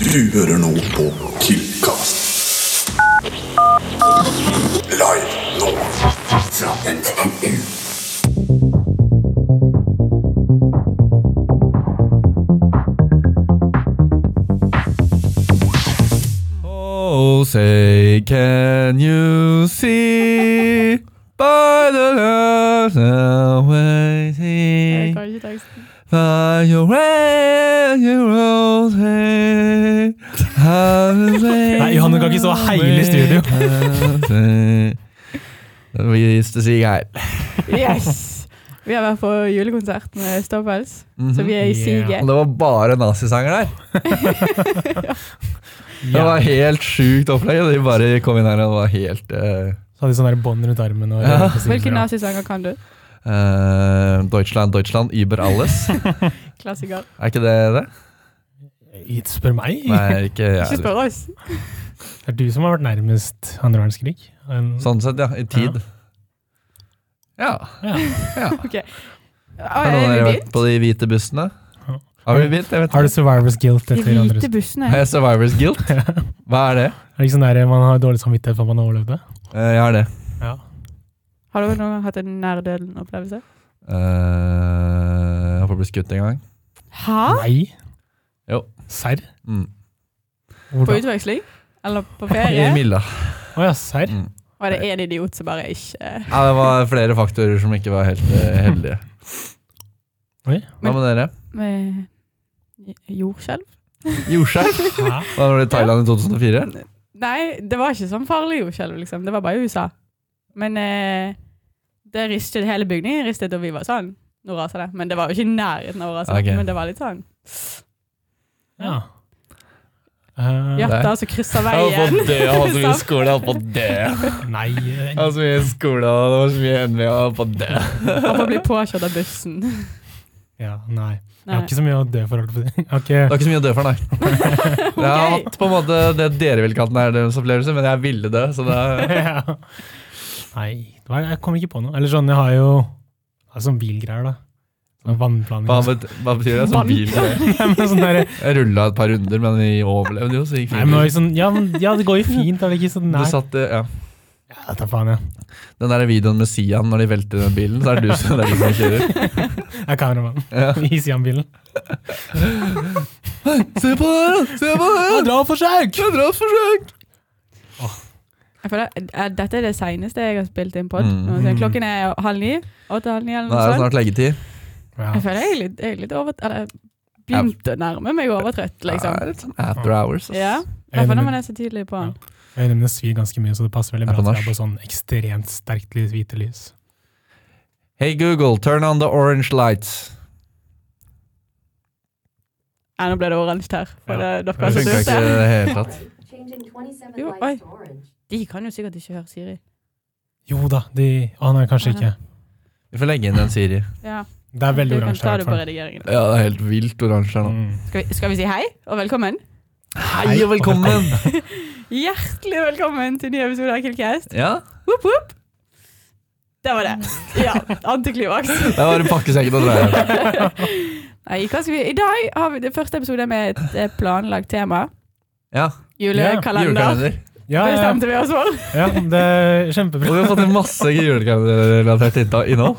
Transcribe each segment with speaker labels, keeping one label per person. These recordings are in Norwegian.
Speaker 1: Du hører nå på Killcast. Live nå fra NTNU.
Speaker 2: Oh, say can you see by the light that we
Speaker 3: Jeg
Speaker 2: see
Speaker 3: kan ikke teksten.
Speaker 2: by your way you will say
Speaker 4: Nei, Johanne kan ikke stå og heile i studio.
Speaker 2: Vi stiger her.
Speaker 3: Yes! Vi har vært på julekonsert med Stoppels, så vi er i
Speaker 4: Mhm.
Speaker 3: siget.
Speaker 2: Og det var bare nazisanger der. Det var helt sjukt opplegg. og De bare kom inn her og det var helt eh,
Speaker 4: Så hadde de sånn der bånd rundt armen. Og,
Speaker 2: Ja.
Speaker 3: Hvilke nazisanger kan du?
Speaker 2: eh, Deutschland, Deutschland, über alles.
Speaker 3: Klassiker.
Speaker 2: Er ikke det det?
Speaker 4: Ikke Spør meg?
Speaker 2: Nei, ikke jeg.
Speaker 3: Ikke
Speaker 2: heller.
Speaker 3: spør oss.
Speaker 4: Det er du som har vært nærmest andre verdenskrig. En,
Speaker 2: Sånn sett, ja. I tid. Ja.
Speaker 4: ja.
Speaker 2: ja.
Speaker 3: Ah,
Speaker 2: Har noen av
Speaker 3: er
Speaker 2: dere
Speaker 3: vi
Speaker 2: vært på de hvite bussene?
Speaker 4: Ja.
Speaker 2: Har vi begynt? Jeg vet
Speaker 4: Har du survivors guilt
Speaker 3: De
Speaker 4: etter andre
Speaker 3: hvite bussene.
Speaker 2: Har jeg survivors guilt? Hva er det?
Speaker 4: Er det ikke sånn der man har dårlig samvittighet for at man overlevde?
Speaker 2: Eh, jeg har det.
Speaker 4: Ja.
Speaker 3: Har du noen gang hatt en nærdøden-opplevelse?
Speaker 2: Eh, jeg holdt på å bli skutt en gang.
Speaker 3: Hæ?
Speaker 4: Nei?
Speaker 2: Jo.
Speaker 4: Serr?
Speaker 2: Mm.
Speaker 4: Hvor
Speaker 3: På
Speaker 4: da?
Speaker 3: utveksling? Eller på
Speaker 2: I
Speaker 3: ferie?
Speaker 2: Milla.
Speaker 4: Å ja, serr?
Speaker 2: Mm.
Speaker 3: Var det én idiot som bare ikke eh,
Speaker 2: Ja, det var flere faktorer som ikke var helt eh, heldige.
Speaker 4: Oi.
Speaker 2: Hva med dere?
Speaker 3: med Jordskjelv?
Speaker 2: Jordskjelv?
Speaker 4: Hæ?
Speaker 2: Hva var det i Thailand i 2004?
Speaker 3: Nei, det var ikke sånn farlig jordskjelv, liksom. Det var bare i USA. Men eh, det ristet hele bygningen ristet, og vi var sånn. Nå raser det. Men det var jo ikke i nærheten av å rase.
Speaker 2: Ok.
Speaker 3: Men det var litt sånn
Speaker 4: Ja. Eh,
Speaker 3: hjerter som krysser veien. Sånn.
Speaker 2: skole, jeg holdt på å dø.
Speaker 4: Nei eh,
Speaker 2: Jeg hadde så mye skole, og det var så mye NV, og jeg holdt på å dø.
Speaker 3: Håper å bli påkjørt av bussen.
Speaker 4: ja, nei. Jeg har
Speaker 3: Nei.
Speaker 4: ikke så mye å dø for. holdt på å si. Jeg har ikke-
Speaker 2: Det var ikke så mye å dø for, nei. Jeg har hatt på en måte det dere ville kalt nærdomsopplevelse, men jeg ville dø, så det er
Speaker 4: Ja. Nei, det var, jeg kom ikke på noe. Eller sånn, jeg har jo jeg har sånn bilgreier, da. Sånn vannplaning.
Speaker 2: hva, bet hva betyr det? Sånn bilgreier.
Speaker 4: Ja, men sånn der,
Speaker 2: Jeg rulla et par runder, men vi overlevde jo, så det gikk
Speaker 4: nei, men det var
Speaker 2: fint.
Speaker 4: jo sånn, ja, men, ja, det går jo fint. Er det ikke sånn,
Speaker 2: Du
Speaker 4: nei.
Speaker 2: satt, eh, ja.
Speaker 4: Ja, dette faen, ja.
Speaker 2: Den der videoen med Sian når de velter den bilen, så er det du som, det er du som kjører.
Speaker 4: Jeg er kameramann
Speaker 2: Ja.
Speaker 4: i Sian-bilen.
Speaker 2: Se på det! her, Se på det! her! Det er drapsforsøk!
Speaker 3: Jeg føler, eh, dette er det seneste jeg har spilt inn pod.
Speaker 2: Mm.
Speaker 3: Nå er det- Klokken er halv ni. Åtte-halv ni eller
Speaker 2: Nå er
Speaker 3: noe
Speaker 2: det
Speaker 3: sånt.
Speaker 2: snart leggetid.
Speaker 4: Ja.
Speaker 3: Jeg føler jeg er litt, jeg er litt over... Eller begynte å nærme meg overtrøtt,
Speaker 2: Det
Speaker 3: liksom.
Speaker 2: er litt sånn after hours. ass.
Speaker 3: Ja. I hvert fall når man er så tidlig på den.
Speaker 4: Øynene mine svir ganske mye, så det passer veldig
Speaker 2: Er
Speaker 4: bra
Speaker 2: på
Speaker 4: at jeg
Speaker 2: nach.
Speaker 4: har på sånn ekstremt sterkt lys, hvite lys.
Speaker 2: Hey Google, turn on the orange lights.
Speaker 3: Ja, nå ble det oransje her. For
Speaker 4: Ja.
Speaker 3: det, dere
Speaker 2: Det
Speaker 3: er så
Speaker 2: funka ikke
Speaker 3: søte.
Speaker 2: i det hele tatt.
Speaker 5: Changing 27
Speaker 3: Jo,
Speaker 5: lights
Speaker 3: oi.
Speaker 5: to orange.
Speaker 3: De kan jo sikkert ikke høre Siri.
Speaker 4: Jo da, de Å nei, kanskje ikke.
Speaker 2: Vi får legge inn en Siri.
Speaker 3: Ja,
Speaker 4: Det er veldig
Speaker 3: du kan
Speaker 4: oransje.
Speaker 3: ta
Speaker 4: i
Speaker 3: det
Speaker 4: hvert
Speaker 3: på
Speaker 4: fall.
Speaker 3: redigeringen.
Speaker 2: Ja, det er helt vilt oransje her nå.
Speaker 4: Mm.
Speaker 3: Skal vi, skal vi si hei og velkommen?
Speaker 2: Hei og velkommen!
Speaker 3: Hjertelig velkommen til ny episode av Killcast.
Speaker 2: Ja,
Speaker 3: Woop, woop. Det var det. Ja, antiklimaks.
Speaker 2: det er bare å pakke sekken og dra hjem.
Speaker 3: Nei, hva skal vi? I dag har vi det første episode med et eh, planlagt tema.
Speaker 2: Ja,
Speaker 3: Julekalender.
Speaker 2: julekalender.
Speaker 4: Ja,
Speaker 3: Det
Speaker 4: ja,
Speaker 3: bestemte vi oss for.
Speaker 4: ja, det er
Speaker 2: Og
Speaker 4: kjempebra.
Speaker 2: vi har fått en masse julekalenderrelatert innta- innhold.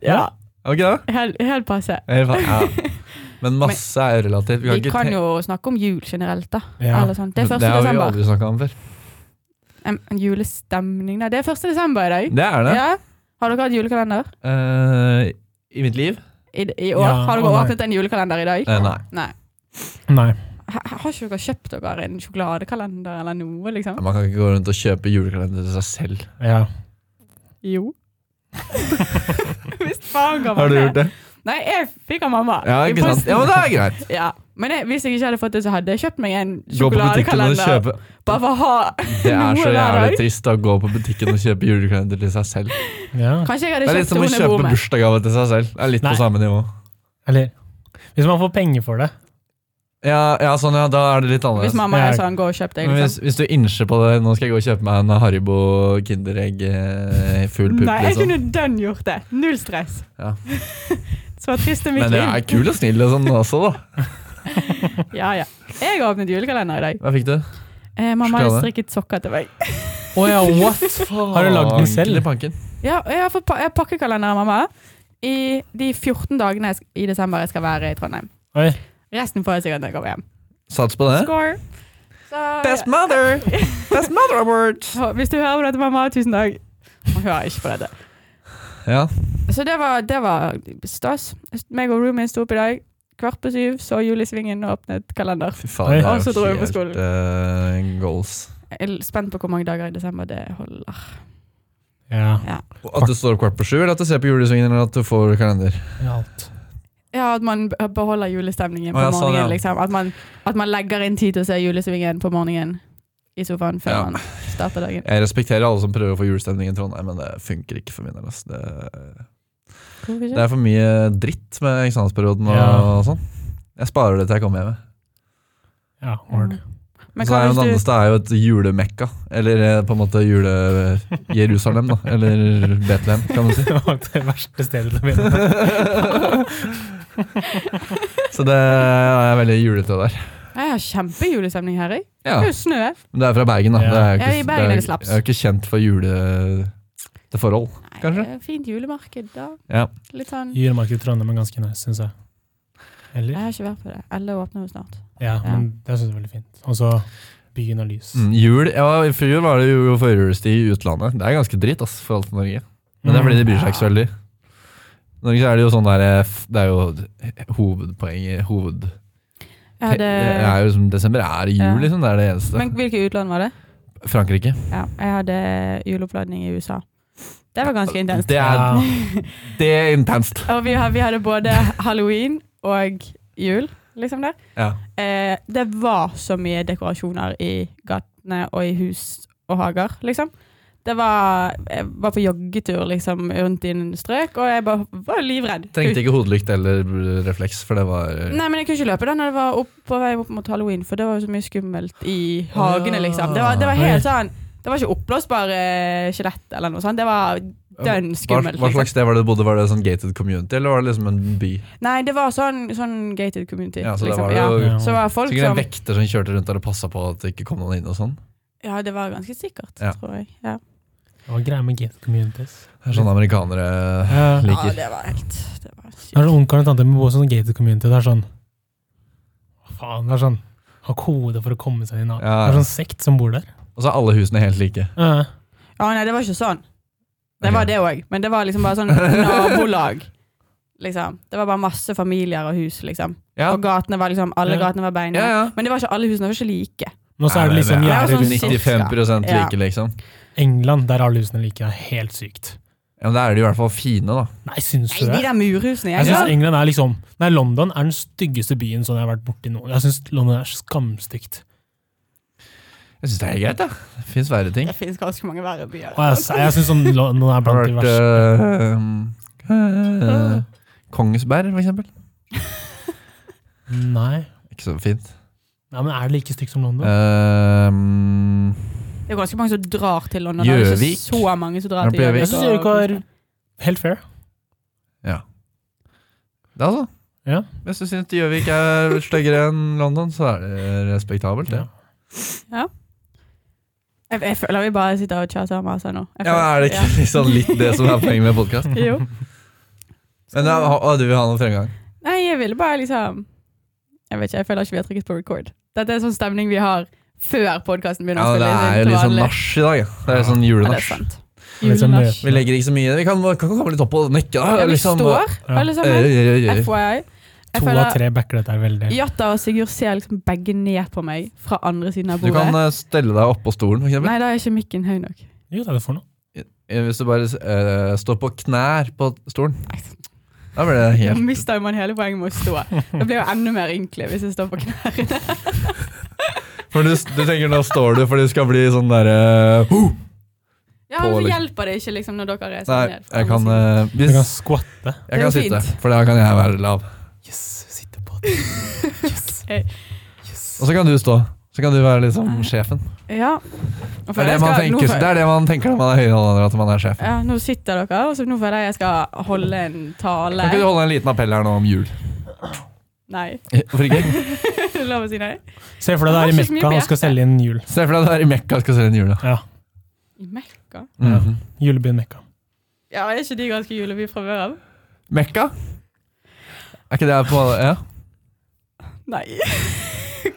Speaker 3: Ja,
Speaker 2: Er det ikke det?
Speaker 3: helt, helt passe.
Speaker 2: Helt fa- Ja. Men masse er relativt.
Speaker 3: Vi kan
Speaker 2: te-
Speaker 3: jo snakke om jul generelt, da.
Speaker 4: Ja.
Speaker 3: Eller sånt. Det er 1.
Speaker 2: det har vi jo
Speaker 3: desember.
Speaker 2: aldri snakka om før.
Speaker 3: En, en julestemning Nei, det er 1. desember i dag.
Speaker 2: Det er det.
Speaker 3: Ja. Har dere hatt julekalender?
Speaker 2: Eh, I mitt liv?
Speaker 3: I, i år?
Speaker 4: Ja,
Speaker 3: har
Speaker 4: å
Speaker 3: dere
Speaker 4: nei.
Speaker 3: åpnet en julekalender i dag?
Speaker 2: Eh, nei.
Speaker 3: Nei.
Speaker 4: Nei.
Speaker 3: Ha- Har ikke dere kjøpt dere en sjokoladekalender eller noe, liksom?
Speaker 2: Man kan ikke gå rundt og kjøpe julekalender til seg selv.
Speaker 4: Ja.
Speaker 3: Jo. Hvis faen kan man
Speaker 2: Har du gjort det?
Speaker 3: Nei, jeg fikk av mamma.
Speaker 2: Ja,
Speaker 3: i
Speaker 2: ikke sant?
Speaker 3: posten.
Speaker 2: Ja, men det er greit.
Speaker 3: Ja. Men jeg, hvis jeg ikke hadde fått det, så hadde jeg kjøpt meg en
Speaker 2: Gå på butikken og
Speaker 3: sjokoladekalender.
Speaker 2: kjøpe
Speaker 3: Bare for å ha
Speaker 2: Det er
Speaker 3: Noe
Speaker 2: så
Speaker 3: hver dag.
Speaker 2: jævlig trist å gå på butikken og kjøpe julekalender til seg selv.
Speaker 4: ja.
Speaker 3: Kanskje jeg
Speaker 2: Det er
Speaker 3: hadde
Speaker 2: litt
Speaker 3: kjøpt
Speaker 2: som å
Speaker 3: hun jeg bor
Speaker 2: kjøpe
Speaker 3: med.
Speaker 2: bursdagsgave til seg selv. Det er litt
Speaker 4: Nei.
Speaker 2: på samme nivå.
Speaker 4: Eller Hvis man får penger for det.
Speaker 2: Ja, ja, sånn ja, da er det litt
Speaker 3: Hvis
Speaker 2: annerledes.
Speaker 3: mamma
Speaker 4: Ja.
Speaker 3: er sånn, gå og kjøp deg,
Speaker 2: altså. Men hvis,
Speaker 3: liksom.
Speaker 2: hvis du innser på det, nå skal jeg gå og kjøpe meg en Haribo Kinderegg eh, full pupp,
Speaker 3: Nei, jeg
Speaker 2: liksom.
Speaker 3: kunne dønn gjort det. Null stress.
Speaker 2: Ja.
Speaker 3: Så trist er mitt
Speaker 2: Men jeg er
Speaker 3: liv.
Speaker 2: kul og snill og sånn også, da.
Speaker 3: Ja, ja. Jeg har åpnet julekalender i dag.
Speaker 2: Hva fikk du?
Speaker 3: Eh, mamma har
Speaker 2: Sjokolade.
Speaker 3: strikket sokker til meg.
Speaker 4: Å ja, what? Har du lagd den selv?
Speaker 2: Ordentlig Panken.
Speaker 3: Ja, og jeg har fått pa jeg har pakkekalender av mamma i de 14 dagene jeg sk i desember jeg skal være i Trondheim.
Speaker 4: Oi.
Speaker 3: Resten får jeg sikkert når jeg kommer hjem.
Speaker 2: Sats på det.
Speaker 3: Score! Så, ja.
Speaker 2: mother! Best mother award!
Speaker 3: Så Hvis du hører på dette, mamma, tusen takk. Hun hører ikke på dette.
Speaker 2: Ja.
Speaker 3: Så det var, det var stas. Meg og roomien sto opp i dag. Kvart på syv så Julesvingen og åpnet kalender.
Speaker 2: Fy
Speaker 4: Oi.
Speaker 2: faen, det
Speaker 3: Og så dro
Speaker 2: er
Speaker 3: jeg
Speaker 2: jo
Speaker 3: på
Speaker 2: helt eh, goals.
Speaker 3: Jeg er spent på hvor mange dager i desember det holder.
Speaker 4: Ja.
Speaker 2: At du står opp kvart på sju, eller at du ser på julesvingen, eller at du får kalender?
Speaker 4: Alt.
Speaker 3: Ja, At man be- beholder julestemningen på
Speaker 2: Å, ja, sånn,
Speaker 3: morgenen.
Speaker 2: ja.
Speaker 3: liksom. At man, at man legger inn tid til å se Julesvingen på morgenen i sofaen før
Speaker 2: Ja.
Speaker 3: man starter dagen.
Speaker 2: Jeg respekterer alle som prøver å få julestemning i Trondheim, men det funker ikke for min del. ass. Det,
Speaker 3: Hvorfor
Speaker 2: det
Speaker 3: ikke?
Speaker 2: er for mye dritt med eksamensperioden og,
Speaker 4: Ja.
Speaker 2: og sånn. Jeg sparer det til jeg kommer hjem.
Speaker 4: Ja, word.
Speaker 3: Mm. Men
Speaker 2: Så
Speaker 3: hva
Speaker 2: er jo
Speaker 3: hvis
Speaker 2: det
Speaker 3: du-
Speaker 2: nærmeste er jo et julemekka. Eller eh, på en måte jule-Jerusalem, da. Eller Betlehem, kan du si.
Speaker 4: Det var det verste stedet til å begynne. med.
Speaker 2: Så det er veldig julete der.
Speaker 3: Jeg har kjempejulestemning her. Jeg.
Speaker 2: Ja,
Speaker 3: Det er jo snø.
Speaker 2: Men det er fra Bergen, da.
Speaker 4: Ja.
Speaker 2: Det er jo
Speaker 3: Ja, i Bergen er det
Speaker 2: det er,
Speaker 3: slaps.
Speaker 2: det er jo ikke kjent for julete forhold.
Speaker 3: Nei,
Speaker 2: Kanskje?
Speaker 3: det er Fint julemarked, da.
Speaker 2: Ja.
Speaker 3: Litt sånn
Speaker 4: Julemarkedet i Trondheim er ganske nice, syns jeg.
Speaker 3: Jeg
Speaker 4: Eller?
Speaker 3: har ikke vært på det. Elle åpner jo snart.
Speaker 4: Ja, men det syns jeg er veldig fint. Og så byen og lys.
Speaker 2: Mm, jul, ja, I fjor var det jo førjulstid i utlandet. Det er ganske dritt ass, for alt Norge. Men det er fordi de bryr seg
Speaker 3: Ah.
Speaker 2: ikke så veldig. I Norge så er det jo sånn der eh, f- Det er jo hovedpoenget hoved,
Speaker 3: Ja,
Speaker 2: det...
Speaker 3: det...
Speaker 2: er jo som Desember er jul,
Speaker 3: Ja.
Speaker 2: liksom. Det er det eneste.
Speaker 3: Men hvilket utland var det?
Speaker 2: Frankrike.
Speaker 3: Ja, jeg hadde juleoppladning i USA. Det var ganske intenst.
Speaker 2: Det er,
Speaker 4: Ja.
Speaker 2: det er intenst.
Speaker 3: Og vi, har- vi hadde både halloween og jul, liksom der.
Speaker 2: Ja.
Speaker 3: Eh, det var så mye dekorasjoner i gatene og i hus og hager, liksom. Det var, jeg var på joggetur liksom, rundt i en strøk, og jeg bare var livredd.
Speaker 2: Trengte ikke hodelykt eller refleks, for det var eh,
Speaker 3: Nei, men jeg kunne ikke løpe da når det var opp, på vei opp mot halloween, for det var jo så mye skummelt i hagene, liksom. Det var, det var helt sånn Det var ikke oppblåsbar eh, skjelett eller noe sånt. Det var dønn
Speaker 2: hva,
Speaker 3: skummelt.
Speaker 2: hva slags sted var det du bodde? Var det sånn gated community, eller var det liksom en by?
Speaker 3: Liksom. Nei, det var sånn, sånn gated community.
Speaker 2: Ja, så det
Speaker 3: liksom.
Speaker 2: var
Speaker 3: ja.
Speaker 2: jo
Speaker 4: Ja.
Speaker 3: så det var folk
Speaker 2: sikkert en
Speaker 3: som
Speaker 2: vekter som kjørte rundt der og passa på at det ikke kom noen inn og sånn.
Speaker 3: Ja, det var ganske sikkert,
Speaker 2: Ja.
Speaker 3: tror jeg. Ja.
Speaker 4: Det var greia med gated communities.
Speaker 2: Det er sånn amerikanere
Speaker 3: ja,
Speaker 4: Ja.
Speaker 2: liker.
Speaker 3: det var helt Det var
Speaker 4: Det
Speaker 3: sykt.
Speaker 4: er sånn onkelen og tante med både sånn gated community. Det er sånn Hva faen? Det er sånn Ha kode for å komme seg inn. og-
Speaker 2: Ja,
Speaker 4: Det
Speaker 2: ja.
Speaker 4: er sånn sekt som bor der.
Speaker 2: Og så er alle husene helt like.
Speaker 4: Ja.
Speaker 3: Ja, nei, det var ikke sånn. Det
Speaker 2: Ok.
Speaker 3: var det òg, men det var liksom bare sånn nabolag. Liksom. Det var bare masse familier og hus, liksom.
Speaker 2: Ja,
Speaker 3: Og gatene var liksom Alle
Speaker 4: Ja.
Speaker 3: gatene var beina.
Speaker 2: ja, ja.
Speaker 3: Men det var ikke alle husene var ikke like.
Speaker 4: Nå så er det
Speaker 2: Nei,
Speaker 4: liksom
Speaker 3: det er
Speaker 4: gjerder
Speaker 3: sånn
Speaker 4: rundt
Speaker 3: sekt.
Speaker 4: alt.
Speaker 2: 95
Speaker 3: Ja.
Speaker 2: like, liksom.
Speaker 4: England, der er alle husene like. Det er helt sykt.
Speaker 2: Ja, men Da er de i hvert fall fine, da.
Speaker 4: Nei, syns
Speaker 3: Nei,
Speaker 4: du
Speaker 3: de
Speaker 4: det?
Speaker 3: der murhusene
Speaker 4: Jeg
Speaker 3: jeg ja.
Speaker 4: synes England er liksom Nei, London er den styggeste byen sånn jeg har vært borti nå. Jeg syns London er skamstygt.
Speaker 2: Jeg syns det er greit, jeg. Det fins verre ting.
Speaker 3: Det finnes ganske mange verre byer.
Speaker 4: Og jeg, jeg syns sånn London er
Speaker 2: Har
Speaker 4: blant
Speaker 2: du
Speaker 4: de
Speaker 2: vært
Speaker 4: verste.
Speaker 2: eh, eh, Kongsberg, for eksempel? eh?
Speaker 4: Nei.
Speaker 2: Ikke så fint.
Speaker 4: Nei, men er det like stygt som
Speaker 2: Eh,
Speaker 4: London?
Speaker 2: Ehm,
Speaker 3: Det er ganske mange som drar til London. Det er
Speaker 2: Gjøvik.
Speaker 3: ikke så mange som drar
Speaker 2: Er det
Speaker 3: til
Speaker 2: på Gjøvik?
Speaker 3: Gjøvik.
Speaker 4: Jeg syns Gjøvik var helt fair.
Speaker 2: ja. Det, altså.
Speaker 4: Ja.
Speaker 2: Hvis du syns Gjøvik er styggere enn London, så er det respektabelt, det.
Speaker 3: Jeg, jeg føler vi bare sitter og chatter og maser nå. Jeg
Speaker 2: Ja, men
Speaker 3: føler-
Speaker 2: Er det ikke liksom litt det som er poenget med podkast?
Speaker 3: Ja. Jo.
Speaker 2: Men ja, ha- å, du vil ha noen fremgang?
Speaker 3: Nei, jeg ville bare liksom Jeg vet ikke, jeg føler ikke vi har trykket på record. Dette er sånn stemning vi har før podkasten begynner
Speaker 2: Ja,
Speaker 3: å
Speaker 2: Det
Speaker 3: spille.
Speaker 2: er jo
Speaker 3: inn til
Speaker 2: litt sånn
Speaker 3: vanlig.
Speaker 2: nach i dag. Ja. Det er sånn
Speaker 3: Ja, det er
Speaker 2: julenach.
Speaker 3: sant.
Speaker 4: Litt sånn
Speaker 3: Julenach.
Speaker 2: Vi legger ikke så mye. Vi kan, kan komme litt opp og nikke. Da.
Speaker 3: Ja, vi
Speaker 2: liksom.
Speaker 3: står, alle
Speaker 2: Eh, eh,
Speaker 3: sammen.
Speaker 2: eh, eh.
Speaker 3: FYI. Jeg
Speaker 4: To av
Speaker 3: føler
Speaker 4: tre backer dette her veldig.
Speaker 3: Jatta og Sigurd ser liksom begge ned på meg fra andre siden av
Speaker 2: Du kan
Speaker 3: bordet.
Speaker 2: eh, stelle deg oppå stolen, for eksempel.
Speaker 3: Nei, da er ikke mikken høy nok.
Speaker 4: Jo, det er det for noe.
Speaker 2: Eh, Hvis du bare eh, står på knær på stolen. Da blir det
Speaker 3: Da
Speaker 2: helt
Speaker 3: mister jo man hele poenget med å stå. Det blir jo enda mer ynkelig hvis jeg står på knærne.
Speaker 2: For du, du tenker nå står du for det skal bli sånn derre
Speaker 3: Ja,
Speaker 2: På,
Speaker 3: men så
Speaker 2: liksom.
Speaker 3: hjelper det ikke liksom når dere reiser
Speaker 2: Nei,
Speaker 3: ned. fra
Speaker 2: jeg
Speaker 3: andre
Speaker 2: kan
Speaker 3: siden.
Speaker 2: eh,
Speaker 4: Du kan
Speaker 2: Hvis
Speaker 4: skvatte.
Speaker 2: jeg
Speaker 3: Det
Speaker 2: kan
Speaker 3: er
Speaker 2: sitte,
Speaker 3: fint.
Speaker 2: for da kan jeg være lav.
Speaker 4: Yes, sitte på det. Yes.
Speaker 3: Eh,
Speaker 2: Og så kan du stå. Så kan du være liksom sjefen.
Speaker 3: Ja. Og
Speaker 2: Det
Speaker 3: for
Speaker 2: er det
Speaker 3: jeg
Speaker 2: man
Speaker 3: skal- nå
Speaker 2: tenker,
Speaker 3: for-
Speaker 2: det er det man tenker når man er høyere enn alle andre, at man er sjef.
Speaker 3: Ja, nå sitter dere, og så nå føler jeg jeg skal holde en
Speaker 2: Kan ikke du
Speaker 3: tale.
Speaker 2: holde en liten appell her nå om jul?
Speaker 3: Nei.
Speaker 2: Hvorfor ikke?
Speaker 3: det er lov å si nei.
Speaker 4: Se for deg det
Speaker 3: Det var
Speaker 4: er i
Speaker 3: ikke så mye
Speaker 4: Mekka og skal
Speaker 3: bjerte.
Speaker 4: selge inn jul.
Speaker 2: Se for deg det er i Mekka skal selge en jul. da.
Speaker 4: Ja,
Speaker 3: I Mekka?
Speaker 2: Mhm.
Speaker 4: Julebyen Mekka.
Speaker 3: Ja, er ikke de ganske juleby fra før av?
Speaker 2: Mekka? Er ikke det her på Ja.
Speaker 3: Nei.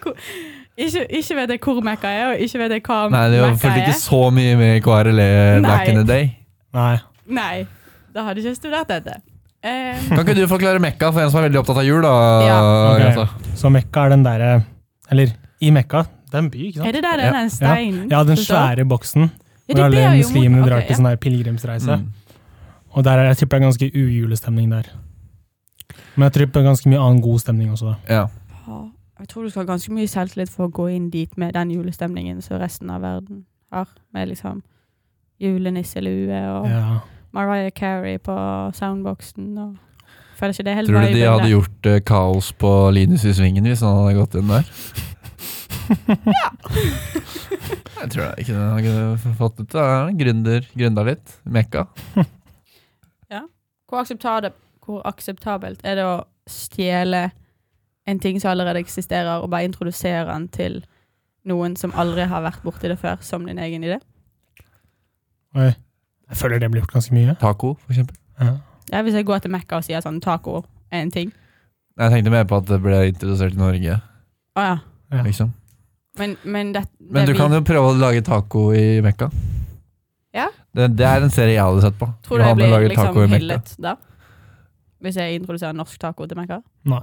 Speaker 3: Hvor- ikke, ikke vet jeg hvor Mekka er, og ikke vet jeg hva
Speaker 2: Nei, det var
Speaker 3: Mekka
Speaker 2: fulgte
Speaker 3: er.
Speaker 2: ikke så mye med i KRLE back in the day.
Speaker 4: Nei.
Speaker 3: Nei, da hadde jeg ikke studert dette. Eh,
Speaker 2: Kan ikke du forklare Mekka for en som er veldig opptatt av jul, da? altså?
Speaker 3: Ja.
Speaker 4: Ok.
Speaker 2: Agatha?
Speaker 4: Så Mekka er den derre Eller, i Mekka Det er en by, ikke
Speaker 3: er
Speaker 4: sant?
Speaker 3: det der det er den steinen?
Speaker 4: Ja, den
Speaker 3: som står?
Speaker 4: svære boksen
Speaker 3: Ja,
Speaker 4: hvor
Speaker 3: de
Speaker 4: alle
Speaker 3: ber jo mot-
Speaker 4: muslimene drar
Speaker 3: ok,
Speaker 4: på
Speaker 3: ja.
Speaker 4: sånn her pilegrimsreise.
Speaker 2: Mm.
Speaker 4: Og der er, jeg tipper det er ganske ujulestemning der. Men jeg tror det er ganske mye annen god stemning også. da.
Speaker 2: Ja.
Speaker 3: Ja, Jeg tror du skal ha ganske mye selvtillit for å gå inn dit med den julestemningen som resten av verden har, med liksom julenisselue og
Speaker 4: Ja.
Speaker 3: Mariah Carey på soundboxen og Føler ikke det er helt
Speaker 2: Tror du de
Speaker 3: viben
Speaker 2: hadde
Speaker 3: der.
Speaker 2: gjort eh, kaos på Linus i Svingen hvis han hadde gått inn der? Jeg tror det ikke det. Han kunne fått det til. Han Gründer, gründa litt. Mekka.
Speaker 3: Hvor akseptabelt, hvor akseptabelt er det å stjele en ting som allerede eksisterer, og bare introdusere den til noen som aldri har vært borti det før, som din egen idé?
Speaker 4: Oi. Jeg føler det blir gjort ganske mye.
Speaker 2: Taco, for eksempel.
Speaker 4: Ja.
Speaker 3: Ja, hvis jeg går til Mekka og sier sånn taco er en ting
Speaker 2: Nei, Jeg tenkte mer på at det ble introdusert i Norge,
Speaker 3: Å ja.
Speaker 4: Ja.
Speaker 2: liksom.
Speaker 3: Men, men det, det
Speaker 2: Men du
Speaker 3: vi-
Speaker 2: kan jo prøve å lage taco i Mekka.
Speaker 3: Ja.
Speaker 2: Det, det er en serie jeg hadde sett på.
Speaker 3: Tror du jeg
Speaker 2: Johanne
Speaker 3: blir
Speaker 2: lager taco i
Speaker 3: liksom
Speaker 2: Mekka.
Speaker 3: hyllet da? Hvis jeg introduserer norsk taco til Mekka?
Speaker 4: Nei.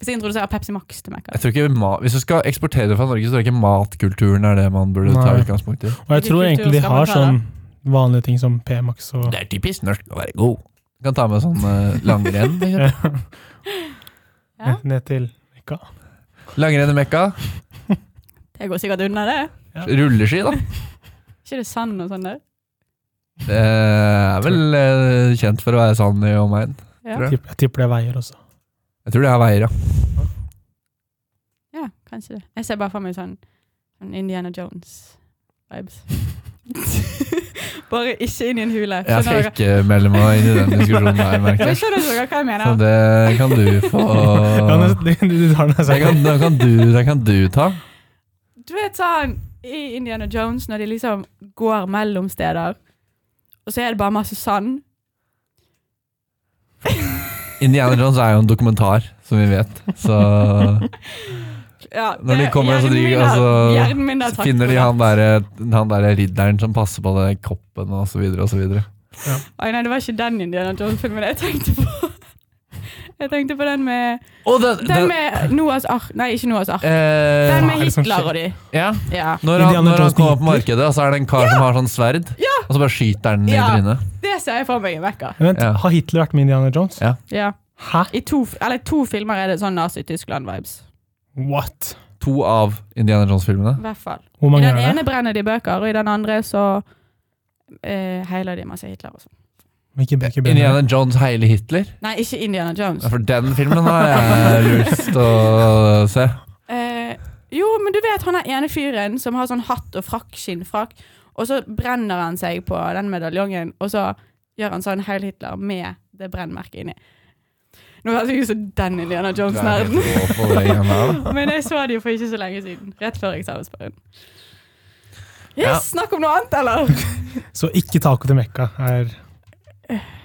Speaker 3: Hvis jeg introduserer Pepsi Max til Mekka?
Speaker 2: Jeg tror ikke ma Hvis du skal eksportere det fra Norge, så tror jeg ikke matkulturen er det man burde ta
Speaker 4: Nei.
Speaker 2: utgangspunkt i.
Speaker 4: Og jeg
Speaker 3: Hvilke
Speaker 4: tror egentlig de
Speaker 3: kulturer skal man
Speaker 4: har
Speaker 3: ta, da?
Speaker 4: sånn vanlige ting som P-Max og
Speaker 2: Det er typisk norsk å være god. Du kan ta med sånn eh, langrenn. for eksempel.
Speaker 3: Ja.
Speaker 4: ned til Mekka.
Speaker 2: Langrenn i Mekka.
Speaker 3: Det går sikkert unna, det.
Speaker 4: Ja.
Speaker 2: Rulleski, da.
Speaker 3: Ikke det sand og sånn der?
Speaker 2: Det er vel eh, kjent for å være sand i omegn.
Speaker 3: Ja.
Speaker 2: Tror
Speaker 4: Tipp- Jeg tipper det er veier også.
Speaker 2: Jeg tror det er veier, ja.
Speaker 3: ja, kanskje det. Jeg ser bare for meg sånn, sånn Indiana Jones-vibes. bare ikke inn i en hule.
Speaker 2: Jeg
Speaker 3: Skjønner
Speaker 2: skal
Speaker 3: dere?
Speaker 2: ikke melde meg inn i den diskusjonen der, merker
Speaker 3: Men
Speaker 2: jeg.
Speaker 3: skjønner dere hva jeg
Speaker 2: Så
Speaker 3: mener?
Speaker 2: Sånn det kan du få
Speaker 4: Ja, men du, du, du tar den
Speaker 2: Det kan, det kan, du, det kan du ta.
Speaker 3: Du vet sånn i Indiana Jones, når de liksom går mellom steder, og så er det bare masse sand.
Speaker 2: Indiana Jones er jo en dokumentar, som vi vet. Så
Speaker 3: Ja,
Speaker 2: Når de
Speaker 3: det-
Speaker 2: kommer, så
Speaker 3: hjernen
Speaker 2: driver-
Speaker 3: min har-
Speaker 2: altså,
Speaker 3: hjernen min har
Speaker 2: finner de
Speaker 3: taklet.
Speaker 2: han derre der ridderen som passer på den koppen, og så videre og så videre.
Speaker 3: Oi, nei, det var ikke den Indiana Jones-filmen jeg tenkte på. Jeg tenkte på den med
Speaker 2: Og den,
Speaker 3: Den med Noahs ark. Nei, ikke Noahs ark.
Speaker 2: eh,
Speaker 3: Den med
Speaker 4: hva er det som
Speaker 3: Hitler
Speaker 4: skjer?
Speaker 3: og de.
Speaker 2: Ja,
Speaker 3: Ja.
Speaker 2: når han,
Speaker 4: Indiana
Speaker 2: når han
Speaker 4: Jones
Speaker 2: kommer på
Speaker 4: Hitler.
Speaker 2: markedet, og så er det en kar som har sånn sverd, og så bare skyter han den i
Speaker 3: Ja.
Speaker 2: trynet.
Speaker 3: Det ser jeg for meg i Mekka.
Speaker 4: Vent,
Speaker 2: Ja.
Speaker 4: har Hitler vært med Indiana Jones?
Speaker 2: Ja.
Speaker 3: Ja.
Speaker 4: Hæ?
Speaker 3: I to, f- eller, to filmer er det sånn Nazi-Tyskland-vibes.
Speaker 4: What?
Speaker 2: To av Indiana Jones-filmene.
Speaker 3: I hvert fall.
Speaker 4: Hvor
Speaker 3: I
Speaker 4: mange
Speaker 3: den
Speaker 4: er det?
Speaker 3: ene brenner de bøker, og i den andre så eh, heiler de masse Hitler og sånn.
Speaker 4: Hvilke bøker brenner
Speaker 2: Indiana Jones heiler Hitler?
Speaker 3: Nei, ikke Indiana Jones.
Speaker 2: Ja, For den filmen har jeg lyst til å se.
Speaker 3: Eh, jo, men du vet han er ene fyren som har sånn hatt og frakk, skinnfrakk, og så brenner han seg på den medaljongen, og så gjør han sånn Heil Hitler med det brennmerket inni. Nå høres jeg ut som den Indiana Jones-nerden, men jeg så det jo for ikke så lenge siden. Rett før eksamensperioden. Yes,
Speaker 2: Ja.
Speaker 3: snakk om noe annet, eller?
Speaker 4: Så ikke taco til Mekka er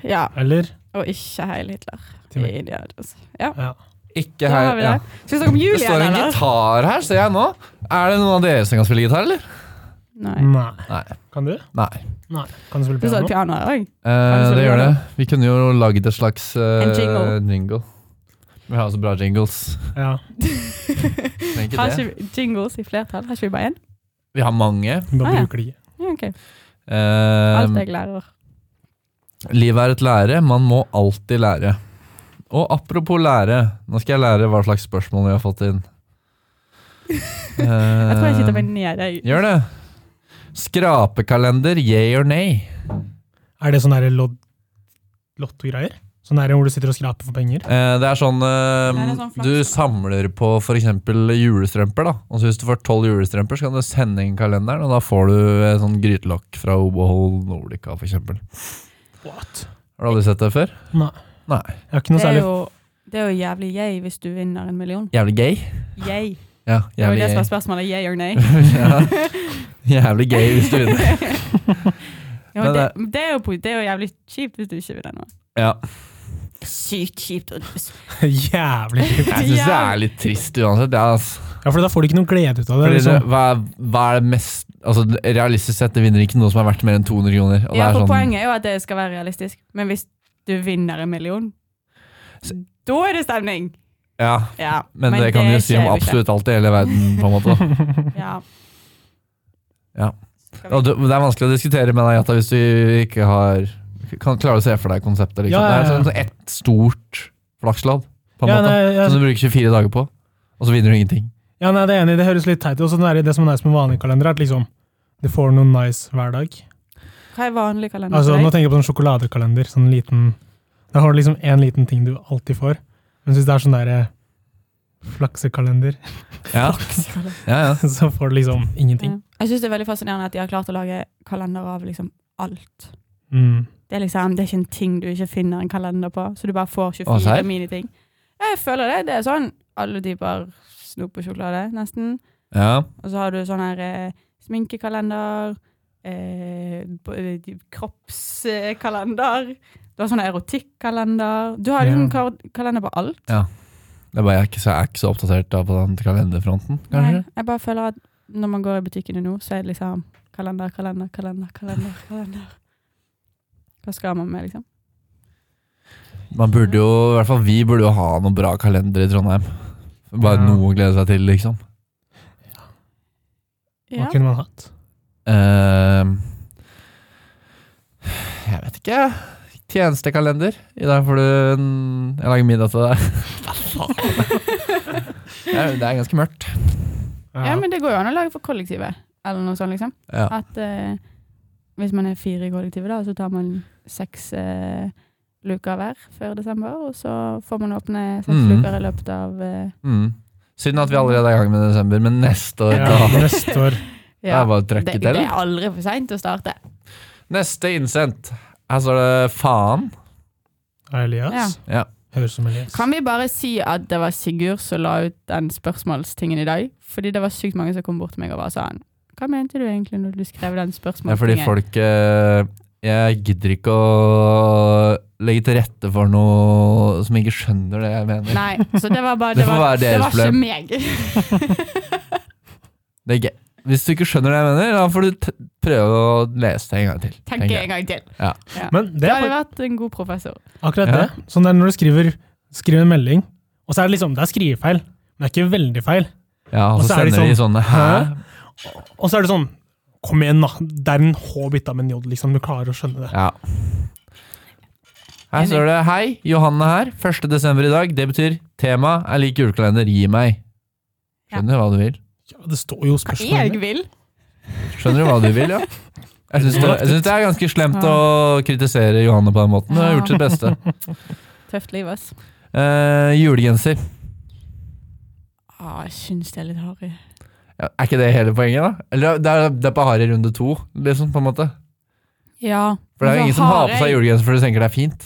Speaker 3: Ja,
Speaker 4: Eller?
Speaker 3: og ikke Heil Hitler
Speaker 4: Til
Speaker 3: i
Speaker 4: meg.
Speaker 3: Indiana Jones. Ja,
Speaker 2: Ikke
Speaker 3: da
Speaker 2: her,
Speaker 3: har vi
Speaker 2: ja.
Speaker 3: det. Skal vi snakke om
Speaker 2: Det
Speaker 3: jul
Speaker 2: står
Speaker 3: igjen,
Speaker 2: en
Speaker 3: eller?
Speaker 2: gitar her, ser jeg nå. Er det noen av dere som kan spille gitar, eller? Mm.
Speaker 3: Nei.
Speaker 4: Nei.
Speaker 2: Nei.
Speaker 4: Kan du?
Speaker 2: Nei.
Speaker 4: Nei. Kan du spille
Speaker 3: Du sa
Speaker 4: piano?
Speaker 3: piano her òg.
Speaker 2: Eh,
Speaker 3: spille
Speaker 2: det gjør det.
Speaker 3: piano?
Speaker 2: Vi kunne jo lagd et slags eh,
Speaker 3: En jingle.
Speaker 2: jingle. Vi har så bra jingles.
Speaker 4: Ja.
Speaker 2: Trenger ikke
Speaker 3: Har
Speaker 2: det.
Speaker 3: ikke vi jingles i flertall? Har ikke vi bare én?
Speaker 2: Vi har mange.
Speaker 4: Du bare
Speaker 3: Ah, ja.
Speaker 4: bruker det ikke.
Speaker 3: Ja, ok.
Speaker 2: Um, Eh,
Speaker 3: Alt jeg lærer.
Speaker 2: Livet er et lære, man må alltid lære. Og apropos lære, nå skal jeg lære hva slags spørsmål vi har fått inn.
Speaker 3: Jeg tror jeg sitter meg ned. Jeg.
Speaker 2: Eh, Gjør det. Skrapekalender, yeah or nay?
Speaker 4: Er det sånn derre lod- lotto-greier? Sånn derre hvor du sitter og skraper for penger?
Speaker 2: Eh, Det er sånn eh,
Speaker 3: Det er en sånn flaks,
Speaker 2: Du
Speaker 3: da.
Speaker 2: samler på f.eks. julestrømper. da Og så Hvis du får tolv julestrømper, så kan du sende inn kalenderen, og da får du eh, sånn grytelokk fra Obohol Nordica f.eks. Har
Speaker 4: What?
Speaker 2: du aldri sett det før?
Speaker 4: Nei.
Speaker 2: Nei.
Speaker 4: Jeg har ikke noe
Speaker 3: Det er
Speaker 4: særlig
Speaker 3: jo Det er jo jævlig yay hvis du vinner en million.
Speaker 2: Jævlig gay.
Speaker 3: Yay.
Speaker 2: Ja,
Speaker 3: Det var
Speaker 2: jævlig
Speaker 3: jo det
Speaker 2: gay.
Speaker 3: som var spørsmålet. Yay or nay?
Speaker 2: ja. Jævlig gay hvis du vinner.
Speaker 3: Ja,
Speaker 2: Men eh,
Speaker 3: men det, det, er jo, po- det er jo jævlig kjipt hvis du ikke vinner noe.
Speaker 2: Ja.
Speaker 3: Sykt kjipt. og-
Speaker 4: Jævlig kjipt.
Speaker 2: Jeg syns det er litt trist uansett. Ja, altså.
Speaker 4: Ja, for da får du ikke noe glede ut av
Speaker 2: Fordi
Speaker 4: det.
Speaker 2: det,
Speaker 4: Liksom.
Speaker 2: hva, er, hva er det mest altså, Realistisk sett, det vinner ikke noe som er verdt mer enn 200 kroner. Og det
Speaker 3: Ja,
Speaker 2: er
Speaker 3: for
Speaker 2: sånn,
Speaker 3: Poenget er jo at det skal være realistisk. Men hvis du vinner en million,
Speaker 2: Så-
Speaker 3: da er det stemning!
Speaker 2: Ja,
Speaker 3: Ja,
Speaker 2: men, det kan du jo si om
Speaker 3: skjer jo ikke.
Speaker 2: absolutt alt i hele verden. på en måte. da.
Speaker 3: Ja.
Speaker 2: Ja.
Speaker 3: Skal
Speaker 2: Og
Speaker 3: vi-
Speaker 2: det, det er vanskelig å diskutere med deg, Jata, hvis du ikke har kan, Klarer å se for deg konseptet. Liksom.
Speaker 4: Ja, ja, ja.
Speaker 2: Det er sånn, sånn ett stort flakslodd, på en
Speaker 4: Ja,
Speaker 2: måte. Altså-
Speaker 4: nei, ja.
Speaker 2: Som du bruker 24 dager på, og så vinner du ingenting.
Speaker 4: Ja, nei, det er enig, det høres litt teit ut. Og så det er det som er nice med vanlige kalendere, er at liksom, du får noe nice hver dag.
Speaker 3: Hva er vanlig kalender
Speaker 4: Altså, nå
Speaker 3: for deg?
Speaker 4: tenker jeg på sånn sjokoladekalender. Sånn liten Da har du liksom én liten ting du alltid får. Men hvis det er sånn derre flaksekalender,
Speaker 2: Ja, ja, ja.
Speaker 4: så får du liksom ingenting.
Speaker 3: Ja. Jeg syns det er veldig fascinerende at de har klart å lage kalender av liksom alt.
Speaker 4: Mm.
Speaker 3: Det er liksom, det er ikke en ting du ikke finner en kalender på, så du bare får
Speaker 2: Å,
Speaker 3: 24
Speaker 2: serr?
Speaker 3: miniting. Jeg føler det. Det er sånn alle typer snop og sjokolade, nesten.
Speaker 2: ja.
Speaker 3: Og så har du sånn her eh, sminkekalender, eh, b- eh, kroppskalender Du har sånn erotikkalender. Du har liksom
Speaker 4: Ja.
Speaker 3: kal- kalender på alt.
Speaker 2: Det er bare, jeg, er ikke så, jeg er ikke så oppdatert da, på den kalenderfronten, kanskje.
Speaker 3: Nei, jeg bare føler at når man går i butikkene nå, så er det liksom kalender, kalender, kalender, kalender. kalender. Hva skal man med, liksom?
Speaker 2: Man burde jo, i hvert fall Vi burde jo ha noen bra kalendere i Trondheim. Bare
Speaker 4: Ja.
Speaker 2: noe å glede seg til, liksom.
Speaker 3: Ja.
Speaker 4: Hva kunne man hatt?
Speaker 2: Ehm, jeg vet ikke. Tjenestekalender. I dag får du en Jeg lager middag til deg. det, er, det er ganske mørkt.
Speaker 3: ja, men det går jo an å lage for kollektivet, eller noe sånt, liksom.
Speaker 2: Ja.
Speaker 3: At eh, hvis man er fire i kollektivet, da, så tar man seks eh, luker hver før desember. Og så får man åpne seks
Speaker 2: Mhm.
Speaker 3: luker i løpet av eh,
Speaker 2: Mm. Synd at vi allerede er i gang med desember, men neste år
Speaker 4: Ja,
Speaker 2: da.
Speaker 4: neste år.
Speaker 2: Det er bare å trekke
Speaker 3: det,
Speaker 2: til.
Speaker 3: det er aldri for seint å starte.
Speaker 2: Neste innsendt. Her står det faen.
Speaker 4: Er Elias?
Speaker 2: Ja.
Speaker 4: Høres ut som Elias.
Speaker 3: Kan vi bare si at det var Sigurd som la ut den spørsmålstingen i dag? Fordi det var sykt mange som kom bort til meg og bare sa han. Hva mente du egentlig når du skrev
Speaker 2: Det
Speaker 3: den
Speaker 2: er fordi
Speaker 3: spørsmålstingen?
Speaker 2: folk eh, Jeg gidder ikke å legge til rette for noe som ikke skjønner det jeg mener.
Speaker 3: Nei, så det var bare
Speaker 2: Det
Speaker 3: Det,
Speaker 2: får
Speaker 3: var,
Speaker 2: være deres
Speaker 3: det var ikke
Speaker 2: problem.
Speaker 3: meg.
Speaker 2: Det er gøy. Hvis du ikke skjønner det jeg mener, da får du t prøve å lese det en gang til.
Speaker 3: Tenk
Speaker 2: tenker
Speaker 3: en gang til.
Speaker 2: Ja.
Speaker 4: Men det
Speaker 3: Du
Speaker 4: er
Speaker 3: hadde
Speaker 4: fak-
Speaker 3: vært en god professor.
Speaker 4: akkurat
Speaker 2: Ja.
Speaker 4: det. Sånn der når du skriver, skriver en melding, og så er det liksom Det er skrivefeil, men det er ikke veldig feil.
Speaker 2: Ja, og
Speaker 4: Og
Speaker 2: så
Speaker 4: så er de
Speaker 2: sender de sånne Hæ?
Speaker 4: Og så er det sånn Kom igjen, da. Det er en H bytta med en J, liksom. Du klarer å skjønne det.
Speaker 2: Ja. Her står det Hei, Johanne her. 1. desember i dag. Det betyr tema er lik julekalender. Gi meg. Skjønner du hva du vil?
Speaker 4: Ja, det står jo
Speaker 3: Jeg
Speaker 4: spørsmål.
Speaker 3: vil.
Speaker 2: Skjønner du hva du vil, ja? Jeg syns det, jeg synes det er ganske slemt å kritisere Johanne på den måten. Hun har gjort sitt beste.
Speaker 3: Tøft liv, ass.
Speaker 2: Eh, julegenser.
Speaker 3: Ah, jeg syns det er litt harry.
Speaker 2: Ja, er ikke det hele poenget, da? Eller det er, det er på Harry runde to, liksom, på en måte.
Speaker 3: Ja.
Speaker 2: For det er jo
Speaker 3: Men
Speaker 2: ingen
Speaker 3: så
Speaker 2: som
Speaker 3: har
Speaker 2: har på seg
Speaker 3: jeg-
Speaker 2: julegenser fordi de tenker det er fint.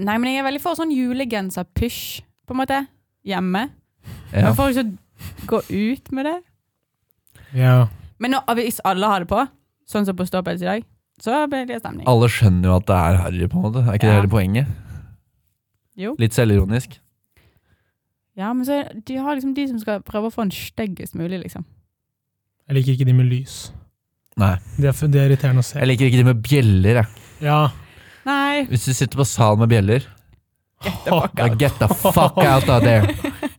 Speaker 3: Nei, men jeg er veldig for sånn julegenser-pysj, på en måte. Hjemme.
Speaker 2: Ja.
Speaker 3: Men folk som går ut med det.
Speaker 4: Ja.
Speaker 3: Men nå, hvis alle har det på, sånn som på Ståpels i dag, så blir det stemning.
Speaker 2: Alle skjønner jo at det er harry, på en måte. Er ikke det
Speaker 3: Ja.
Speaker 2: hele poenget?
Speaker 3: Jo.
Speaker 2: Litt selvironisk.
Speaker 3: Ja, men så de har liksom de som skal prøve å få en styggest mulig, liksom.
Speaker 4: Jeg liker ikke de med lys.
Speaker 2: Nei.
Speaker 4: De er, de er irriterende å se.
Speaker 2: Jeg liker ikke de med bjeller, jeg.
Speaker 4: Ja.
Speaker 3: Nei.
Speaker 2: Hvis du sitter på salen med bjeller, da
Speaker 4: Og
Speaker 2: get the fuck out of there.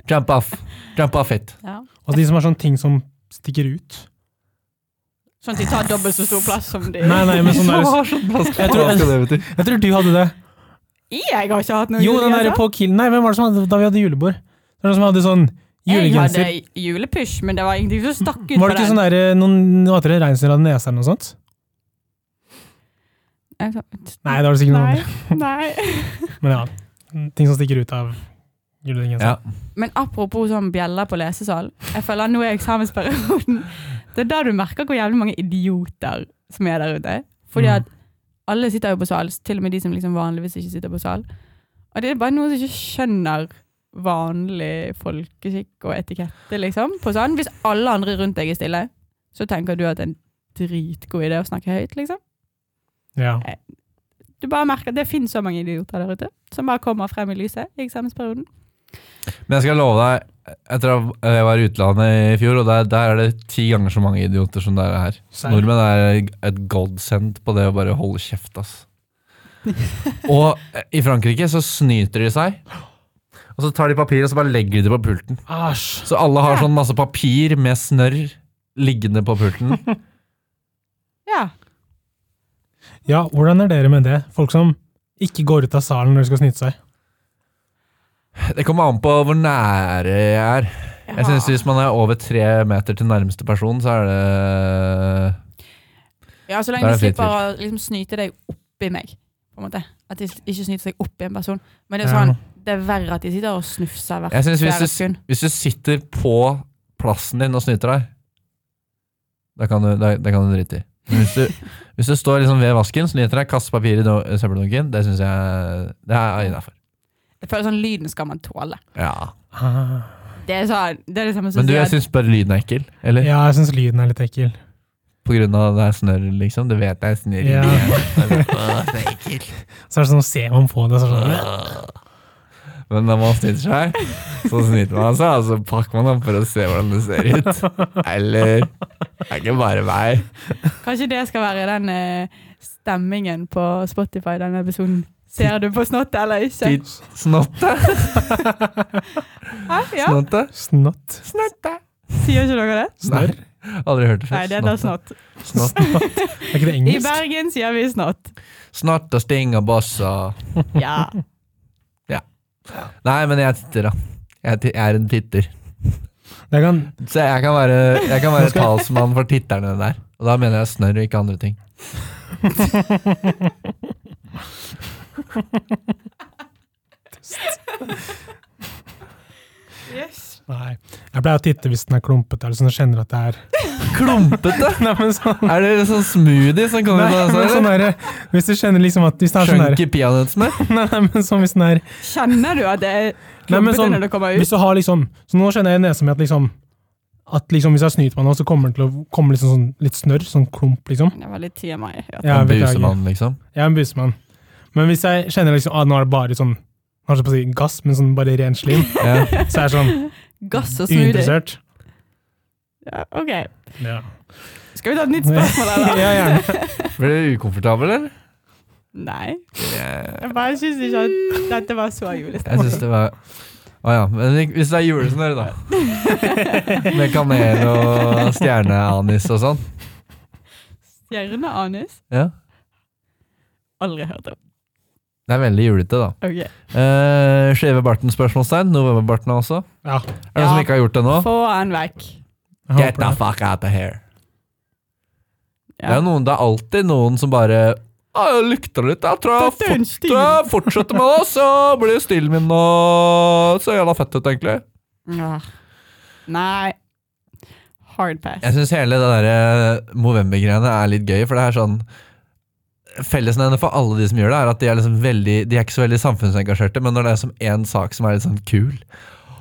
Speaker 2: Jump off. Jump off it.
Speaker 3: Ja.
Speaker 4: de som har sånne ting som stikker ut.
Speaker 3: Sånn at de tar dobbelt så stor plass som de
Speaker 4: Nei, nei, men sånn der Jeg tror- Hva skal
Speaker 2: det
Speaker 4: Jeg tror du hadde det.
Speaker 3: Jeg har ikke hatt noe
Speaker 4: Jo, den der på Kiel Nei, hvem var det som hadde da vi hadde julebord? Det var noen som hadde sånn
Speaker 3: Jeg hadde
Speaker 4: julegenser.
Speaker 3: julepysj, men det var ingenting som stakk ut
Speaker 4: Var det
Speaker 3: på
Speaker 4: ikke
Speaker 3: den.
Speaker 4: sånn der noen noe annet reinsdyr hadde nese eller noe sånt?
Speaker 3: Jeg sa-
Speaker 4: Nei, det var det sikkert noen andre.
Speaker 3: Nei.
Speaker 4: Men ja. Ting som stikker ut av julegenser.
Speaker 2: Ja.
Speaker 3: Men apropos sånn bjeller på lesesal. Jeg føler nå er eksamensperioden. Det er da du merker hvor jævlig mange idioter som er der ute. Fordi
Speaker 4: Mm.
Speaker 3: at alle sitter jo på sal, til og med de som liksom vanligvis ikke sitter på sal. Og det er bare noen som ikke skjønner vanlig folkeskikk og etikette, liksom. På sånn. Hvis alle andre rundt deg er stille, så tenker du at det er en dritgod idé å snakke høyt, liksom.
Speaker 4: Ja.
Speaker 3: Du bare merker at Det finnes så mange idioter der ute som bare kommer frem i lyset i eksamensperioden.
Speaker 2: Men jeg skal love deg, etter at jeg var i utlandet i fjor, og der, der er det ti ganger så mange idioter som det er her.
Speaker 4: Serr?
Speaker 2: Nordmenn er et godsend på det å bare holde kjeft, ass. og eh, i Frankrike så snyter de seg, og så tar de papir og så bare legger de det på pulten.
Speaker 4: Æsj!
Speaker 2: Så alle har sånn masse papir med snørr liggende på pulten.
Speaker 3: Ja.
Speaker 4: Ja, hvordan er dere med det? Folk som ikke går ut av salen når de skal snyte seg.
Speaker 2: Det kommer an på hvor nære jeg er. Jeg synes Hvis man er over tre meter til nærmeste person, så er det
Speaker 3: Ja, så
Speaker 2: Da
Speaker 3: lenge
Speaker 2: er
Speaker 3: du
Speaker 2: det fritt
Speaker 3: slipper å liksom, snyte deg oppi meg. På en måte. At de ikke snyter seg oppi en person. Men det er, jo
Speaker 4: Ja.
Speaker 3: sånn, det er verre at de sitter og snufser hvert
Speaker 2: Jeg synes hvis
Speaker 3: fjerde
Speaker 2: du-
Speaker 3: sekund.
Speaker 2: Hvis du sitter på plassen din og snyter deg, da kan du, da, da kan du drite i. Men hvis du, hvis du står liksom ved vasken, snyter deg, kaster papir i do- søppeldunken, det syns jeg det er innafor.
Speaker 3: Jeg føler sånn lyden skal man tåle.
Speaker 2: Ja.
Speaker 4: Ah.
Speaker 3: Det er, sånn, det, er det samme som
Speaker 2: Men du,
Speaker 3: å
Speaker 2: jeg
Speaker 3: si at
Speaker 2: syns bare lyden er ekkel. Eller?
Speaker 4: Ja, jeg syns lyden er litt ekkel.
Speaker 2: På grunn av det er snørr, liksom. Du vet det er snørr.
Speaker 4: Ja.
Speaker 2: Det er ekkelt.
Speaker 4: Så er det sånn, ser man på det, så er det sånn
Speaker 2: Men når man snyter seg, så snyter man seg, og så pakker man opp for å se hvordan det ser ut. Eller Det er ikke bare meg.
Speaker 3: Kanskje det skal være den eh, stemmingen på Spotify i denne episoden. Ser du på snott eller ikke?
Speaker 2: Titt. Snotte.
Speaker 3: Hæ? Ja,
Speaker 2: Snotte.
Speaker 4: Snott.
Speaker 2: Snotte.
Speaker 3: Sier ikke dere det?
Speaker 4: Snørr?
Speaker 2: Nei, Aldri hørt det før.
Speaker 3: Nei, det heter snott.
Speaker 2: Snott.
Speaker 4: Er ikke det
Speaker 3: I
Speaker 4: engelsk?
Speaker 3: Bergen sier vi snott.
Speaker 2: Snott og sting og boss og
Speaker 3: Ja.
Speaker 2: Nei, men jeg titter, da. Jeg, ti- jeg er en titter.
Speaker 4: Det kan,
Speaker 2: Så jeg kan være, jeg kan være talsmann for titterne der. Og da mener jeg snørr og ikke andre ting.
Speaker 3: Yes.
Speaker 4: nei. Jeg pleier å titte hvis den er klumpete, eller sånn at jeg kjenner at det er
Speaker 2: Klumpete!
Speaker 4: Nei, men sånn,
Speaker 2: Er det sånn smoothie som
Speaker 4: nei,
Speaker 2: kommer ut av
Speaker 4: men
Speaker 2: det?
Speaker 4: sånn
Speaker 2: eller?
Speaker 4: der, Hvis du kjenner liksom at Hvis det er sånn der
Speaker 2: Chunky peanøttsmør?
Speaker 4: Nei, nei, men sånn hvis den er
Speaker 3: Kjenner du at det er
Speaker 4: Nei, men
Speaker 3: klumpete
Speaker 4: sånn,
Speaker 3: når det kommer ut?
Speaker 4: Hvis du har liksom Så nå kjenner jeg i nesa mi at liksom At liksom hvis jeg snyter meg nå, så kommer det til å komme liksom sånn litt snørr, sånn klump, liksom.
Speaker 3: Det var litt tid av meg. Ja.
Speaker 4: Ja,
Speaker 2: En
Speaker 4: beklager.
Speaker 2: busemann, liksom?
Speaker 4: Jeg er en busemann. Men hvis jeg kjenner liksom ah, nå er det bare sånn Nå holdt jeg på å si gass, men sånn bare ren slim,
Speaker 2: Ja.
Speaker 4: så er jeg sånn
Speaker 3: Gass og smoothie.
Speaker 4: uinteressert.
Speaker 3: Ja, ok.
Speaker 4: Ja,
Speaker 3: Skal vi ta et nytt spørsmål,
Speaker 4: ja
Speaker 3: eller?
Speaker 4: gjerne.
Speaker 2: Blir du ukomfortabel, eller?
Speaker 3: Nei.
Speaker 2: Jeg
Speaker 3: Jeg bare syns ikke at dette var så julestemning.
Speaker 2: syns det var Å ja. Men hvis det er julesnørr, da. Med kanel og stjerneanis og sånn.
Speaker 3: Stjerneanus?
Speaker 2: Ja.
Speaker 3: Aldri hørt om.
Speaker 2: Det er veldig julete, da.
Speaker 3: Ok.
Speaker 2: Uh, Skjeve barten? spørsmålstegn. Novemberbarten også.
Speaker 4: Ja,
Speaker 2: Er det noen som ikke har gjort det nå?
Speaker 3: Få han vekk.
Speaker 4: jeg
Speaker 2: Get
Speaker 4: håper
Speaker 2: the
Speaker 4: det.
Speaker 2: fuck out of here. Det
Speaker 3: Ja.
Speaker 2: er, jo noen, det er alltid noen som bare Å, jeg lukter litt. Jeg tror jeg,
Speaker 3: Dette er en
Speaker 2: fort,
Speaker 3: stil.»
Speaker 2: tror jeg fortsetter med det, så blir stilen min og så jævla fett ut, egentlig.
Speaker 3: Ja. Nei. Hard pass.
Speaker 2: Jeg syns hele det derre Movember-greiene er litt gøy, for det er sånn Fellesnevner for alle de som gjør det, er at de er liksom veldig De er ikke så veldig samfunnsengasjerte, men når det er som én sak som er litt sånn kul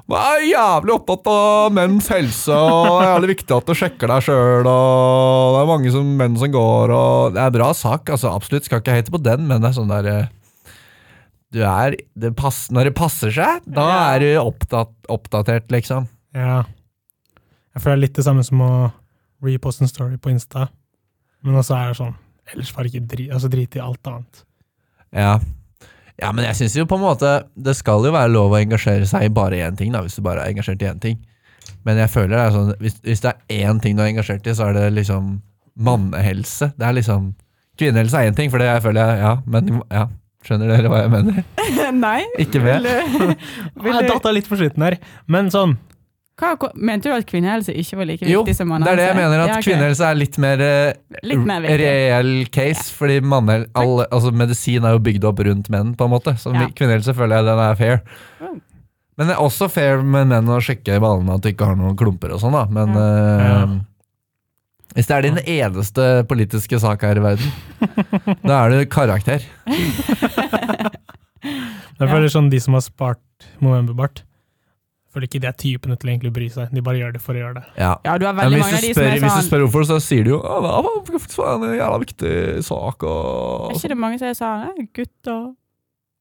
Speaker 2: Man er jævlig opptatt av menns helse, og det er jævlig viktig at du sjekker deg sjøl, og det er mange som, menn som går, og Det er en bra sak, altså absolutt, skal ikke hate på den, men det er sånn derre du er, det pass, Når det passer seg, da
Speaker 3: Ja.
Speaker 2: er du opptatt, oppdatert, liksom.
Speaker 4: Ja. Jeg føler litt det samme som å reposte en story på Insta, men også er det sånn Ellers var det ikke drit, altså drit i alt annet.
Speaker 2: Ja. ja, men jeg syns jo på en måte Det skal jo være lov å engasjere seg i bare én ting, da, hvis du bare er engasjert i én ting. Men jeg føler det er sånn hvis, hvis det er én ting du er engasjert i, så er det liksom mannehelse. Det er liksom Kvinnehelse er én ting, for det jeg føler jeg Ja, men ja. Skjønner dere hva jeg mener?
Speaker 3: Nei.
Speaker 2: Ikke med.
Speaker 3: Vil du,
Speaker 4: Jeg
Speaker 3: vil du,
Speaker 4: Ah, datt av litt på slutten her, men sånn
Speaker 3: hva, hva- mente du at kvinnehelse ikke var like
Speaker 2: Jo,
Speaker 3: viktig
Speaker 2: Det
Speaker 3: som mannehelse?
Speaker 2: er det jeg mener, at
Speaker 3: Ja, ok.
Speaker 2: kvinnehelse er litt mer, eh,
Speaker 3: Litt mer viktig.
Speaker 2: reell case. Fordi mannehel- alle, altså medisin er jo bygd opp rundt menn, på en måte. Så
Speaker 3: Ja.
Speaker 2: kvinnehelse føler jeg den er fair.
Speaker 3: Mm.
Speaker 2: Men det er også fair med menn å sjekke i ballene at du ikke har noen klumper og sånn, da. Men
Speaker 4: Ja.
Speaker 2: eh, hvis det er din eneste politiske sak her i verden, da er du karakter.
Speaker 4: Jeg føler sånn de som har spart Movember-bart, Føler ikke de er typene til å egentlig bry seg. De bare gjør det for å gjøre det.
Speaker 2: Ja.
Speaker 3: Ja, du har
Speaker 2: Men
Speaker 3: veldig
Speaker 2: hvis,
Speaker 3: mange av
Speaker 2: du
Speaker 3: de
Speaker 2: spør,
Speaker 3: som er
Speaker 2: hvis du
Speaker 3: sånn
Speaker 2: spør hvorfor, så sier de jo at det var faktisk en jævla viktig sak. Og...
Speaker 3: Er ikke det mange som er sånn «Nei, Gutter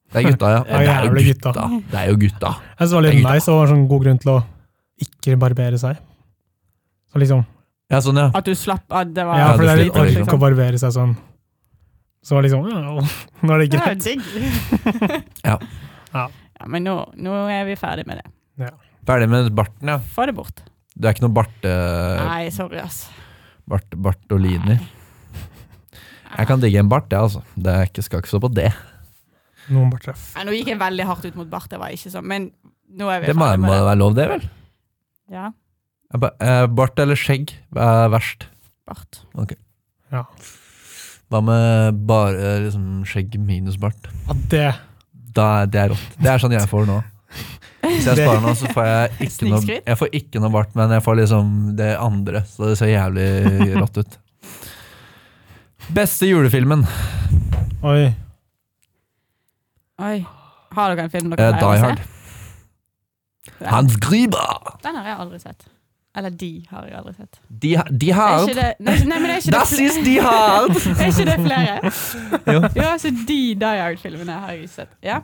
Speaker 2: Det er gutta, ja.
Speaker 4: Ja,
Speaker 2: det er
Speaker 4: jævla
Speaker 2: jo
Speaker 4: gutta.
Speaker 2: gutta. Det er jo gutta.
Speaker 4: Jeg synes det var litt
Speaker 2: Tenk da.
Speaker 4: nice og var en sånn god grunn til å ikke barbere seg. Så liksom,
Speaker 2: Ja, sånn, ja.
Speaker 3: At du slapp av, det var
Speaker 4: ja,
Speaker 2: Ja,
Speaker 4: for
Speaker 2: du
Speaker 4: det er litt
Speaker 2: slipper
Speaker 4: orker
Speaker 2: liksom.
Speaker 4: ikke å barbere seg sånn. Så var det liksom, ja, nå er det
Speaker 3: Det er
Speaker 4: greit.
Speaker 3: digg.
Speaker 2: Ja.
Speaker 4: Ja.
Speaker 3: Ja, Men nå, nå er vi ferdig med det.
Speaker 2: Ferdig med barten, ja.
Speaker 3: Få det bort.
Speaker 2: Du er ikke noe barte,
Speaker 3: Nei, sorry, ass.
Speaker 2: bart, bartolini. Jeg kan digge en bart, jeg, altså. Det er ikke, skal ikke stå på det.
Speaker 4: Noen bare treff.
Speaker 3: Nei, nå gikk jeg veldig hardt ut mot Bart, det var ikke sånn, men nå er vi
Speaker 2: Det må,
Speaker 3: ferdig
Speaker 2: må
Speaker 3: med det.
Speaker 2: være lov, det, vel?
Speaker 3: Ja,
Speaker 2: Jeg ba- eh, Bart eller skjegg er verst.
Speaker 3: Bart.
Speaker 2: Hva med bare eh, liksom, skjegg minus bart?
Speaker 4: Ja, det,
Speaker 2: Da, er- det er rått. Det er sånn jeg får nå. Hvis jeg
Speaker 4: Det-
Speaker 2: sparer nå, så får jeg ikke noe,
Speaker 3: Snikskryt?
Speaker 2: jeg får ikke noe bart, men jeg får liksom det andre. Så det ser jævlig rått ut. Beste julefilmen.
Speaker 4: oi.
Speaker 3: Oi. Har dere en film dere
Speaker 2: Eh,
Speaker 3: pleier å
Speaker 2: Die
Speaker 3: se?
Speaker 2: Hard.
Speaker 3: Ja.
Speaker 2: Hans Gruber!
Speaker 3: Den har jeg aldri sett. Eller de har jeg aldri sett.
Speaker 2: De, ha- de
Speaker 3: Er
Speaker 2: Hard.
Speaker 3: ikke det, nei, nei, men er ikke det
Speaker 2: Das
Speaker 3: fle-
Speaker 2: ist Die Hard!
Speaker 3: Er ikke det flere?
Speaker 2: Jo.
Speaker 3: Ja, så de Die Hard-filmene har jeg ikke sett. Ja.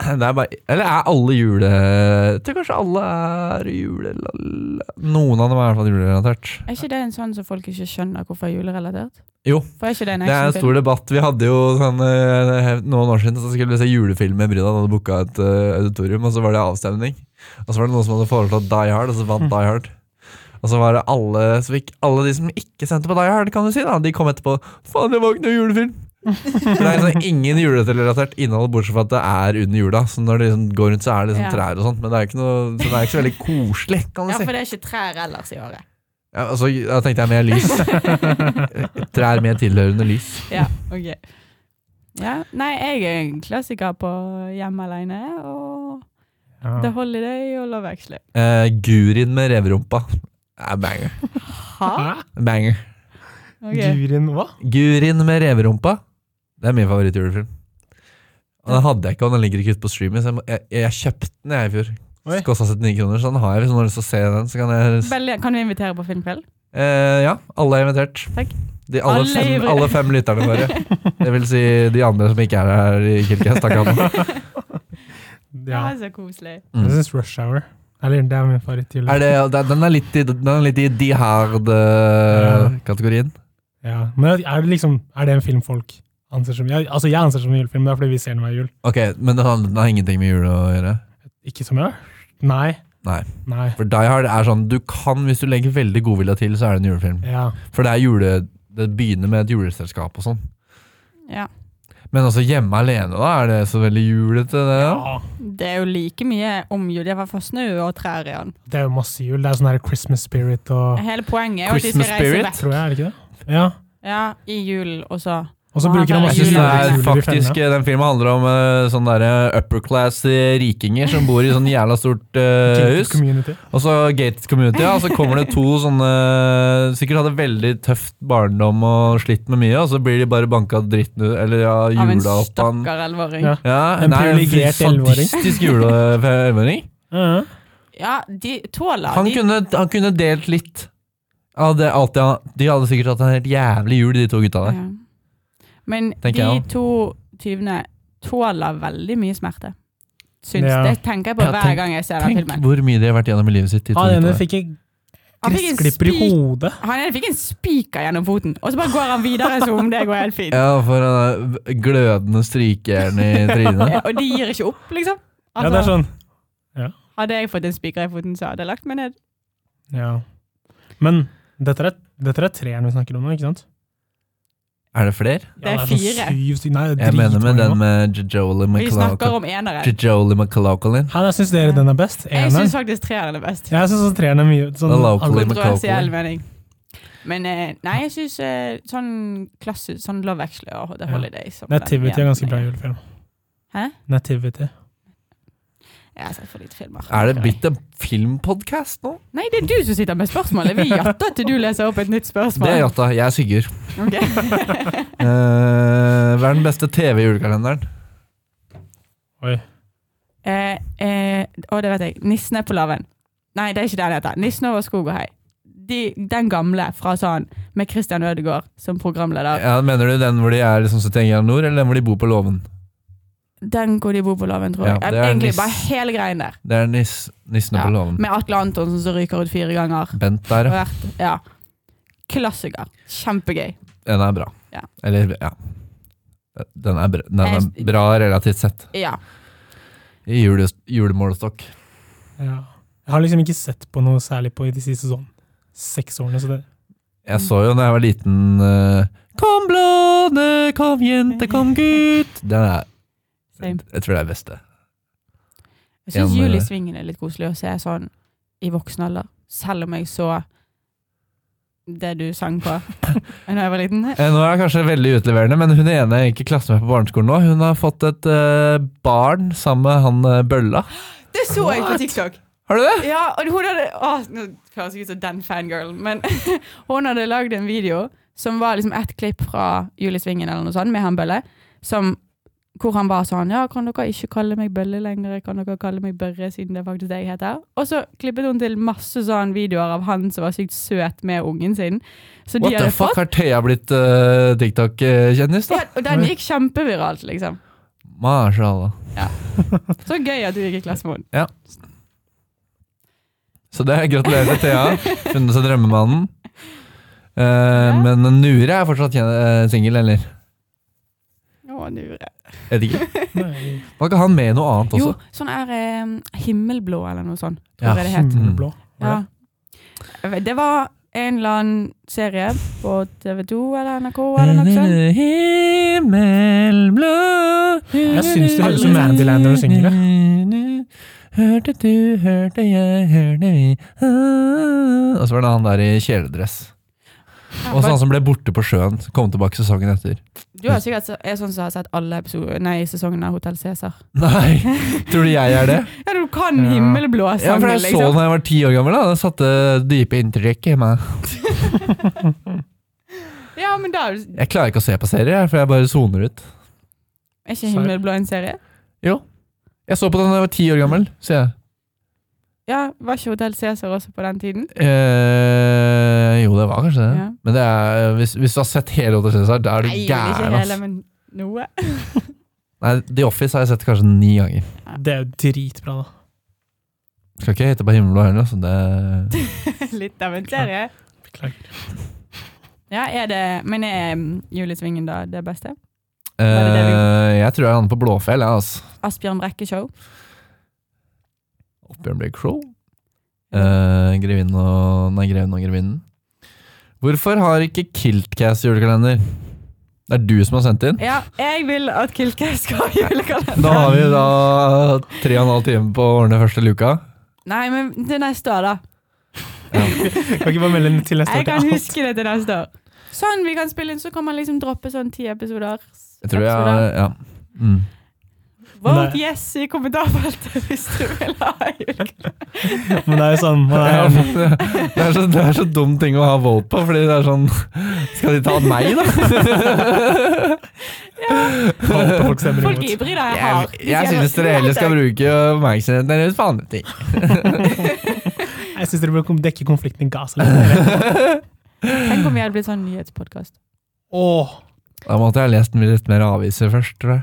Speaker 2: Det er bare, eller er alle jule... Jeg tror kanskje alle er jule... Noen av dem er i hvert fall julerelatert.
Speaker 3: Er ikke det en sånn som folk ikke skjønner hvorfor er julerelatert?
Speaker 2: Jo.
Speaker 3: For er ikke det en
Speaker 2: Det er en
Speaker 3: actionfilm?
Speaker 2: stor debatt. Vi hadde jo sånn, eh, noen år siden så skulle vi se julefilm med Bryna. Da hadde booka et eh, auditorium, og så var det avstemning. Og så var det noen som hadde foreslått Die Hard, og så vant Die Hard. Og så var det alle som ikke, alle de som ikke sendte på Die Hard, kan du si, da. De kom etterpå. Faen, det var ikke noe julefilm! For det er liksom ingen julerelatert innhold, bortsett fra at det er under jula. Så når det liksom går rundt, så er det liksom
Speaker 3: Ja.
Speaker 2: trær og sånt. Men det er ikke noe, så det er ikke så veldig koselig, kan du
Speaker 3: Ja,
Speaker 2: si.
Speaker 3: for det er ikke trær ellers i året.
Speaker 2: Ja, altså, da tenkte jeg mer lys. Trær med tilhørende lys.
Speaker 3: Ja, ok. Ja, nei, jeg er en klassiker på Hjemme alene og The
Speaker 4: Ja.
Speaker 3: Holiday og Love Actually.
Speaker 2: Eh, Gurin med revrumpa. Er banger.
Speaker 3: Ha?
Speaker 4: Hæ?
Speaker 2: banger.
Speaker 3: Ok.
Speaker 4: Gurin, hva?
Speaker 2: Gurin med revrumpa. Det er min favorittjulefilm. Og den hadde jeg ikke, og den ligger ikke ute på streaming. Så jeg, må, jeg, jeg kjøpte den jeg i fjor.
Speaker 4: Oi.
Speaker 2: Kosta 79 kroner, så den har jeg hvis noen har lyst til å se den. Så kan jeg
Speaker 3: Vel, kan vi invitere på filmkveld?
Speaker 2: eh, Ja, alle er invitert.
Speaker 3: Takk.
Speaker 2: De, alle,
Speaker 3: Alle
Speaker 2: fem,
Speaker 3: er-
Speaker 2: alle fem lytterne våre. Det vil si de andre som ikke er her i Kilkes. Takk, Anna.
Speaker 4: Ja.
Speaker 3: Det var så koselig.
Speaker 4: Jeg synes Rush Hour. Eller, det er min favoritt jule.
Speaker 2: Er det, den er litt i, den er litt i de eh, hard-kategorien.
Speaker 4: Ja. Men er det liksom, er det en film folk anser som, jeg, altså jeg anser som en julefilm, det er fordi vi ser den hver jul.
Speaker 2: Ok, Men den har, den har ingenting med jul å gjøre?
Speaker 4: Ikke som jeg? Nei.
Speaker 2: Nei.
Speaker 4: Nei.
Speaker 2: For Die Hard er sånn, du kan, hvis du legger veldig godvilja til, så er det en julefilm.
Speaker 4: Ja.
Speaker 2: For det er jule, det begynner med et juleselskap og sånn.
Speaker 3: Ja.
Speaker 2: Men også hjemme alene, da er det så veldig julete, det. da?
Speaker 4: Ja.
Speaker 3: Det er jo like mye om jul. Det er i hvert fall snø og trær i den.
Speaker 4: Det er jo masse jul. Det er sånn her Christmas spirit og
Speaker 3: Hele poenget er jo at de skal
Speaker 2: Christmas
Speaker 3: reise
Speaker 2: spirit?
Speaker 3: vekk
Speaker 4: Tror jeg, er det ikke det? Ja.
Speaker 3: ja, i julen, og så
Speaker 4: Og så
Speaker 3: Ah,
Speaker 4: bruker
Speaker 3: det
Speaker 4: han
Speaker 3: er
Speaker 2: Jeg
Speaker 4: masse
Speaker 2: synes det er
Speaker 4: julejuler i
Speaker 2: faktisk, eh,
Speaker 4: fellene.
Speaker 2: Den filmen handler om eh, sånne der upper class eh, rikinger som bor i sånn jævla stort eh,
Speaker 4: Gated
Speaker 2: hus.
Speaker 4: community.
Speaker 2: Og så gated community, ja. Og så kommer det to sånne Sikkert hadde veldig tøft barndom og slitt med mye, og så blir de bare banka dritten ut, eller ja,
Speaker 3: av en
Speaker 2: jula opp av en
Speaker 3: stakkar elleveåring.
Speaker 4: Ja.
Speaker 3: Ja.
Speaker 2: Ja,
Speaker 4: En
Speaker 2: nei,
Speaker 4: privilegert elleveåring.
Speaker 2: Sadistisk juleelleveåring.
Speaker 4: Ja.
Speaker 3: de tåler
Speaker 2: Han,
Speaker 3: de,
Speaker 2: kunne- han kunne delt litt. Av det, alt det han, de hadde sikkert hatt en helt jævlig jul, de to gutta der.
Speaker 3: Ja. Men
Speaker 2: Tenker
Speaker 3: de
Speaker 2: jeg
Speaker 3: to tyvene tåler veldig mye smerte. Syns
Speaker 4: Ja.
Speaker 3: Det tenker jeg på
Speaker 2: Ja,
Speaker 3: hver
Speaker 2: tenk-
Speaker 3: gang jeg ser den
Speaker 2: Tenk
Speaker 3: filmen.
Speaker 2: hvor mye de har vært gjennom i livet sitt. De to
Speaker 4: Han ene
Speaker 2: gutta der.
Speaker 4: fikk en
Speaker 3: Han fikk en
Speaker 4: gressklipper i
Speaker 3: spik-
Speaker 4: hodet.
Speaker 3: Han ene fikk en spiker gjennom foten, og så bare går han videre som om det går helt fint.
Speaker 2: Ja, for han er glødende strykejern i trynet.
Speaker 3: Og de gir ikke opp, liksom.
Speaker 4: Ja,
Speaker 3: Altså,
Speaker 4: det er sånn.
Speaker 3: Hadde jeg fått en spiker i foten, så hadde jeg lagt meg ned.
Speaker 4: Ja. Men dette er, dette er treeren vi snakker om nå, ikke sant?
Speaker 2: Er det flere?
Speaker 3: Det er
Speaker 4: sånn
Speaker 3: fire.
Speaker 4: syv stykker. Nei, det er
Speaker 2: Jeg mener med
Speaker 4: dritmange
Speaker 2: den
Speaker 4: nå.
Speaker 2: med Jojoli
Speaker 3: Vi snakker
Speaker 2: McLaughlin.
Speaker 3: om eneren.
Speaker 2: Jojoli McLaughlin.
Speaker 4: Han, jeg syns dere den er best.
Speaker 3: Jeg
Speaker 4: Eneren.
Speaker 3: syns faktisk treeren er best.
Speaker 4: Jeg syns treeren er mye sånn,
Speaker 2: The Local
Speaker 4: alle-
Speaker 2: Limit.
Speaker 3: Kontroversiell mening. Men eh, nei, jeg syns eh, sånn klasse, sånn Love Actually og The
Speaker 4: Ja.
Speaker 3: Holiday som den
Speaker 4: Nativity er ganske bra julefilm.
Speaker 3: Hæ?
Speaker 4: Nativity.
Speaker 3: Jeg har sett for lite filmer.
Speaker 2: Er det blitt en filmpodkast nå?
Speaker 3: Nei, det er du som sitter med spørsmålet. Vi jatter til du leser opp et nytt
Speaker 2: Det er
Speaker 3: spørsmål.
Speaker 2: Jatta. Jeg er Sigurd.
Speaker 3: Ok.
Speaker 2: Eh, hva er den beste TV-julekalenderen?
Speaker 4: Oi.
Speaker 3: Eh, eh, å, det vet jeg. Nissen er på laven. Nei, det er ikke det han heter. Nissen over skog og hei. De, den gamle fra sånn, med Christian Ødegaard som programleder.
Speaker 2: Ja, mener du den hvor de er liksom 71 grader nord, eller den hvor de bor på låven?
Speaker 3: Den hvor de bor på laven, tror
Speaker 2: Ja,
Speaker 3: jeg.
Speaker 2: det er
Speaker 3: Egentlig
Speaker 2: Niss-
Speaker 3: bare hele greien der.
Speaker 2: Det er nis, nissen
Speaker 3: Ja,
Speaker 2: på låven.
Speaker 3: Med Atle Antonsen som ryker ut fire ganger.
Speaker 2: Bent der,
Speaker 3: Og
Speaker 2: ja.
Speaker 3: vært- Ja. Klassiker. Kjempegøy.
Speaker 2: Den er bra.
Speaker 3: Ja.
Speaker 2: Eller, ja. Den er, bra, den
Speaker 3: Jeg-
Speaker 2: er bra relativt sett.
Speaker 3: Ja.
Speaker 2: I jule, julemålestokk.
Speaker 4: Ja. Jeg har liksom ikke sett på noe særlig på i de siste sånn seks årene, så det
Speaker 3: Mm.
Speaker 2: Jeg så jo da jeg var liten eh, Kom blåne, kom jente, kom gutt. Den er
Speaker 3: Same.
Speaker 2: Jeg tror det er beste.
Speaker 3: Jeg syns
Speaker 2: Ja, men- eh,
Speaker 3: Juli Svingen er litt koselig å se sånn i voksen alder. Selv om jeg så det du sang på da jeg var liten.
Speaker 2: Eh, Nå er jeg kanskje veldig utleverende, men hun ene jeg gikk i klasse med på barneskolen nå, hun har fått et eh, barn sammen med han eh, Bølla.
Speaker 3: Det så jeg på TikTok!
Speaker 2: Har du det?
Speaker 3: Ja, og hun hadde å, Nå høres jeg ut som den fangirlen, men hun hadde lagd en video som var liksom ett klipp fra Julie Svingen eller noe sånt, med han Bølle, som, hvor han var sånn Ja, kan dere ikke kalle meg Bølle lenger? Kan dere kalle meg Børre, siden det er faktisk det jeg heter? Og så klippet hun til masse sånn videoer av han som var sykt søt med ungen sin. Så de
Speaker 2: What the
Speaker 3: hadde
Speaker 2: fuck,
Speaker 3: fått
Speaker 2: har Thea blitt eh, TikTok-kjendis, da?
Speaker 3: ja, Og den gikk kjempeviralt, liksom.
Speaker 2: Mashallah.
Speaker 3: Så gøy at du gikk i klasse med henne.
Speaker 2: Så det er gratulerer til Thea. Funnet seg drømmemannen. Eh, Men Nure er fortsatt kjen- eh, singel, eller?
Speaker 3: Å, Nure.
Speaker 2: Jeg vet ikke.
Speaker 4: Nei,
Speaker 2: Var ikke han med i noe annet
Speaker 3: Jo,
Speaker 2: også?
Speaker 3: sånn er eh, himmelblå eller noe sånt.
Speaker 2: Ja,
Speaker 3: Tror jeg det het.
Speaker 4: Himmelblå.
Speaker 3: Ja. Det var en eller annen serie på TV 2 eller NRK eller noe sånt.
Speaker 2: Himmelblå
Speaker 4: Jeg syns det høres ut som Mandyland når du synger det.
Speaker 2: Hørte du, hørte jeg, hørte vi Ah. Og så var det han der i kjeledress. Og så han som ble borte på sjøen. Kom tilbake sesongen etter.
Speaker 3: Du er sikkert så- er sånn som har sett alle episoder, nei, sesongen av Hotell Cæsar.
Speaker 2: Nei! Tror du jeg er det?
Speaker 3: Ja, du kan
Speaker 4: Ja.
Speaker 3: himmelblå
Speaker 2: Ja,
Speaker 3: sangen,
Speaker 2: for jeg så den
Speaker 3: liksom.
Speaker 2: da jeg var ti år gammel. da Det satte dype inntrykk i meg.
Speaker 3: Ja, men da er du-
Speaker 2: Jeg klarer ikke å se på serier, jeg, for jeg bare soner ut.
Speaker 3: er ikke himmelblå en serie?
Speaker 2: Jeg så på den da jeg var ti år gammel, sier jeg.
Speaker 3: Ja, Var ikke Hotell Cæsar også på den tiden?
Speaker 2: Eh, jo, det var kanskje det.
Speaker 3: Ja.
Speaker 2: Men det er, hvis, hvis du har sett hele Hotel Cæsar, da er du
Speaker 3: Nei, ikke
Speaker 2: gæren.
Speaker 3: hele,
Speaker 2: ass.
Speaker 3: men noe.
Speaker 2: Nei, The Office har jeg sett kanskje ni ganger.
Speaker 4: Det er jo dritbra, da.
Speaker 2: Skal ikke hete på himmel og hørne, så det
Speaker 3: Litt av en serie.
Speaker 4: Beklager.
Speaker 3: Ja, er det Men er mm, Julesvingen da det beste? Var det det
Speaker 2: eh, Jeg tror jeg lander på Blåfjell, jeg, altså.
Speaker 3: Asbjørn Brekke-show?
Speaker 2: Oppbjørn Blake Crow. Eh, Grevinnen og Nei, Greven og Grevinnen. Hvorfor har ikke Kiltcast julekalender? Det er du som har sendt inn.
Speaker 3: Ja, jeg vil at Kilke skal ha julekalender.
Speaker 2: Da har vi da tre og en halv time på å ordne første luka.
Speaker 3: Nei, men til neste år, da.
Speaker 4: Kan ikke bare melde den til neste
Speaker 3: Jeg
Speaker 4: år til
Speaker 3: kan
Speaker 4: alt.
Speaker 3: huske det til neste år. Sånn vi kan spille inn, så kan man liksom droppe sånn ti episoder.
Speaker 2: Jeg tror jeg Ja. Mm.
Speaker 3: Vote
Speaker 4: Nei.
Speaker 3: yes i kommentarfeltet hvis du vil ha julekalender.
Speaker 4: Men det er jo sånn man
Speaker 2: Ja,
Speaker 4: er,
Speaker 2: men Det det er, så, det er så dum ting å ha vote på, fordi det er sånn Skal de ta meg, da?
Speaker 4: alt det folk stemmer
Speaker 3: Folk er
Speaker 4: imot.
Speaker 3: ivrige, da. Jeg har.
Speaker 2: Jeg, jeg synes dere heller skal bruke oppmerksomheten deres på andre ting.
Speaker 4: Jeg syns dere bør kom- dekke konflikten i Gaza litt mer.
Speaker 3: Tenk om vi hadde blitt sånn nyhetspodkast.
Speaker 4: Åh,
Speaker 2: Da måtte jeg ha lest litt mer aviser først, tror jeg.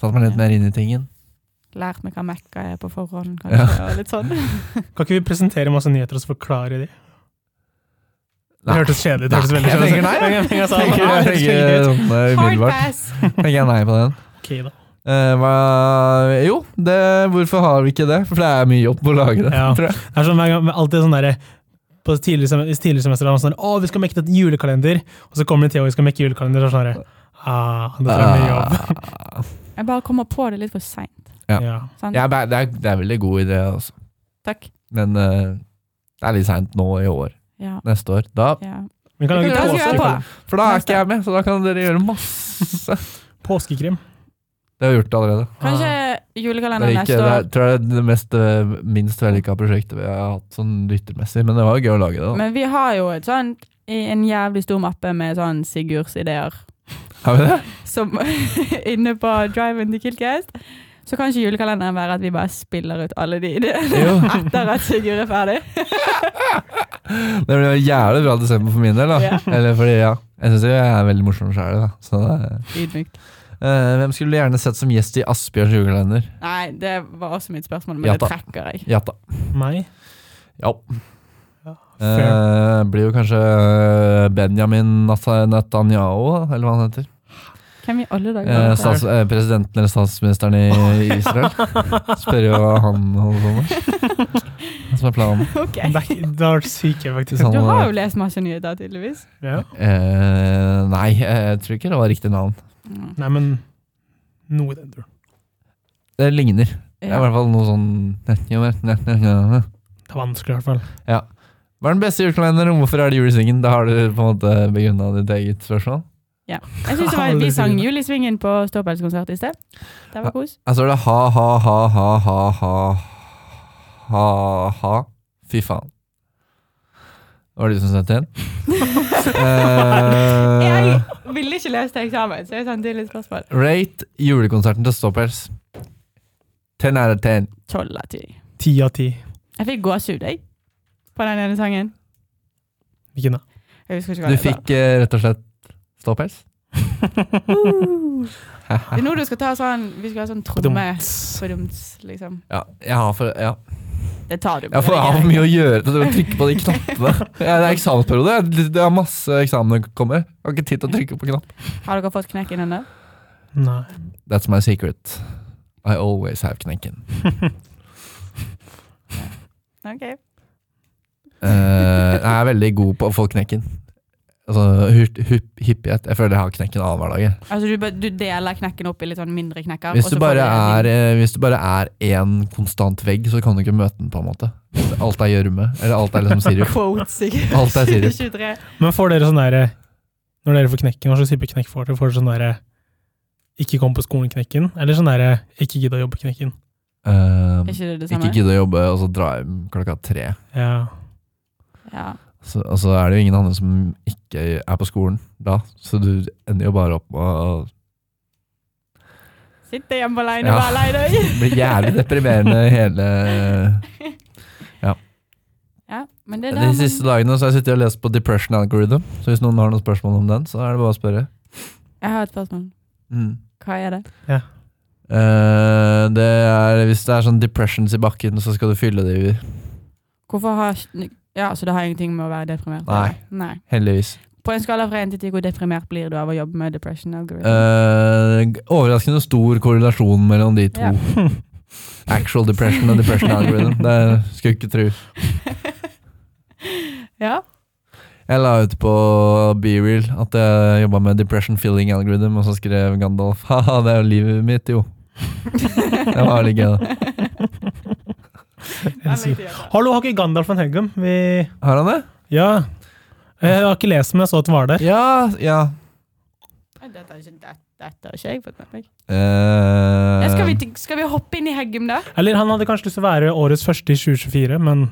Speaker 2: Satt meg litt mer inn i tingen.
Speaker 3: Lært meg hva Mekka er på forhånd, kanskje. Og litt sånn.
Speaker 4: kan ikke vi presentere masse nyheter og så forklare de? Det
Speaker 2: Nei.
Speaker 4: hørtes kjedelig ut. Det hørtes
Speaker 2: Nei,
Speaker 4: veldig
Speaker 2: jeg tenker
Speaker 4: kjedelig
Speaker 2: nei, jeg.
Speaker 4: ut. Jeg sa,
Speaker 2: Tenker
Speaker 4: "Ah, det
Speaker 2: jeg
Speaker 4: høres
Speaker 2: tenker
Speaker 4: kjedelig ut."
Speaker 2: sånn eh,
Speaker 3: Hard
Speaker 2: umiddelbart.
Speaker 3: pass!
Speaker 2: Tenker jeg nei på den.
Speaker 4: Ok, da.
Speaker 2: Eh, hva, jo, det, hvorfor har vi ikke det? For det er mye jobb å lage det,
Speaker 4: Ja.
Speaker 2: tror jeg.
Speaker 4: Det er sånn, hver gang- alltid sånn derre på tidlig, sem- I tidlig semester var det sånn Å, vi skal mekke et julekalender! Og så kommer det en tid hvor vi skal mekke julekalender, og så er det sånn derre ah, Dette er mye jobb.
Speaker 2: Ah,
Speaker 3: Jeg bare kommer på det litt for seint.
Speaker 2: Ja.
Speaker 4: Ja.
Speaker 3: sant?
Speaker 2: ja, det, er, det er veldig god idé, altså.
Speaker 3: Takk.
Speaker 2: Men eh, det er litt seint nå i år.
Speaker 3: Ja.
Speaker 2: Neste år. Da
Speaker 3: ja.
Speaker 4: Vi kan lage
Speaker 3: Da skal vi være på.
Speaker 4: påskekrim.
Speaker 2: For da er ikke jeg med, så da kan dere gjøre masse.
Speaker 4: påskekrim.
Speaker 2: Det har vi gjort allerede.
Speaker 3: Kanskje
Speaker 2: Det
Speaker 3: julekalender
Speaker 2: er ikke,
Speaker 3: neste
Speaker 2: det
Speaker 3: år.
Speaker 2: er, tror jeg det er det mest, eh, minst vellykka prosjektet vi har hatt sånn lyttermessig, men det var jo gøy å lage det.
Speaker 3: Men vi har jo et sånn i en jævlig stor mappe med sånn Sigurds ideer.
Speaker 2: da Har vi det?
Speaker 3: Som inne på drive-in til Kiltcast. Så kan ikke julekalenderen være at vi bare spiller ut alle de ideene
Speaker 2: Jo.
Speaker 3: etter at Sigurd er ferdig.
Speaker 2: Det blir jævlig bra desember for min del. da
Speaker 3: Ja.
Speaker 2: Eller fordi, ja Jeg syns jeg er veldig morsom sjæl. Uh,
Speaker 3: Ydmykt.
Speaker 2: Eh, hvem skulle du gjerne sett som gjest i Asbjørns julekalender?
Speaker 3: Nei, det var også mitt spørsmål, men
Speaker 2: Ja,
Speaker 3: det
Speaker 2: da.
Speaker 3: trekker jeg.
Speaker 2: Jata.
Speaker 4: Ah, Meg?
Speaker 2: Ja.
Speaker 4: Ja, fair.
Speaker 2: Eh, blir jo kanskje eh, Benjamin Nata- Netanyahu, da, eller hva han heter.
Speaker 3: Hvem i alle dager?
Speaker 2: Eh,
Speaker 3: var dette her?
Speaker 2: stats, eh, presidenten eller statsministeren i Israel. Spør jo hva han holder på med. Hva som er planen.
Speaker 3: Ok.
Speaker 4: Det er ikke- det har vært sykt, jeg,
Speaker 2: Hvis
Speaker 4: faktisk.
Speaker 2: han,
Speaker 3: Du har jo lest masse nyheter, tydeligvis.
Speaker 4: Ja.
Speaker 2: eh, nei, jeg tror ikke det var riktig navn.
Speaker 4: Nei, men noe i den duren.
Speaker 2: Det ligner. Det er i
Speaker 3: Ja.
Speaker 2: hvert fall noe sånn
Speaker 4: Det er vanskelig, i hvert fall.
Speaker 2: Hva er den beste julekalenderen, og hvorfor er det jul i svingen? Da har du på en måte begrunna ditt eget spørsmål.
Speaker 3: Jeg synes det var, Vi sang Jul i Svingen på Ståpelskonsert i sted. Det var kos.
Speaker 2: Jeg står Altså, det ha, ha, ha, ha, ha, ha, ha, ha. Fy faen. Var det du som sendte inn? Eh,
Speaker 3: Jeg ville ikke lese til eksamen, så jeg sendte inn litt spørsmål.
Speaker 2: rate julekonserten til Stoppers. Ten out of ten.
Speaker 3: Tolv av ti.
Speaker 4: Ti av ti.
Speaker 3: Jeg fikk gåsehud, jeg. På den ene sangen.
Speaker 4: Hvilken da?
Speaker 3: Jeg husker ikke hva
Speaker 2: Du
Speaker 3: det var.
Speaker 2: fikk eh, rett og slett Stoppers?
Speaker 3: Det er nå du skal ta sånn Vi skal ha sånn tromme. Fordums, liksom.
Speaker 2: Ja, jeg har for, ja.
Speaker 3: Det tar du.
Speaker 2: Jeg får av mye å gjøre til å trykke på de knappene. Ja, det er eksamensperiode. Jeg- Det er masse eksamener kommer. Jeg har ikke tid til å trykke på knapp.
Speaker 3: Har dere fått knekken ennå?
Speaker 4: Nei.
Speaker 2: That's my secret. I always have knekken.
Speaker 3: Ok.
Speaker 2: Eh, jeg er veldig god på å få knekken. Altså hurt, hupp, hyppighet. Jeg føler jeg har knekken annenhver dag. jeg.
Speaker 3: Altså du, bare- du deler knekken opp i litt sånn mindre knekker?
Speaker 2: Hvis
Speaker 3: og
Speaker 2: du
Speaker 3: så
Speaker 2: bare
Speaker 3: får
Speaker 2: er
Speaker 3: du-
Speaker 2: eh, Hvis du bare er én konstant vegg, så kan du ikke møte den, på en måte. Alt er gjørme. Eller alt er liksom sirup.
Speaker 3: Quote, sikkert.
Speaker 2: Alt er sirup.
Speaker 3: 23.
Speaker 4: Men får dere sånn derre Når dere får knekken, hva slags type knekk får dere? Får dere sånn derre ikke komme på skolen-knekken? Eller sånn derre ikke gidde å jobbe-knekken?
Speaker 2: Eh,
Speaker 3: Er ikke det det samme?
Speaker 2: ikke gidde å jobbe, og så dra hjem klokka tre.
Speaker 4: Ja.
Speaker 3: Ja.
Speaker 2: Så altså, er det jo ingen andre som ikke er på skolen da, så du ender jo bare opp med å
Speaker 3: Sitte hjemme alene
Speaker 2: Ja.
Speaker 3: og være lei deg.
Speaker 2: bli jævlig deprimerende hele
Speaker 3: Ja, men det er
Speaker 2: De
Speaker 3: der
Speaker 2: siste
Speaker 3: man,
Speaker 2: dagene så har jeg sittet og lest på Depression Algorithm, så hvis noen har noen spørsmål om den, så er det bare å spørre.
Speaker 3: jeg har et spørsmål.
Speaker 2: Mm.
Speaker 3: Hva er det?
Speaker 2: Eh, det er, hvis det er sånn depressions i bakken, så skal du fylle det i,
Speaker 3: Hvorfor har Ja, så det har ingenting med å være deprimert?
Speaker 2: Nei.
Speaker 3: Nei.
Speaker 2: heldigvis.
Speaker 3: På en skala fra 1 til 10, hvor deprimert blir du av å jobbe med depression algorithm?
Speaker 2: Eh, overraskende stor korrelasjon mellom de to.
Speaker 3: Ja.
Speaker 2: Actual depression og depression algorithm. Det skulle jeg ikke tro.
Speaker 3: ja.
Speaker 2: Jeg la ut på BeReal at jeg jobba med depression filling algorithm, og så skrev Gandalf haha, det er jo livet mitt, jo. Det var litt gøy, da.
Speaker 3: Den likte
Speaker 4: Elsker.
Speaker 3: jeg da.
Speaker 4: Hallo, har ikke Gandalf en Helgum? Vi
Speaker 2: Har han det?
Speaker 4: Ja. Jeg har ikke lest den, men jeg så at den var der.
Speaker 2: Ja, ja.
Speaker 3: Nei, Dette har ikke, det- dette har ikke jeg fått med meg.
Speaker 2: Eh,
Speaker 3: Ja, Skal vi, til- skal vi hoppe inn i Heggum, da?
Speaker 4: Eller han hadde kanskje lyst til å være årets første i 2024, men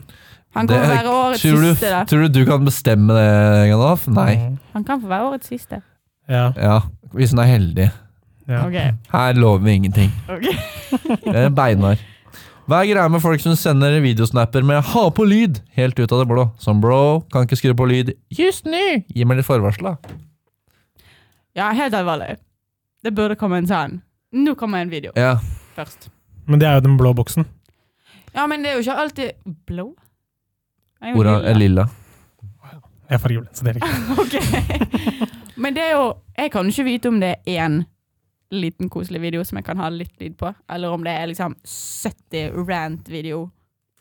Speaker 3: Han kan
Speaker 2: Det-
Speaker 3: få være årets
Speaker 2: tror, du,
Speaker 3: siste, da.
Speaker 2: tror du du kan bestemme det, Gandalf? Nei.
Speaker 3: Han kan få være årets siste.
Speaker 4: Ja.
Speaker 2: Ja, hvis hun er heldig.
Speaker 4: ja.
Speaker 3: Ok.
Speaker 2: Her lover vi ingenting.
Speaker 3: ok.
Speaker 2: Det er beinhard. Hva er greia med folk som sender videosnapper med 'ha på lyd' helt ut av det blå? Som bro, kan ikke skru på lyd just nå! Gi meg litt forvarsel, da.
Speaker 3: Ja, helt alvorlig. Det burde komme en sånn. Nå kommer en video
Speaker 2: Ja.
Speaker 3: først.
Speaker 4: Men det er jo den blå boksen.
Speaker 3: Ja, men det er jo ikke alltid blå. Det er jo
Speaker 2: Hvordan
Speaker 3: lilla.
Speaker 2: er lilla?
Speaker 4: Jeg er fargeblind, så det er ikke
Speaker 3: Ok. Men det er jo Jeg kan ikke vite om det er én liten koselig video som jeg kan ha litt lyd på, eller om det er liksom 70 rant-video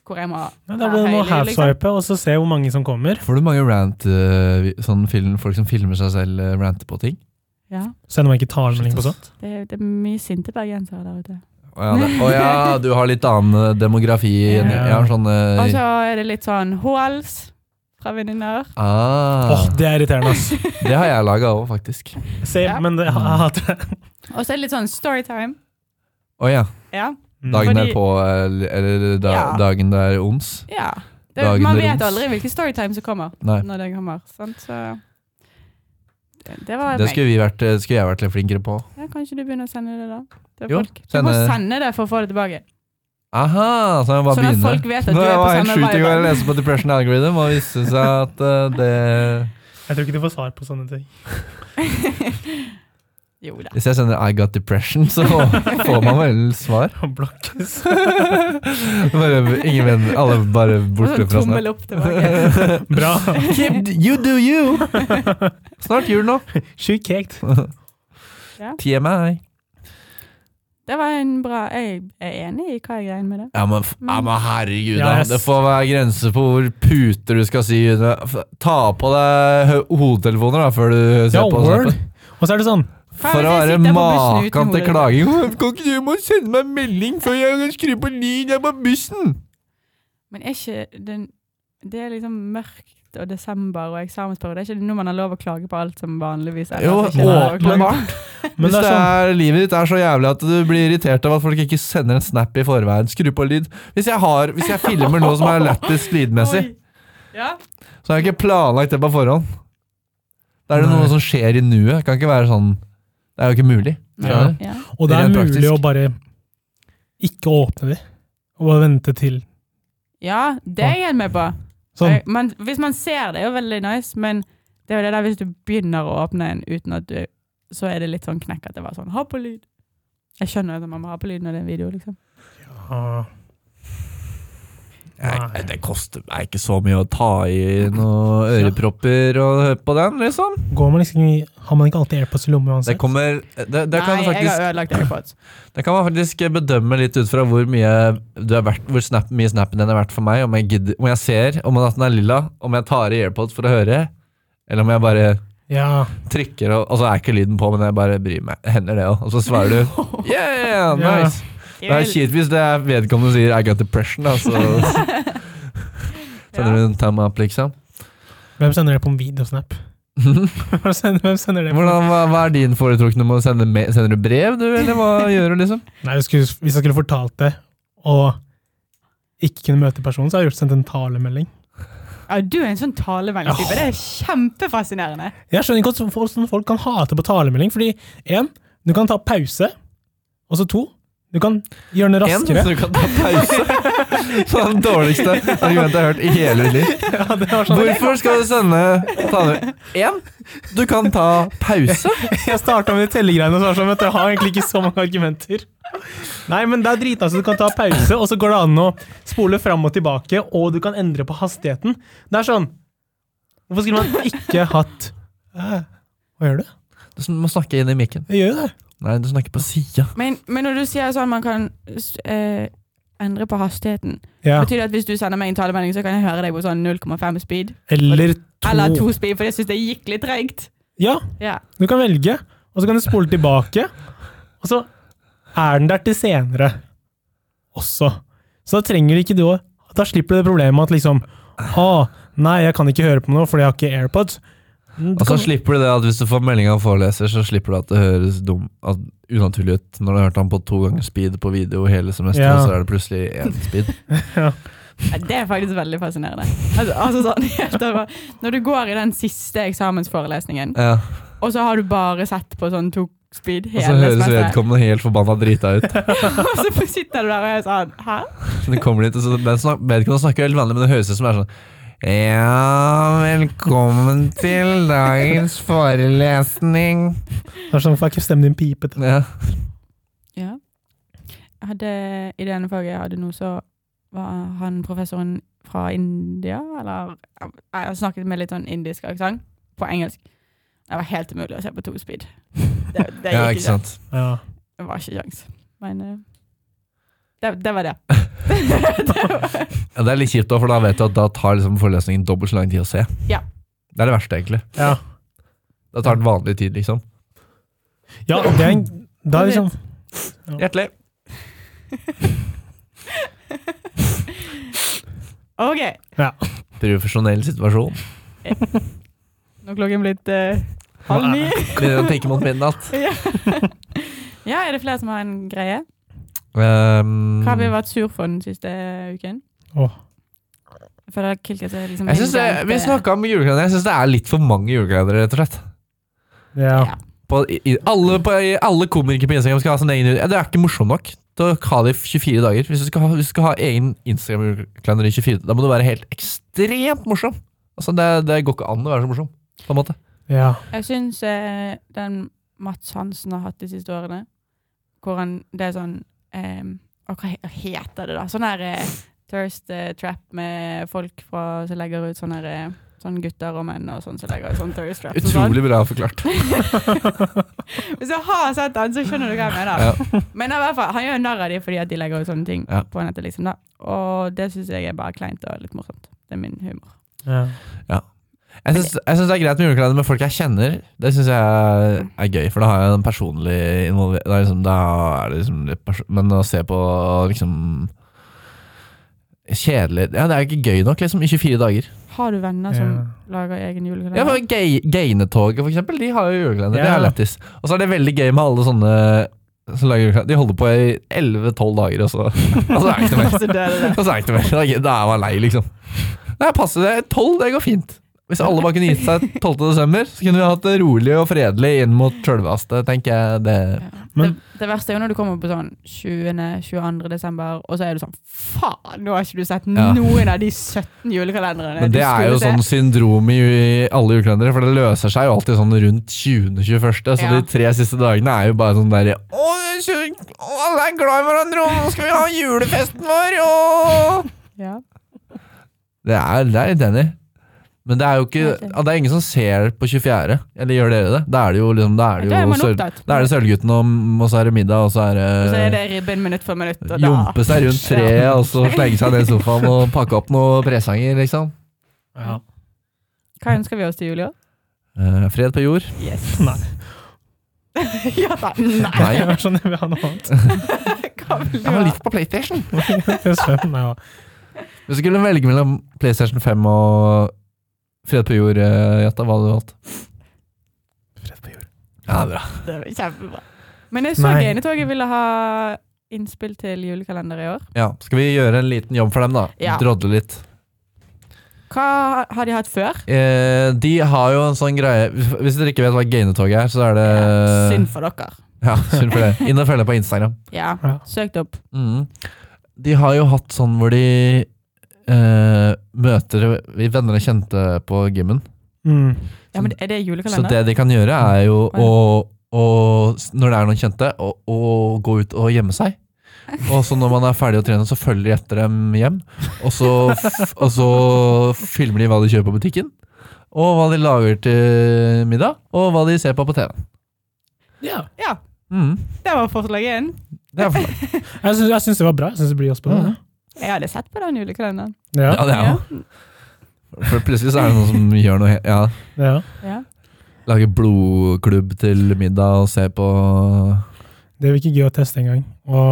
Speaker 3: hvor jeg må
Speaker 4: ja, Da blir det
Speaker 3: være
Speaker 4: noe
Speaker 3: høylig, liksom.
Speaker 4: half-swipe, og så se hvor mange som kommer.
Speaker 2: Får du mange rant, eh, vi- sånn film, folk som filmer seg selv eh, rante på ting?
Speaker 3: Ja,
Speaker 4: Sender man ikke talemelding på sånn. sånt?
Speaker 3: det er, det er mye sinte bergensere der ute.
Speaker 2: Å ja, det- å ja, du har litt annen eh, demografi. enn-
Speaker 4: Ja.
Speaker 2: Jeg har sånn eh,
Speaker 3: Og så er det litt sånn HLs fra venninner.
Speaker 4: Åh,
Speaker 2: ah,
Speaker 4: det er irriterende, ass.
Speaker 2: Det har jeg laga òg, faktisk.
Speaker 4: Se,
Speaker 3: Ja.
Speaker 4: men det, jeg hater det.
Speaker 3: Og så er det litt sånn storytime.
Speaker 2: Å ja.
Speaker 3: Ja.
Speaker 2: Dagen
Speaker 3: Fordi-
Speaker 2: er på, eller, eller da,
Speaker 3: Ja.
Speaker 2: dagen det er ons.
Speaker 3: ja. Det,
Speaker 2: Dagen
Speaker 3: man
Speaker 2: er
Speaker 3: vet
Speaker 2: roms.
Speaker 3: aldri hvilken storytime som kommer
Speaker 2: Nei.
Speaker 3: når den kommer. Sant? Så Det var
Speaker 2: Det
Speaker 3: meg.
Speaker 2: skulle, vi vært, eh, skulle jeg vært litt flinkere på.
Speaker 3: Ja, kanskje du begynner å sende det, da? Til
Speaker 2: Jo,
Speaker 3: folk. Du
Speaker 2: sende-
Speaker 3: må sende det for å få det tilbake.
Speaker 2: Aha, så jeg bare
Speaker 3: Sånn at
Speaker 2: begynner.
Speaker 3: folk vet at du
Speaker 2: Nå,
Speaker 3: er
Speaker 2: jeg
Speaker 3: på
Speaker 2: var helt
Speaker 3: samme
Speaker 2: sjuk i går. Jeg
Speaker 3: vibe.
Speaker 2: leste på Depression Algorithm og viste seg at eh, det
Speaker 4: Jeg tror ikke du får svar på sånne ting.
Speaker 3: jo da.
Speaker 2: Hvis jeg sender I got depression, så får man vel svar.
Speaker 4: Og blokkes.
Speaker 2: Bare, ingen venner, alle bare borte
Speaker 3: Og sånn
Speaker 2: fra snart.
Speaker 3: tommel opp tilbake.
Speaker 4: Bra.
Speaker 2: Keep, you do you! Snart jul nå.
Speaker 4: Sjukt kjekt.
Speaker 2: TMI.
Speaker 3: Det var en bra Jeg er enig i hva jeg greier med det.
Speaker 2: Ja, men, f-
Speaker 3: Mm.
Speaker 2: ja, men herregud, da.
Speaker 4: Yes.
Speaker 2: Det får være grenser for hvor puter du skal si. F- Ta på deg hø- hodetelefoner da, før du ser
Speaker 4: Ja,
Speaker 2: på. sånn-
Speaker 4: word. Og så er det sånn
Speaker 2: For å
Speaker 3: Faen, jeg
Speaker 2: være
Speaker 3: sitter på bussen uten
Speaker 2: makan til
Speaker 3: hodet.
Speaker 2: klaging. Kan ikke du må sende meg en melding før jeg kan skru på lyd? Jeg er på bussen!
Speaker 3: Men er ikke den Det er liksom mørkt og desember og eksamensperiode. Det er ikke nå man har lov å klage på alt som vanligvis er.
Speaker 2: Jo,
Speaker 3: Det er ikke lov å klage.
Speaker 2: åpenbart.
Speaker 4: Men
Speaker 2: Hvis
Speaker 4: det er
Speaker 2: det
Speaker 4: sånn
Speaker 2: er, livet ditt er så jævlig at du blir irritert av at folk ikke sender en snap i forveien. Skru på lyd. Hvis jeg, har, hvis jeg filmer noe som er lættis lydmessig,
Speaker 3: Oi. Ja.
Speaker 2: så har jeg ikke planlagt det på forhånd. Da er det
Speaker 4: Nei.
Speaker 2: noe som skjer i nuet. Det Kan ikke være sånn Det er jo ikke mulig.
Speaker 4: Ja.
Speaker 2: Skjønner du?
Speaker 3: ja.
Speaker 4: Og det er
Speaker 2: Rent
Speaker 4: mulig
Speaker 2: praktisk.
Speaker 4: å bare ikke åpne de, og bare vente til
Speaker 3: ja, det er jeg med på.
Speaker 4: sånn.
Speaker 3: Jeg- Men hvis man ser det, er jo veldig nice, men det er jo det der hvis du begynner å åpne en uten at du Så er det litt sånn knekk at det var sånn ha på lyd. Jeg skjønner at man må ha på lyd når det er en video, liksom.
Speaker 4: Ja.
Speaker 2: Nei, det koster meg ikke så mye å ta i noen ørepropper og høre på den, liksom.
Speaker 4: Går man liksom i, har man ikke alltid AirPods i lomma
Speaker 2: Det
Speaker 4: uansett?
Speaker 2: kommer Det, det kan
Speaker 3: Nei, jeg
Speaker 2: faktisk
Speaker 3: har ødelagt AirPods.
Speaker 2: Det kan man faktisk bedømme litt ut fra hvor mye du har vært, hvor snap, mye snappen din har vært for meg. Om jeg, gidder, om jeg ser om at den er lilla, om jeg tar i AirPods for å høre, eller om jeg bare
Speaker 4: Ja.
Speaker 2: trykker, og, og så er ikke lyden på, men jeg bare bryr meg. Hender det òg. Og så svarer du yeah, nice. Det er kjipt hvis det er vedkommende sier I got depression, da, så sender du en thumb up, liksom.
Speaker 4: Hvem sender det på en videosnap? Hvem sender, hvem sender det på?
Speaker 2: Hvordan, hva, hva er din foretrukne? Må du sende me- Sender du brev, du, eller hva gjør du, liksom?
Speaker 4: Nei, jeg skulle, Hvis jeg skulle fortalt det, og ikke kunne møte personen, så hadde jeg gjort sendt en talemelding.
Speaker 3: Ja, du er en sånn talevennlig type. Det er kjempefascinerende.
Speaker 4: Jeg skjønner ikke hvordan folk, hvordan folk kan hate på talemelding, fordi én, du kan ta pause, og så to, du kan gjøre det
Speaker 2: En, så
Speaker 4: raskere.
Speaker 2: du kan ta pause. Sånn dårligste argumentet jeg har hørt i hele mitt liv.
Speaker 4: Ja, det var sånn.
Speaker 2: Hvorfor skal du sende ta det- En, du kan ta pause.
Speaker 4: Jeg starta med de tellegreiene og så var det sånn, vet du, jeg har egentlig ikke så mange argumenter. Nei, men det er drita, så du kan ta pause, og så går det an å spole fram og tilbake, og du kan endre på hastigheten. Det er sånn Hvorfor skulle man ikke hatt eh, Hva gjør du?
Speaker 2: Du sn- må snakke inn i mikken.
Speaker 4: Jeg gjør jo det.
Speaker 2: Nei, du snakker på sida.
Speaker 3: Men, men når du sier sånn man kan s- eh, endre på hastigheten,
Speaker 4: Ja.
Speaker 3: betyr det at hvis du sender meg en talemelding, så kan jeg høre deg på sånn 0,5 speed?
Speaker 4: Eller to.
Speaker 3: Eller to speed, for jeg syns det gikk litt treigt.
Speaker 4: Ja,
Speaker 3: Ja.
Speaker 4: du kan velge, og så kan du spole tilbake. Og så er den der til senere også. Så da trenger ikke du å Da slipper du det problemet at liksom Å, nei, jeg kan ikke høre på noe fordi jeg har ikke AirPods. Mm, Du
Speaker 2: Og så
Speaker 4: kan-
Speaker 2: slipper du det at hvis du får melding av en foreleser, så slipper du at det høres dum, at, unaturlig ut. Når du har hørt han på to ganger speed på video hele semesteret,
Speaker 4: Ja.
Speaker 2: så er det plutselig én speed.
Speaker 3: Ja, Det er faktisk veldig fascinerende. Altså, altså sånn, helt over. Når du går i den siste eksamensforelesningen,
Speaker 2: Ja.
Speaker 3: og så har du bare sett på sånn to speed
Speaker 2: Og så
Speaker 3: hele
Speaker 2: høres
Speaker 3: semesteret,
Speaker 2: vedkommende helt forbanna drita ut.
Speaker 3: og så sitter du der og er sånn Hæ?
Speaker 2: Så det kommer dit, og så den snak, vedkommende snakker helt vanlig, men det høres ut som det er sånn Ja, velkommen til dagens forelesning.
Speaker 4: Det er sånn, får jeg ikke stemmen din pipet?
Speaker 2: Ja.
Speaker 3: Ja. Jeg hadde, I det ene faget jeg hadde nå, så var han professoren fra India, eller Jeg snakket med litt sånn indisk aksent på engelsk. Det var helt umulig å se på to speed. Det, det
Speaker 2: ja, ikke
Speaker 3: gikk
Speaker 2: sant.
Speaker 4: Ja.
Speaker 3: Det var ikke kjangs. Men eh, det, det var det. det var,
Speaker 2: Ja, det er litt kjipt, da, for da vet du at da tar liksom forelesningen dobbelt så lang tid å se.
Speaker 3: Ja.
Speaker 2: Det er det verste, egentlig.
Speaker 4: Ja.
Speaker 2: Da tar den vanlig tid, liksom.
Speaker 4: ja, og det er en da er det liksom
Speaker 2: Hjertelig.
Speaker 3: OK.
Speaker 2: Profesjonell situasjon.
Speaker 3: Nå er klokken blitt eh, halv ni.
Speaker 2: Begynner å tenke mot midnatt.
Speaker 3: ja. ja, er det flere som har en greie?
Speaker 2: Um,
Speaker 3: Hva har vi vært sur for den siste eh, uken?
Speaker 4: Åh.
Speaker 3: Jeg føler at Kilkas er liksom
Speaker 2: Ehm, jeg synes det, vi
Speaker 3: inngangte-
Speaker 2: snakka om julekalender. Jeg syns det er litt for mange julekalendere, rett og slett.
Speaker 4: Ja.
Speaker 3: Ja.
Speaker 2: På, i, i- alle, på, i, alle komikere på Instagram skal ha sin egen ja, Det er ikke morsomt nok til å ha det i 24 dager. Hvis du skal ha, hvis du skal ha egen Instagram-kalender i 24, da må du være helt ekstremt morsom. Altså, det, det går ikke an å være så morsom. På en måte.
Speaker 4: ja.
Speaker 3: Jeg syns eh, den Mats Hansen har hatt de siste årene, hvor han Det er sånn eh, å, Hva he- heter det, da? Sånn her eh, Thirst eh, Trap med folk fra, som legger ut sånne her, eh, sånn gutter og menn og sånn som legger ut sånn Thirst Trap. og sånn.
Speaker 2: Utrolig bra forklart.
Speaker 3: Hvis du har sett den, så skjønner du hva jeg mener. Men i hvert fall, han gjør narr av dem fordi at de legger ut sånne ting
Speaker 2: Ja.
Speaker 3: på nettet. liksom da. Og det syns jeg er bare kleint og litt morsomt. Det er min humor.
Speaker 4: ja.
Speaker 2: Jeg syns, jeg synes det er greit med julekalender med folk jeg kjenner. Det syns jeg er gøy, for da har jeg en personlig involver... Da er, liksom, da er det liksom litt perso Men å se på liksom Kjedelig Ja, det er ikke gøy nok, liksom, i 24 dager.
Speaker 3: Har du venner som lager egen
Speaker 2: Ja,
Speaker 3: julekalender?
Speaker 2: for gay- Gainetoget, for eksempel, de har jo julekalender. Det
Speaker 4: Ja.
Speaker 2: er lættis. Og så er det veldig gøy med alle sånne som lager julekalender. De holder på i 11-12 dager, og så Og så er det ikke noe mer.
Speaker 3: Så Altså, det er det.
Speaker 2: Og så er det ikke noe mer. Da er- Da er man lei, liksom. Nei, passer det. 12, det går fint. Hvis alle bare kunne gitt seg 12. desember, så kunne vi hatt det rolig og fredelig inn mot sjølveste, tenker jeg. Det.
Speaker 3: Ja.
Speaker 4: Men-
Speaker 3: det, det verste er jo når du kommer på sånn 20. 22. desember, og så er du sånn Faen, nå har ikke du sett
Speaker 2: Ja.
Speaker 3: noen av de 17 julekalenderne
Speaker 2: Men
Speaker 3: du
Speaker 2: det er jo
Speaker 3: skulle se.
Speaker 2: sånn syndrom i alle julekalendere, for det løser seg jo alltid sånn rundt 20.-21., så
Speaker 3: Ja.
Speaker 2: de tre siste dagene er jo bare sånn derre Å, det er så- å, alle er glad i hverandre, og nå skal vi ha julefesten vår, og
Speaker 3: Ja.
Speaker 2: Det er, det er litt enig. Men det er jo ikke
Speaker 3: Helt enig.
Speaker 2: ja, Det er ingen som ser på 24., eller gjør dere det? Da er det jo liksom Da er det
Speaker 3: Da er
Speaker 2: jo
Speaker 3: man
Speaker 2: sør-
Speaker 3: opptatt.
Speaker 2: Da er det Sølvgutten, og, og så er det middag, og så er det,
Speaker 3: Og så er det ribben minutt for minutt, og da
Speaker 2: Jumpe seg rundt treet, og så slenge seg ned i sofaen og pakke opp noen presanger, liksom.
Speaker 4: ja.
Speaker 3: Hva ønsker vi oss til jul i år?
Speaker 2: Eh, fred på jord.
Speaker 3: Yes.
Speaker 4: Nei.
Speaker 3: ja da. Nei.
Speaker 2: Nei.
Speaker 4: Jeg er sånn, jeg vil ha noe annet.
Speaker 3: Hva vil du
Speaker 2: Jeg har
Speaker 3: ha?
Speaker 2: litt på PlayStation.
Speaker 4: PS5, nei, ja.
Speaker 2: Hvis du skulle velge mellom PlayStation 5 og Fred på jord, eh, Jetta, hva hadde du valgt?
Speaker 4: Fred på jord.
Speaker 2: Ja, bra.
Speaker 3: Det var Kjempebra. Men jeg så
Speaker 4: Nei.
Speaker 3: Genetoget ville ha innspill til julekalender i år.
Speaker 2: Ja, skal vi gjøre en liten jobb for dem, da?
Speaker 3: Ja.
Speaker 2: Drodle litt.
Speaker 3: Hva har de hatt før?
Speaker 2: Eh, de har jo en sånn greie Hvis dere ikke vet hva Gainetoget er, så er det Eh.
Speaker 3: Synd for dere.
Speaker 2: Ja, synd for det. Inn og følg på Instagram.
Speaker 3: Ja.
Speaker 4: Ja.
Speaker 3: Søkt opp.
Speaker 2: Mm. De har jo hatt sånn hvor de eh, møter vi venner og kjente på gymmen.
Speaker 4: Mm.
Speaker 3: Ja, men Er det
Speaker 2: Så
Speaker 3: julekalender?
Speaker 2: det de kan gjøre, er jo
Speaker 3: ja.
Speaker 2: å, å s- Når det er noen kjente, å, å gå ut og gjemme seg. Og så når man er ferdig å trene, så følger de etter dem hjem. Og så, f- og så filmer de hva de kjøper på butikken. Og hva de lager til middag, og hva de ser på på TV.
Speaker 4: Ja.
Speaker 3: Ja,
Speaker 2: Mm.
Speaker 3: det var forslag én.
Speaker 2: Det er forslag.
Speaker 4: Jeg syns, jeg syns det var bra. Jeg syns det blir også bra.
Speaker 2: Mm.
Speaker 3: Jeg hadde sett på den julekalenderen.
Speaker 4: Ja.
Speaker 2: Ja, det er jo. For plutselig så er det noen som gjør noe he- ja,
Speaker 4: Ja.
Speaker 3: Ja.
Speaker 2: Lager blodklubb til middag og ser på
Speaker 4: Det virker gøy å teste en gang. Å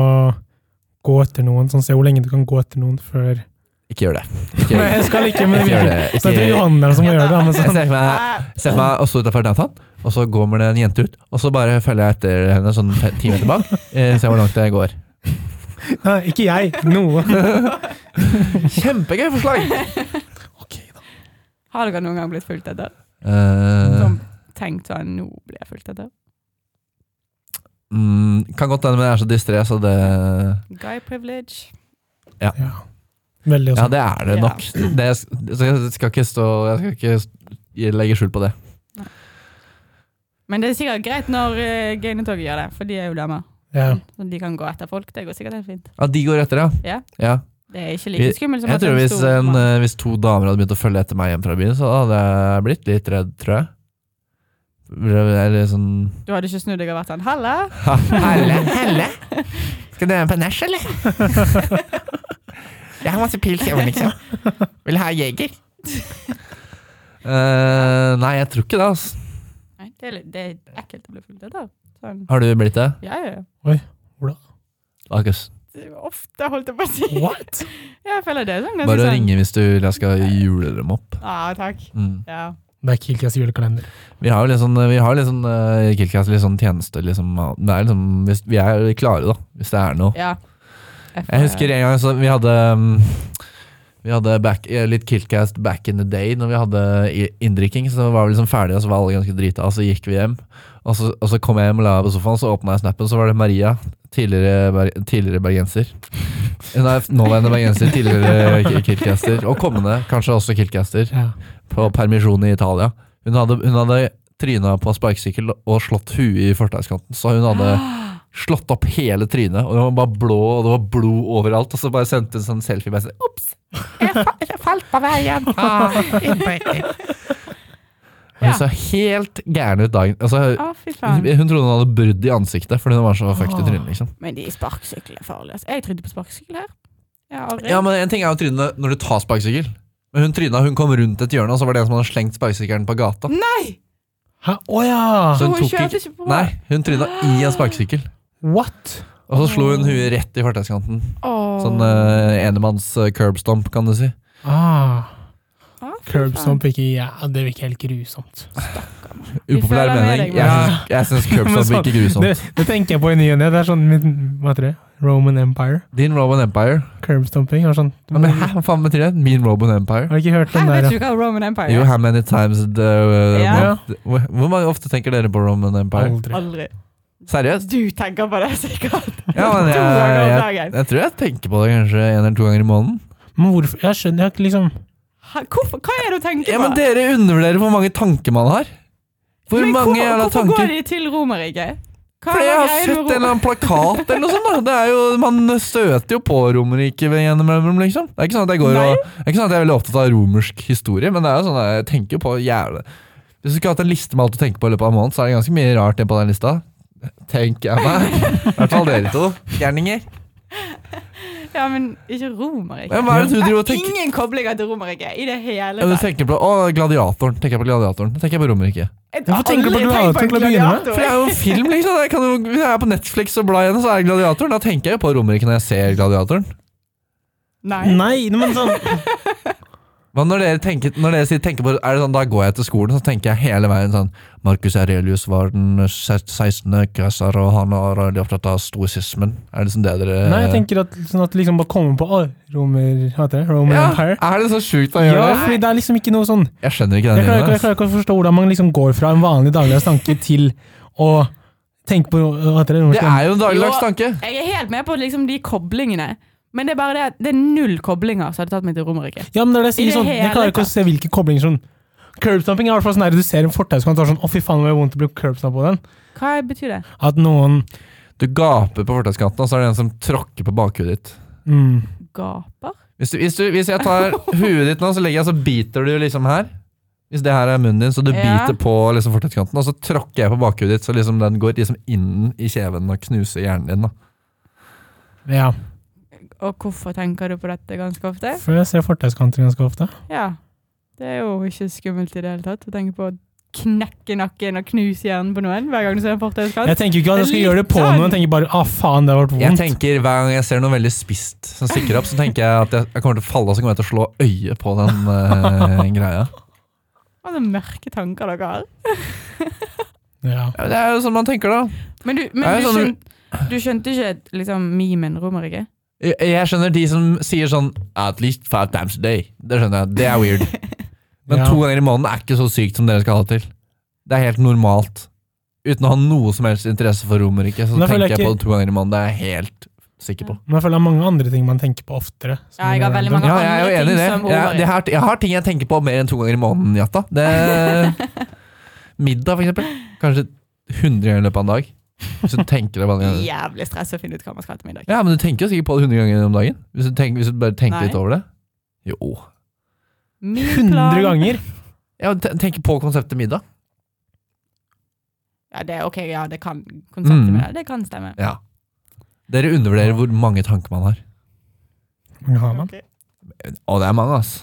Speaker 4: gå etter noen, sånn se hvor lenge du kan gå etter noen før
Speaker 2: Ikke gjør det. Ikke gjør
Speaker 4: Nei,
Speaker 2: det.
Speaker 4: jeg skal ikke, men det
Speaker 2: Ikke gjør
Speaker 4: virker.
Speaker 2: det.
Speaker 4: Så
Speaker 2: Ikke
Speaker 4: det er
Speaker 2: Jeg
Speaker 4: Johan der som må gjøre det. Men
Speaker 2: ser
Speaker 4: sånn,
Speaker 2: for meg- jeg ser for meg å stå utenfor downtown, og så kommer det en jente ut. Og så bare følger jeg etter henne sånn fe- ti meter bak. eh, Ser hvor langt det går.
Speaker 4: nei, ikke jeg, noen.
Speaker 2: Kjempegøy forslag!
Speaker 4: Ok, da.
Speaker 3: Har dere noen gang blitt fulgt etter?
Speaker 2: Eh,
Speaker 3: Som tenkt sånn Nå blir jeg fulgt etter.
Speaker 2: mm, kan godt hende, men jeg er så distré, så det
Speaker 3: Guy privilege.
Speaker 4: Ja. Veldig
Speaker 2: Ja,
Speaker 4: også.
Speaker 2: det er sånn. det
Speaker 3: Ja.
Speaker 2: nok. Det, så jeg skal ikke stå Jeg skal ikke legge skjul på det.
Speaker 3: Men det er sikkert greit når uh, Gainetoget gjør det, for de er jo damer.
Speaker 4: Ja.
Speaker 3: Så de kan gå etter folk. Det går sikkert helt fint.
Speaker 2: Ja, De går etter, ja.
Speaker 3: Ja.
Speaker 2: ja.
Speaker 3: Det er ikke like
Speaker 2: Vi-
Speaker 3: skummelt som
Speaker 2: Jeg
Speaker 3: at
Speaker 2: tror
Speaker 3: en
Speaker 2: hvis,
Speaker 3: stor
Speaker 2: en,
Speaker 3: mann-
Speaker 2: eh, hvis to damer hadde begynt å følge etter meg hjem fra byen, så hadde jeg blitt litt redd, tror jeg. Eller sånn
Speaker 3: Du hadde ikke snudd deg og vært sånn Halla!
Speaker 2: Helle, helle. Skal du være med på nach, eller? Jeg har masse pils hjemme, liksom. Vil ha jeger. Eh, nei, jeg tror ikke det. Altså.
Speaker 3: Nei, det er, litt- det er ekkelt å bli fulgt etter. Sånn.
Speaker 2: Har du blitt det?
Speaker 3: Ja, ja.
Speaker 2: Markus?
Speaker 3: Det var Ofte, holdt jeg på å si.
Speaker 4: What?
Speaker 3: Ja, jeg føler det er sånn. ganske
Speaker 2: Bare å
Speaker 3: sånn.
Speaker 2: ringe hvis du vil jeg skal jule dem opp.
Speaker 3: Ja, takk.
Speaker 2: Mm.
Speaker 3: Ja.
Speaker 4: Det er Kilkas julekalender.
Speaker 2: Vi har jo litt sånn, vi har litt sånn eh, Killcast, litt sånn tjeneste, liksom. Det er liksom hvis, vi er klare, da. Hvis det er noe.
Speaker 3: ja.
Speaker 2: Jeg husker en gang så vi hadde um, vi- Vi hadde back, eh, litt Kiltcast back in the day når vi hadde i- inndrikking. Så var vi liksom ferdige, og så var alle ganske drita, og så gikk vi hjem. Og så, og så kom jeg hjem og la meg på sofaen, så åpna jeg snappen, så var det Maria. Tidligere, ber, tidligere bergenser. Hun er nåværende bergenser, tidligere ki- Kiltcaster. Og kommende, kanskje også Kiltcaster,
Speaker 4: Ja.
Speaker 2: på permisjon i Italia. Hun hadde, hun hadde tryna på sparkesykkel og slått huet i fortauskanten, så hun hadde slått opp hele trynet. Og hun var bare blå, og det var blod overalt. Og så bare sendte hun sånn selfie. Bare sånn,
Speaker 3: Falt på veien!
Speaker 2: Hun
Speaker 3: Ja.
Speaker 2: så helt gæren ut dagen. Altså,
Speaker 3: Å, fy
Speaker 2: hun,
Speaker 3: faen.
Speaker 2: hun trodde hun hadde brudd i ansiktet fordi hun var så fucked i trynet. liksom
Speaker 3: Men de sparkesyklene er farlige. Altså. Jeg trodde på sparkesykkel her. Jeg har aldri
Speaker 2: Ja, men En ting er jo trynet når du tar sparkesykkel. Men hun tryna, hun kom rundt et hjørne, og så var det en som hadde slengt sparkesykkelen på gata.
Speaker 3: Nei!
Speaker 4: Hæ? Å ja!
Speaker 2: Så
Speaker 3: Så
Speaker 2: hun
Speaker 3: hun
Speaker 2: tok
Speaker 3: kjørte
Speaker 2: ikke-
Speaker 3: ikke på
Speaker 2: Nei, hun tryna i en sparkesykkel.
Speaker 4: What?
Speaker 2: Og så slo hun huet rett i fortauskanten.
Speaker 3: Åh.
Speaker 2: Sånn eh, enemanns eh, curb stomp, kan du si.
Speaker 4: Ah,
Speaker 3: Å, fy faen.
Speaker 4: Curbstomp ikke ja, Det virker helt grusomt.
Speaker 3: Vi
Speaker 2: Upopulær
Speaker 3: føler med deg,
Speaker 2: mening. Jeg
Speaker 4: Maria.
Speaker 2: syns- Jeg syns curb
Speaker 4: Men
Speaker 2: stomp
Speaker 4: sånn,
Speaker 2: virker grusomt.
Speaker 4: Det, det tenker jeg på i ny og ne. Det er sånn min, hva heter det? Roman Empire.
Speaker 2: Din Roman Empire.
Speaker 4: Curbstomping var sånn
Speaker 2: Ja, Men hæ, hva faen betyr det? Min Roman Empire?
Speaker 4: Har du ikke hørt
Speaker 3: Hæ,
Speaker 4: den der?
Speaker 3: vet du hva Roman Empire
Speaker 2: Jo,
Speaker 3: er?
Speaker 2: how many times the,
Speaker 3: Ja.
Speaker 2: Hvor hvor mange ofte tenker dere på Roman Empire?
Speaker 4: Aldri.
Speaker 3: Aldri. Altså,
Speaker 2: Seriøst?
Speaker 3: Du tenker på det sikkert
Speaker 2: Ja, men
Speaker 3: to ganger om
Speaker 2: jeg, jeg,
Speaker 3: dagen.
Speaker 2: jeg tror jeg tenker på det kanskje en eller to ganger i måneden.
Speaker 4: Men hvorfor Jeg skjønner jeg har ikke liksom
Speaker 3: Hæ, Hvorfor? Hva er det du tenker på?
Speaker 2: Ja, men Dere undervurderer hvor mange tanker man har. Hvor
Speaker 3: Men
Speaker 2: mange jævla
Speaker 3: Hvorfor går
Speaker 2: tanker?
Speaker 3: de til Romerriket? Hva
Speaker 2: Fordi jeg har
Speaker 3: greia
Speaker 2: sett en
Speaker 3: med
Speaker 2: eller
Speaker 3: Romer-
Speaker 2: annen plakat eller noe sånt. da. Det er jo, Man støter jo på Romerriket ved gjennom dem, liksom. Det er ikke sånn at jeg går
Speaker 3: Nei.
Speaker 2: og, det er ikke sånn at jeg er veldig opptatt av romersk historie, men det er jo sånn at jeg tenker jo på jævla Hvis du skulle hatt en liste med alt du tenker på i løpet av en måned, så er det ganske mye rart det på den lista. Tenker jeg meg. I hvert fall dere to. Gærninger.
Speaker 3: Ja, men ikke Romerriket.
Speaker 2: Men Hva er det du driver og tenker
Speaker 3: Ingen koblinger til Romerriket i det hele
Speaker 2: Ja, du
Speaker 3: tatt.
Speaker 2: tenker på å, Gladiatoren. Tenker jeg på Gladiatoren. Da Tenker jeg på Romerike.
Speaker 3: Jeg
Speaker 4: Hvorfor
Speaker 3: har
Speaker 4: tenker du på
Speaker 3: aldri
Speaker 4: gladiator
Speaker 3: tenkt på
Speaker 4: til å begynne med?
Speaker 3: gladiator.
Speaker 2: For det er jo en film, liksom. Jeg kan jo, hvis jeg er på Netflix og blar igjen, så er jeg Gladiatoren. Da tenker jeg jo på Romerike når jeg ser Gladiatoren.
Speaker 3: Nei.
Speaker 4: Nei, men sånn
Speaker 2: Men når dere, tenker, når dere sier, tenker på Er det sånn, da går jeg til skolen, så tenker jeg hele veien sånn Marcus Aurelius var den 16. keiser, og han var veldig opptatt av stoisismen. Er det sånn det dere
Speaker 4: Nei, jeg tenker at, sånn at liksom bare kommer på Å, romer, hva heter det? Roman
Speaker 2: ja,
Speaker 4: Empire.
Speaker 2: Er det så sjukt å gjøre
Speaker 4: Ja,
Speaker 2: det?
Speaker 4: fordi det er liksom ikke noe sånn
Speaker 2: Jeg skjønner ikke
Speaker 4: Jeg
Speaker 2: den
Speaker 4: klarer ikke, jeg
Speaker 2: linja.
Speaker 4: klarer ikke å forstå hvordan man liksom går fra en vanlig dagligdags tanke til å tenke på hva heter det?
Speaker 2: Det er jo en dagligdags
Speaker 3: Jo.
Speaker 2: tanke.
Speaker 3: Jeg er helt med på liksom, de koblingene, men det er bare det at det er null koblinger som hadde tatt meg til Romerriket.
Speaker 4: Ja, men når jeg
Speaker 3: I
Speaker 4: sier
Speaker 3: det
Speaker 4: sånn, jeg
Speaker 3: hele
Speaker 4: klarer ikke å
Speaker 3: tatt.
Speaker 4: se hvilke koblinger sånn Curbstomping er i hvert fall sånn der du ser en fortauskant og er sånn Å, fy faen, det var vondt å bli curbstamp på den.
Speaker 3: Hva betyr det?
Speaker 4: At noen
Speaker 2: Du gaper på fortauskanten, og så er det en som tråkker på bakhudet ditt.
Speaker 4: mm,
Speaker 3: Gaper?
Speaker 2: Hvis, du, hvis, du, hvis jeg tar huet ditt nå, så legger jeg, så biter du liksom her. Hvis det her er munnen din, så du
Speaker 3: Ja.
Speaker 2: biter på liksom fortauskanten, og så tråkker jeg på bakhudet ditt, så liksom den går liksom inn i kjeven og knuser hjernen din. Da.
Speaker 4: Ja.
Speaker 3: Og hvorfor tenker du på dette ganske ofte?
Speaker 4: For jeg ser fortauskanter ganske ofte.
Speaker 3: Ja. Det er jo ikke skummelt i det hele tatt å tenke på å knekke nakken og knuse hjernen på noen hver gang du ser en fortauskant.
Speaker 4: Jeg tenker jo ikke at jeg skal gjøre det på
Speaker 3: Litt sånn.
Speaker 4: noen, jeg tenker bare ah, faen, det har vært
Speaker 2: Jeg
Speaker 4: vondt.
Speaker 2: tenker Hver gang jeg ser noe veldig spisst som stikker opp, så tenker jeg at jeg, jeg kommer til å falle, og så kommer jeg til å slå øyet på den eh, greia.
Speaker 3: Altså, mørke tanker dere har.
Speaker 4: Ja.
Speaker 2: Ja, Det er jo sånn man tenker, da.
Speaker 3: Men du, men
Speaker 2: Er det
Speaker 3: du,
Speaker 2: sånn
Speaker 3: skjønte, du skjønte ikke liksom, memen Romerike?
Speaker 2: Jeg, jeg skjønner de som sier sånn At least five times a day. Det skjønner jeg. Det er weird. Men
Speaker 4: Ja.
Speaker 2: to ganger i måneden er ikke så sykt som dere skal ha det til. Det er helt normalt. Uten å ha noe som helst interesse for Romerike, så
Speaker 4: Men da
Speaker 2: tenker
Speaker 4: føler
Speaker 2: jeg
Speaker 4: jeg
Speaker 2: på det to ganger i måneden. Det er jeg helt sikker på.
Speaker 4: Men jeg føler det er mange andre ting man tenker på oftere. som
Speaker 3: Ja, jeg har
Speaker 4: er
Speaker 3: veldig
Speaker 4: random.
Speaker 2: Ja, jeg er jo
Speaker 3: Andre
Speaker 2: enig i
Speaker 3: ting
Speaker 2: det.
Speaker 3: som
Speaker 2: Jeg,
Speaker 3: Romerike.
Speaker 2: det her, jeg har ting jeg tenker på mer enn to ganger i måneden, Jatta. Det middag, for eksempel. Kanskje 100 ganger i løpet av en dag. Hvis du tenker deg bare
Speaker 3: Jævlig stress å finne ut hva man skal ha til middag.
Speaker 2: Ja, men du tenker jo sikkert på det 100 ganger om dagen. Hvis du, tenker, hvis du bare tenker litt
Speaker 3: Nei.
Speaker 2: over det. Jo.
Speaker 3: Min
Speaker 4: 100
Speaker 3: plan-
Speaker 4: ganger!
Speaker 2: Ja, te- tenker på konseptet middag.
Speaker 3: Ja, det, er ok, ja, det kan konseptet
Speaker 2: Mm.
Speaker 3: med det. Det kan stemme.
Speaker 2: Ja. Dere undervurderer hvor mange tanker man har.
Speaker 4: Hvor mange har man?
Speaker 2: Og det er mange, ass.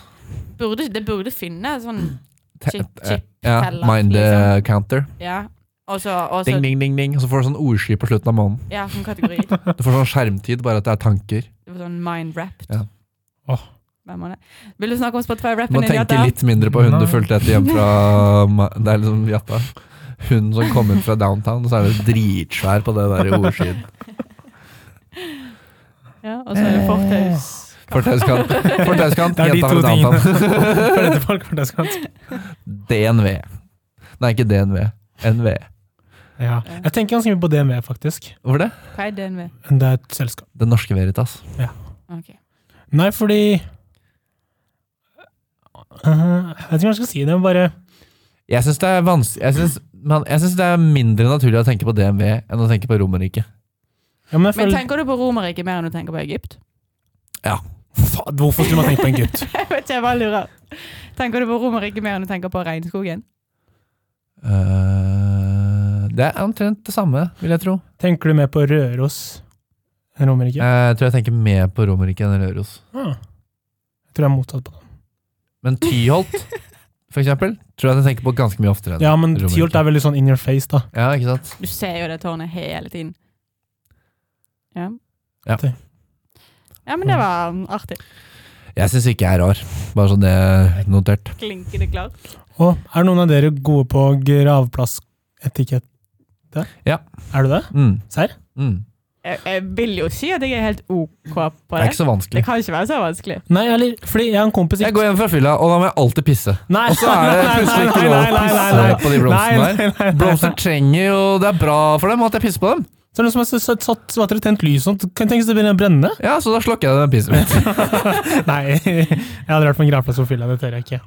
Speaker 3: Burde, det burde finne sånn
Speaker 2: Te-
Speaker 3: Chip,
Speaker 2: eh,
Speaker 3: chip,
Speaker 2: ja,
Speaker 3: teller,
Speaker 2: mind the
Speaker 3: liksom.
Speaker 2: counter.
Speaker 3: Ja. Og så og så-
Speaker 2: Ding, ding, ding, ding. Og så får du sånn ordsky på slutten av måneden.
Speaker 3: Ja, som kategori.
Speaker 2: Du får sånn skjermtid, bare at det er tanker.
Speaker 3: Det var sånn mind wrapped.
Speaker 2: Ja.
Speaker 4: Åh.
Speaker 3: Hvem var det? Vil du snakke om
Speaker 2: Du
Speaker 3: Spotify-rappen
Speaker 2: må
Speaker 3: din?
Speaker 2: tenke
Speaker 3: Jatta?
Speaker 2: litt mindre på hun du
Speaker 4: Nei.
Speaker 2: fulgte etter hjem fra ma- Det er liksom jatta. Hun som kom ut fra downtown, og så er du dritsvær på det der ordskyen.
Speaker 4: Eh,
Speaker 3: Ja, og så er det fortaus.
Speaker 2: Fortauskant. Fortauskant,
Speaker 4: Det er
Speaker 2: jenta
Speaker 4: de to
Speaker 2: har et annet navn.
Speaker 4: Fløytefolk, fløyteskant.
Speaker 2: DNV. Nei, ikke DNV. NV.
Speaker 4: Ja. Jeg tenker ganske mye på DNV, faktisk.
Speaker 2: Hvorfor det?
Speaker 3: Hva er DNV?
Speaker 4: Men det er et selskap.
Speaker 2: Det norske Veritas.
Speaker 3: Ok.
Speaker 4: Nei, fordi Eh, Jeg vet ikke hva jeg skal si. Det er bare
Speaker 2: Jeg syns det er vanskelig Jeg synes- men jeg synes det er mindre naturlig å tenke på DNV enn å tenke på Romerike.
Speaker 4: ja, men jeg
Speaker 3: Men
Speaker 4: føler,
Speaker 3: tenker du på Romerriket mer enn du tenker på Egypt?
Speaker 4: Faen, Hvorfor skulle man tenke på en gutt?
Speaker 3: Jeg vet ikke, jeg bare lurer. Tenker du på Romerriket mer enn du tenker på regnskogen?
Speaker 2: Eh, det er omtrent det samme, vil jeg tro.
Speaker 4: Tenker du mer på Røros enn Romerike?
Speaker 2: Eh, Jeg tror jeg tenker mer på Romerike enn Røros.
Speaker 4: Ah. Jeg tror jeg er motsatt på det.
Speaker 2: Men Tyholt, for eksempel, tror jeg at jeg tenker på ganske mye oftere. enn
Speaker 4: Ja, men
Speaker 2: Romerike.
Speaker 4: Tyholt er veldig sånn in your face, da.
Speaker 2: Ja, ikke sant?
Speaker 3: Du ser jo det tårnet hele tiden. Ja.
Speaker 2: Ja.
Speaker 3: Ja, men det var artig.
Speaker 2: Jeg syns ikke jeg er rar, bare sånn det er notert.
Speaker 3: Klinkende klart.
Speaker 4: Og er noen av dere gode på gravplassetikett?
Speaker 2: Ja.
Speaker 4: Er du det?
Speaker 2: Mm,
Speaker 4: Serr?
Speaker 2: mm.
Speaker 3: Jeg, jeg vil jo si at jeg er helt OK på
Speaker 2: Det er ikke
Speaker 3: det.
Speaker 2: så
Speaker 3: Det
Speaker 2: vanskelig.
Speaker 3: kan ikke være så vanskelig.
Speaker 4: Nei, eller fordi jeg har en kompis
Speaker 2: Jeg går hjem fra fylla, og da må jeg alltid pisse.
Speaker 4: Nei,
Speaker 2: Og så er det plutselig ikke lov å pisse på de blomstene der.
Speaker 4: der.
Speaker 2: Blomster trenger jo Det er bra for dem at jeg pisser på dem.
Speaker 4: Så er det noen som har satt, satt, satt og tent lys sånn, kan tenke seg det begynner å brenne?
Speaker 2: Ja, så da slukker jeg den pissen min.
Speaker 4: Nei, jeg hadde vært på en gravplass for fylla, det tør jeg ikke.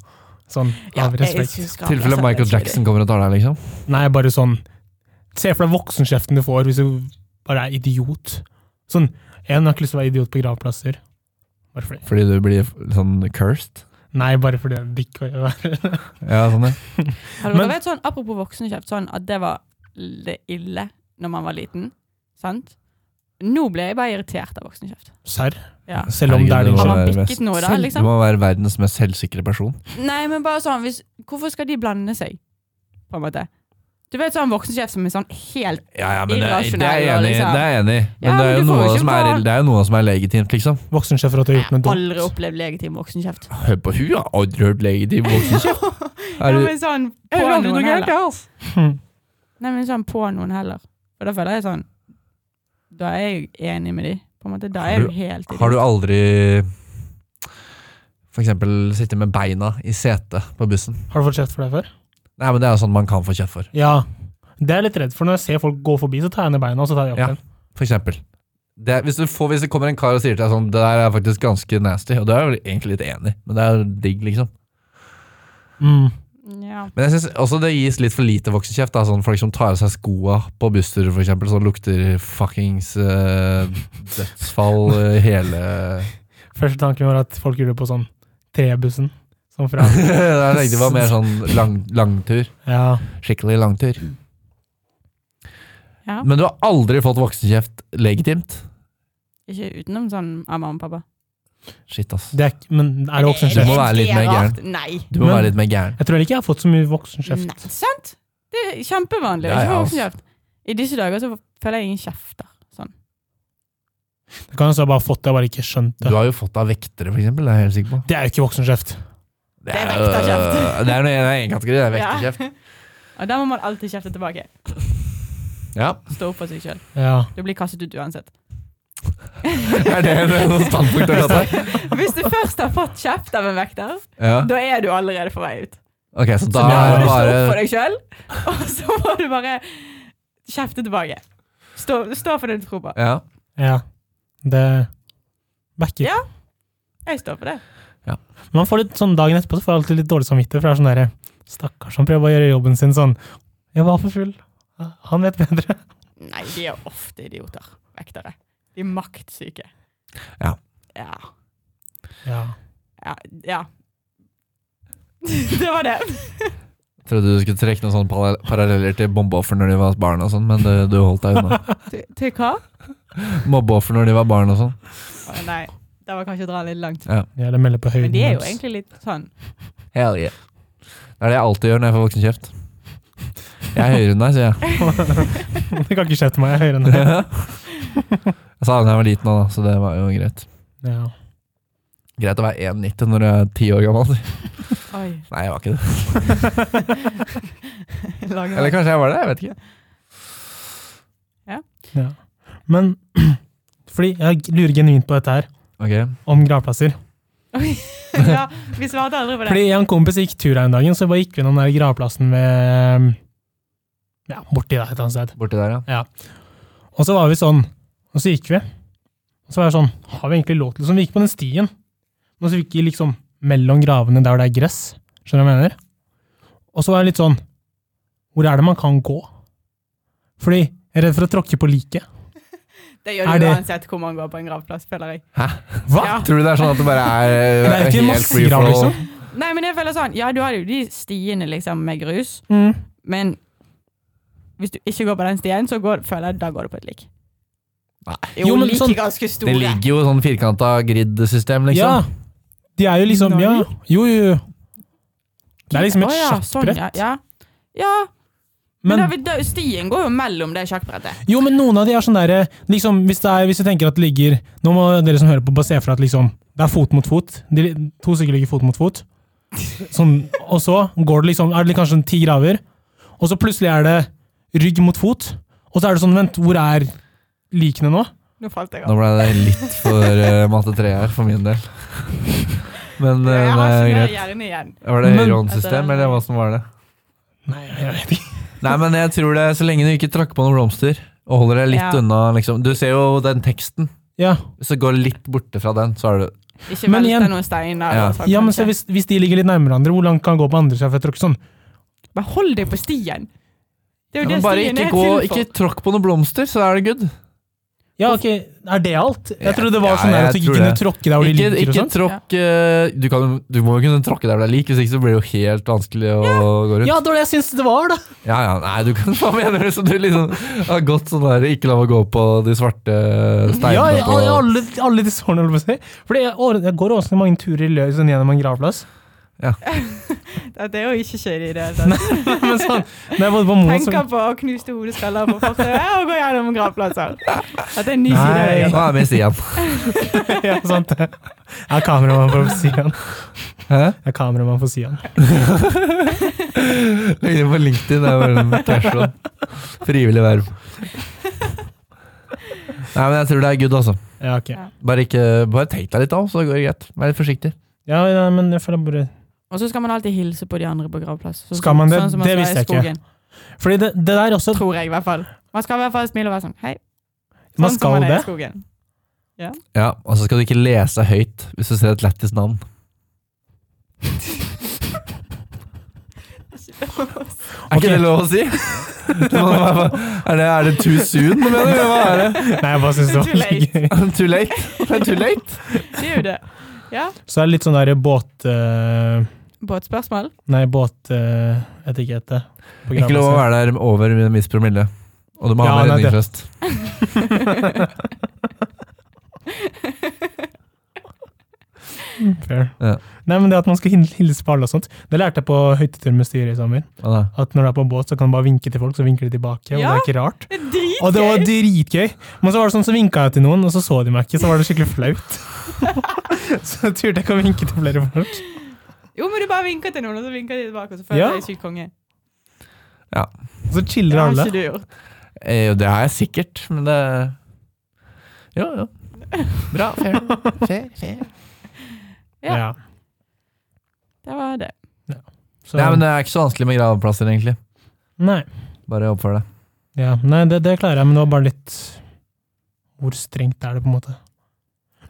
Speaker 4: Sånn, av respekt.
Speaker 2: I tilfelle Michael Jackson kommer og tar deg, liksom.
Speaker 4: Nei, bare sånn, se for deg voksenkjeften du får hvis du bare er idiot. Sånn, en har ikke lyst til å være idiot på gravplasser. Bare fordi.
Speaker 2: Fordi du blir f- sånn cursed.
Speaker 4: Nei, bare fordi det er dick å gjøre.
Speaker 2: Ja, sånn ja.
Speaker 3: Har dere
Speaker 4: Men-
Speaker 3: vet sånn, apropos voksenkjeft, sånn at det var det ille når man var liten. Sant? Nå ble jeg bare irritert av voksenkjeft.
Speaker 4: Serr?
Speaker 3: Ja.
Speaker 4: Selv om det er
Speaker 2: Herregud,
Speaker 4: din
Speaker 2: må
Speaker 3: Har man
Speaker 2: være
Speaker 3: bikket
Speaker 2: mest-
Speaker 3: noe da,
Speaker 4: Selv-
Speaker 2: Du
Speaker 3: liksom?
Speaker 2: må være verdens mest selvsikre person.
Speaker 3: Nei, men bare sånn, hvis, hvorfor skal de blande seg? På en måte. Du vet sånn voksenkjeft som er sånn helt
Speaker 2: Ja, ja, men det, er- det er jeg
Speaker 3: Irrasjonell,
Speaker 2: enig i.
Speaker 3: liksom.
Speaker 2: Det er jeg enig. i. Men
Speaker 3: Ja,
Speaker 2: det, er
Speaker 3: men
Speaker 2: jo
Speaker 3: du får jo
Speaker 2: noe
Speaker 3: ikke
Speaker 2: som er,
Speaker 3: bare-
Speaker 2: det er jo noe som er legitimt, liksom.
Speaker 4: Voksenkjeft for at du har gjort noe
Speaker 3: Aldri
Speaker 4: dumt.
Speaker 3: opplevd legitim voksenkjeft.
Speaker 2: Hør på hun, ja. Aldri hørt legitim voksenkjeft. Er
Speaker 3: Ja,
Speaker 2: du-
Speaker 3: men sånn på noen heller. Nei, men sånn på noen heller. Og da føler jeg sånn Da er jeg jo enig med de. På en måte. Da er jeg jo helt
Speaker 2: Har du aldri for eksempel sitte med beina i setet på bussen?
Speaker 4: Har du fått kjeft for det før?
Speaker 2: Nei, men det er jo sånn man kan få kjeft for.
Speaker 4: Ja. Det er jeg litt redd for. Når jeg ser folk gå forbi, så tar jeg ned beina og så tar jeg de opp
Speaker 2: Ja.
Speaker 4: igjen.
Speaker 2: For eksempel. Det, hvis, du får, hvis det kommer en kar og sier til deg sånn Det der er faktisk ganske nasty, og det er jeg vel egentlig litt enig i, men det er jo digg, liksom.
Speaker 4: Mm.
Speaker 3: Ja.
Speaker 2: Men jeg synes også det gis litt for lite voksenkjeft. da, Sånn folk som tar av seg skoa på bussturer, for eksempel, som lukter fuckings eh, dødsfall eh, hele
Speaker 4: Første tanken var at folk gjorde det på sånn trebussen. Sånn fra
Speaker 2: Jeg tenkte det var mer sånn lang, langtur.
Speaker 4: Ja.
Speaker 2: Skikkelig langtur.
Speaker 3: Ja.
Speaker 2: Men du har aldri fått voksenkjeft legitimt?
Speaker 3: Ikke utenom sånn av mamma og pappa.
Speaker 2: Shit, ass.
Speaker 4: Det er, ikke- men er det
Speaker 2: Du
Speaker 4: voksenkjeft?
Speaker 2: må være litt mer
Speaker 3: rart. Nei.
Speaker 2: Du må
Speaker 4: Men-
Speaker 2: være litt mer gæren.
Speaker 4: Jeg tror ikke jeg har fått så mye voksenkjeft.
Speaker 3: Nei, sant? Det er kjempevanlig. å
Speaker 2: Ja,
Speaker 3: Ikke få
Speaker 2: ja,
Speaker 3: voksenkjeft. I disse dager så føler jeg ingen kjefter. Sånn.
Speaker 4: Det kan også ha bare fått det, jeg bare ikke skjønt
Speaker 2: Du
Speaker 4: det.
Speaker 2: har jo fått det av vektere, for eksempel. Det er jeg helt sikker på.
Speaker 4: Det er jo ikke voksenkjeft.
Speaker 2: Det
Speaker 3: er
Speaker 2: jo-
Speaker 3: vekterkjeft.
Speaker 2: Det er noe- det er en kategori, det er vekterkjeft.
Speaker 3: Og da må man alltid kjefte tilbake.
Speaker 2: Ja.
Speaker 3: Stå opp for seg sjøl.
Speaker 4: Ja.
Speaker 3: Du blir kastet ut uansett.
Speaker 2: Er det noe standpunkt du har tatt?
Speaker 3: Hvis du først har fått kjeft av en vekter,
Speaker 2: Ja.
Speaker 3: da er du allerede på vei ut.
Speaker 2: Ok, så da
Speaker 4: Så det
Speaker 2: er
Speaker 4: er
Speaker 2: det
Speaker 3: Du står opp for
Speaker 2: bare
Speaker 3: deg sjøl, og så må du bare kjefte tilbake. Stå, stå for det du tror på.
Speaker 2: ja.
Speaker 4: ja. Det backer.
Speaker 3: Ja. Jeg står for det.
Speaker 4: Man får litt sånn Dagen etterpå så får jeg alltid litt dårlig samvittighet, for det er sånn derre Stakkars, han prøver å gjøre jobben sin sånn Jeg var for full. Han vet bedre.
Speaker 3: Nei, de er ofte idioter, vektere. De er maktsyke.
Speaker 2: Ja.
Speaker 3: Ja.
Speaker 4: Ja.
Speaker 3: Ja. ja. Det var det.
Speaker 2: Trodde du skulle trekke noen sånne parallell- paralleller til bombeoffer når de var barn og sånn, men du, du holdt deg unna.
Speaker 3: Til, til hva?
Speaker 2: Mobbeoffer når de var barn og sånn.
Speaker 3: Å, nei, det var kanskje å dra litt langt.
Speaker 4: Ja, Eller melde på
Speaker 3: Men
Speaker 4: høyden.
Speaker 3: de er jo
Speaker 4: deres.
Speaker 3: egentlig litt sånn
Speaker 2: Hell yeah. Det er det jeg alltid gjør når jeg får voksenkjeft. Jeg er høyere enn deg, sier jeg.
Speaker 4: Du kan ikke kjefte meg, jeg er høyere enn deg.
Speaker 2: Jeg sa det da jeg var liten, da, så det var jo greit.
Speaker 4: Ja.
Speaker 2: Greit å være 1,90 når du er 10 år gammel. sier.
Speaker 3: Oi.
Speaker 2: Nei, jeg var ikke det.
Speaker 3: Lange
Speaker 2: Eller kanskje jeg var det, jeg vet ikke.
Speaker 4: Men fordi jeg lurer genuint på dette her.
Speaker 2: Ok,
Speaker 4: om gravplasser.
Speaker 3: ja, vi svarte aldri på det.
Speaker 4: Fordi en kompis gikk tur her en dag, så bare gikk vi gjennom den der gravplassen ved mm, Ja, borti der et eller annet sted.
Speaker 2: borti der, ja.
Speaker 4: Og så var vi sånn, og så gikk vi. Og så var jeg sånn, har vi egentlig lov til det? Så vi gikk på den stien, men så gikk vi liksom mellom gravene der hvor det er gress. Skjønner du hva jeg mener? Og så var jeg litt sånn, hvor er det man kan gå? Fordi jeg er redd for å tråkke på like.
Speaker 3: Det
Speaker 4: Er
Speaker 3: gjør du
Speaker 4: det-
Speaker 3: uansett hvor man går på en gravplass, føler jeg.
Speaker 4: Hva?
Speaker 3: Ja.
Speaker 2: Tror du det er sånn at det bare er,
Speaker 4: Det er jo ikke en
Speaker 2: helt free
Speaker 4: massegrav,
Speaker 2: for all?
Speaker 4: liksom.
Speaker 3: Nei, men jeg føler sånn, ja, du har jo de stiene liksom med grus,
Speaker 4: Mm.
Speaker 3: men hvis du ikke går på den stien, så går, føler jeg da går du på et lik.
Speaker 2: Nei.
Speaker 3: Jo,
Speaker 4: Jo, men
Speaker 3: men like
Speaker 4: sånn-
Speaker 3: ganske
Speaker 2: Det
Speaker 3: store.
Speaker 2: ligger jo sånn firkanta grid-system,
Speaker 4: Ja,
Speaker 2: liksom.
Speaker 4: de er jo liksom, ja. Jo, jo, jo. Det er liksom et
Speaker 3: Å ja, sånn,
Speaker 4: sjakkbrett.
Speaker 3: ja, ja. ja, men,
Speaker 4: Men,
Speaker 3: da vil- da, stien går jo mellom det sjakkbrettet.
Speaker 4: jo, men noen av de er sånn der, liksom, hvis, det er, hvis du tenker at det ligger, nå må dere som hører på bare se for deg at liksom, det er fot mot fot, de, to stykker ligger fot mot fot, sånn, og så går det liksom, er det kanskje ti graver, og så plutselig er det rygg mot fot, og så er det sånn, vent, hvor er likene nå?
Speaker 3: Nå falt jeg
Speaker 2: Nå ble det litt for eh, matte 3 her, for min del. Men eh,
Speaker 3: Jeg
Speaker 2: det er
Speaker 3: har ikke mer
Speaker 2: greit.
Speaker 3: hjerne igjen.
Speaker 2: Var det
Speaker 4: Men-
Speaker 2: høyreåndssystem, eller hva som var det?
Speaker 4: Nei, jeg vet ikke.
Speaker 2: Nei, men jeg tror det, så lenge du ikke tråkker på noen blomster, og holder deg litt
Speaker 3: Ja.
Speaker 2: unna, liksom. Du ser jo den teksten.
Speaker 4: Ja,
Speaker 2: Hvis du går litt borte fra den, så er du
Speaker 3: Ikke
Speaker 4: Men
Speaker 3: velte
Speaker 4: igjen-
Speaker 3: noen steiner.
Speaker 2: Ja.
Speaker 3: og sånn,
Speaker 4: ja men
Speaker 3: kanskje.
Speaker 4: se, hvis, hvis de ligger litt nærmere hverandre, hvor langt kan det gå på andre siden for jeg tråkker sånn?
Speaker 3: Bare hold deg på stien! Det er
Speaker 2: Ja,
Speaker 3: jo det
Speaker 2: men Bare
Speaker 3: stien
Speaker 2: ikke,
Speaker 3: er
Speaker 2: gå,
Speaker 3: til for.
Speaker 2: ikke tråkk på noen blomster, så er det good.
Speaker 4: Ja, ok, er det alt? Jeg trodde det var
Speaker 2: Ja,
Speaker 4: sånn der
Speaker 2: jeg
Speaker 4: at du
Speaker 2: tror
Speaker 4: ikke kunne
Speaker 2: det.
Speaker 4: tråkke der hvor de
Speaker 2: Ikke,
Speaker 4: ligger og
Speaker 2: ikke
Speaker 4: sånn.
Speaker 2: tråkk eh, du, kan, du må jo kunne tråkke der hvor det er lik, hvis ikke så blir det jo helt vanskelig å gå rundt.
Speaker 4: Ja, det var det jeg synes det var da.
Speaker 2: Ja, ja, nei, du kan Hva mener du? Så du liksom har gått sånn der Ikke la meg gå på de svarte steinene
Speaker 4: Ja, ja,
Speaker 2: på
Speaker 4: ja, alle, alle disse årene, holdt jeg på å si. Fordi jeg, år- jeg går også mange turer i løs sånn gjennom en gravplass.
Speaker 3: Ja, Det er jo ikke kjedelig i det hele tatt.
Speaker 4: Men sånn, når jeg bodde på Moen, så
Speaker 3: Tenker på å knuste hodeskaller på fortauet og gå gjennom gravplasser. At det er en ny side av
Speaker 4: Nei.
Speaker 3: øya.
Speaker 2: Nå er vi i Stian.
Speaker 4: ja, sant det. Jeg er kameramann på Sian.
Speaker 2: Hæ?
Speaker 4: Jeg er kameramann på Sian.
Speaker 2: Legg det på LinkedIn. Det er bare en casual. Frivillig verv. Nei, men jeg tror det er good, altså.
Speaker 4: Ja, ok.
Speaker 3: Ja.
Speaker 2: Bare, ikke, bare tenk deg litt om, så går det greit. Vær litt forsiktig.
Speaker 4: Ja, ja, men jeg føler bare...
Speaker 3: Og så skal man alltid hilse på de andre på gravplass. Sånn,
Speaker 4: Skal man det?
Speaker 3: Sånn som man
Speaker 4: Det
Speaker 3: skal
Speaker 4: visste
Speaker 3: i
Speaker 4: jeg ikke.
Speaker 3: skogen,
Speaker 4: Fordi det, det der også,
Speaker 3: Tror jeg, i hvert fall. Man skal i hvert fall smile og være sånn hei. Sånn
Speaker 4: man
Speaker 3: som
Speaker 4: skal
Speaker 3: man er
Speaker 4: det.
Speaker 3: i skogen.
Speaker 2: Ja, Og så skal du ikke lese høyt hvis du ser et lættis navn. Er
Speaker 4: Ok.
Speaker 2: ikke det lov å si? er, det, er det too soon, mener du? Hva er det?
Speaker 4: Nei, jeg bare synes det
Speaker 3: Too
Speaker 4: var litt gøy.
Speaker 2: Too late? Det er too late?
Speaker 3: Det er jo det. Ja.
Speaker 4: Så det er litt sånn der båt... eh,
Speaker 3: Båtspørsmål?
Speaker 4: Nei, eh, båtetikette.
Speaker 2: Ikke lov å være der over en viss promille. Og du må ha
Speaker 4: Ja,
Speaker 2: med
Speaker 4: nei, det-
Speaker 2: redningsvest.
Speaker 4: Fair.
Speaker 2: Ja.
Speaker 4: Nei, men det at man skal hil- hilse på alle og sånt, det lærte jeg på høytetur med styret i sommer.
Speaker 2: Hva da?
Speaker 4: At når du er på en båt, så kan du bare vinke til folk, så vinker de tilbake. Og
Speaker 3: Ja.
Speaker 4: det er ikke rart.
Speaker 3: Det er
Speaker 4: Og det var
Speaker 3: dritgøy!
Speaker 4: dritgøy. Men så var det sånn, så vinka jeg til noen, og så så de meg ikke. Så var det skikkelig flaut. så jeg turte ikke å vinke til flere folk.
Speaker 3: Jo, men du bare vinker til noen, og så vinker de tilbake, og så føler
Speaker 4: Ja.
Speaker 3: jeg deg syk konge.
Speaker 4: Og så
Speaker 3: Det
Speaker 4: chiller
Speaker 3: har
Speaker 4: alle.
Speaker 3: ikke du gjort.
Speaker 2: Eh, jo, det har jeg sikkert, men det Jo, jo. Bra. Fair. fair, fair.
Speaker 3: Ja.
Speaker 4: Ja.
Speaker 3: Det var det.
Speaker 4: Så,
Speaker 2: Nei, men det er ikke så vanskelig med gravplasser, egentlig.
Speaker 4: nei.
Speaker 2: Bare oppfør deg.
Speaker 4: Ja, nei det, det klarer jeg, men det var bare litt Hvor strengt er det, på en måte?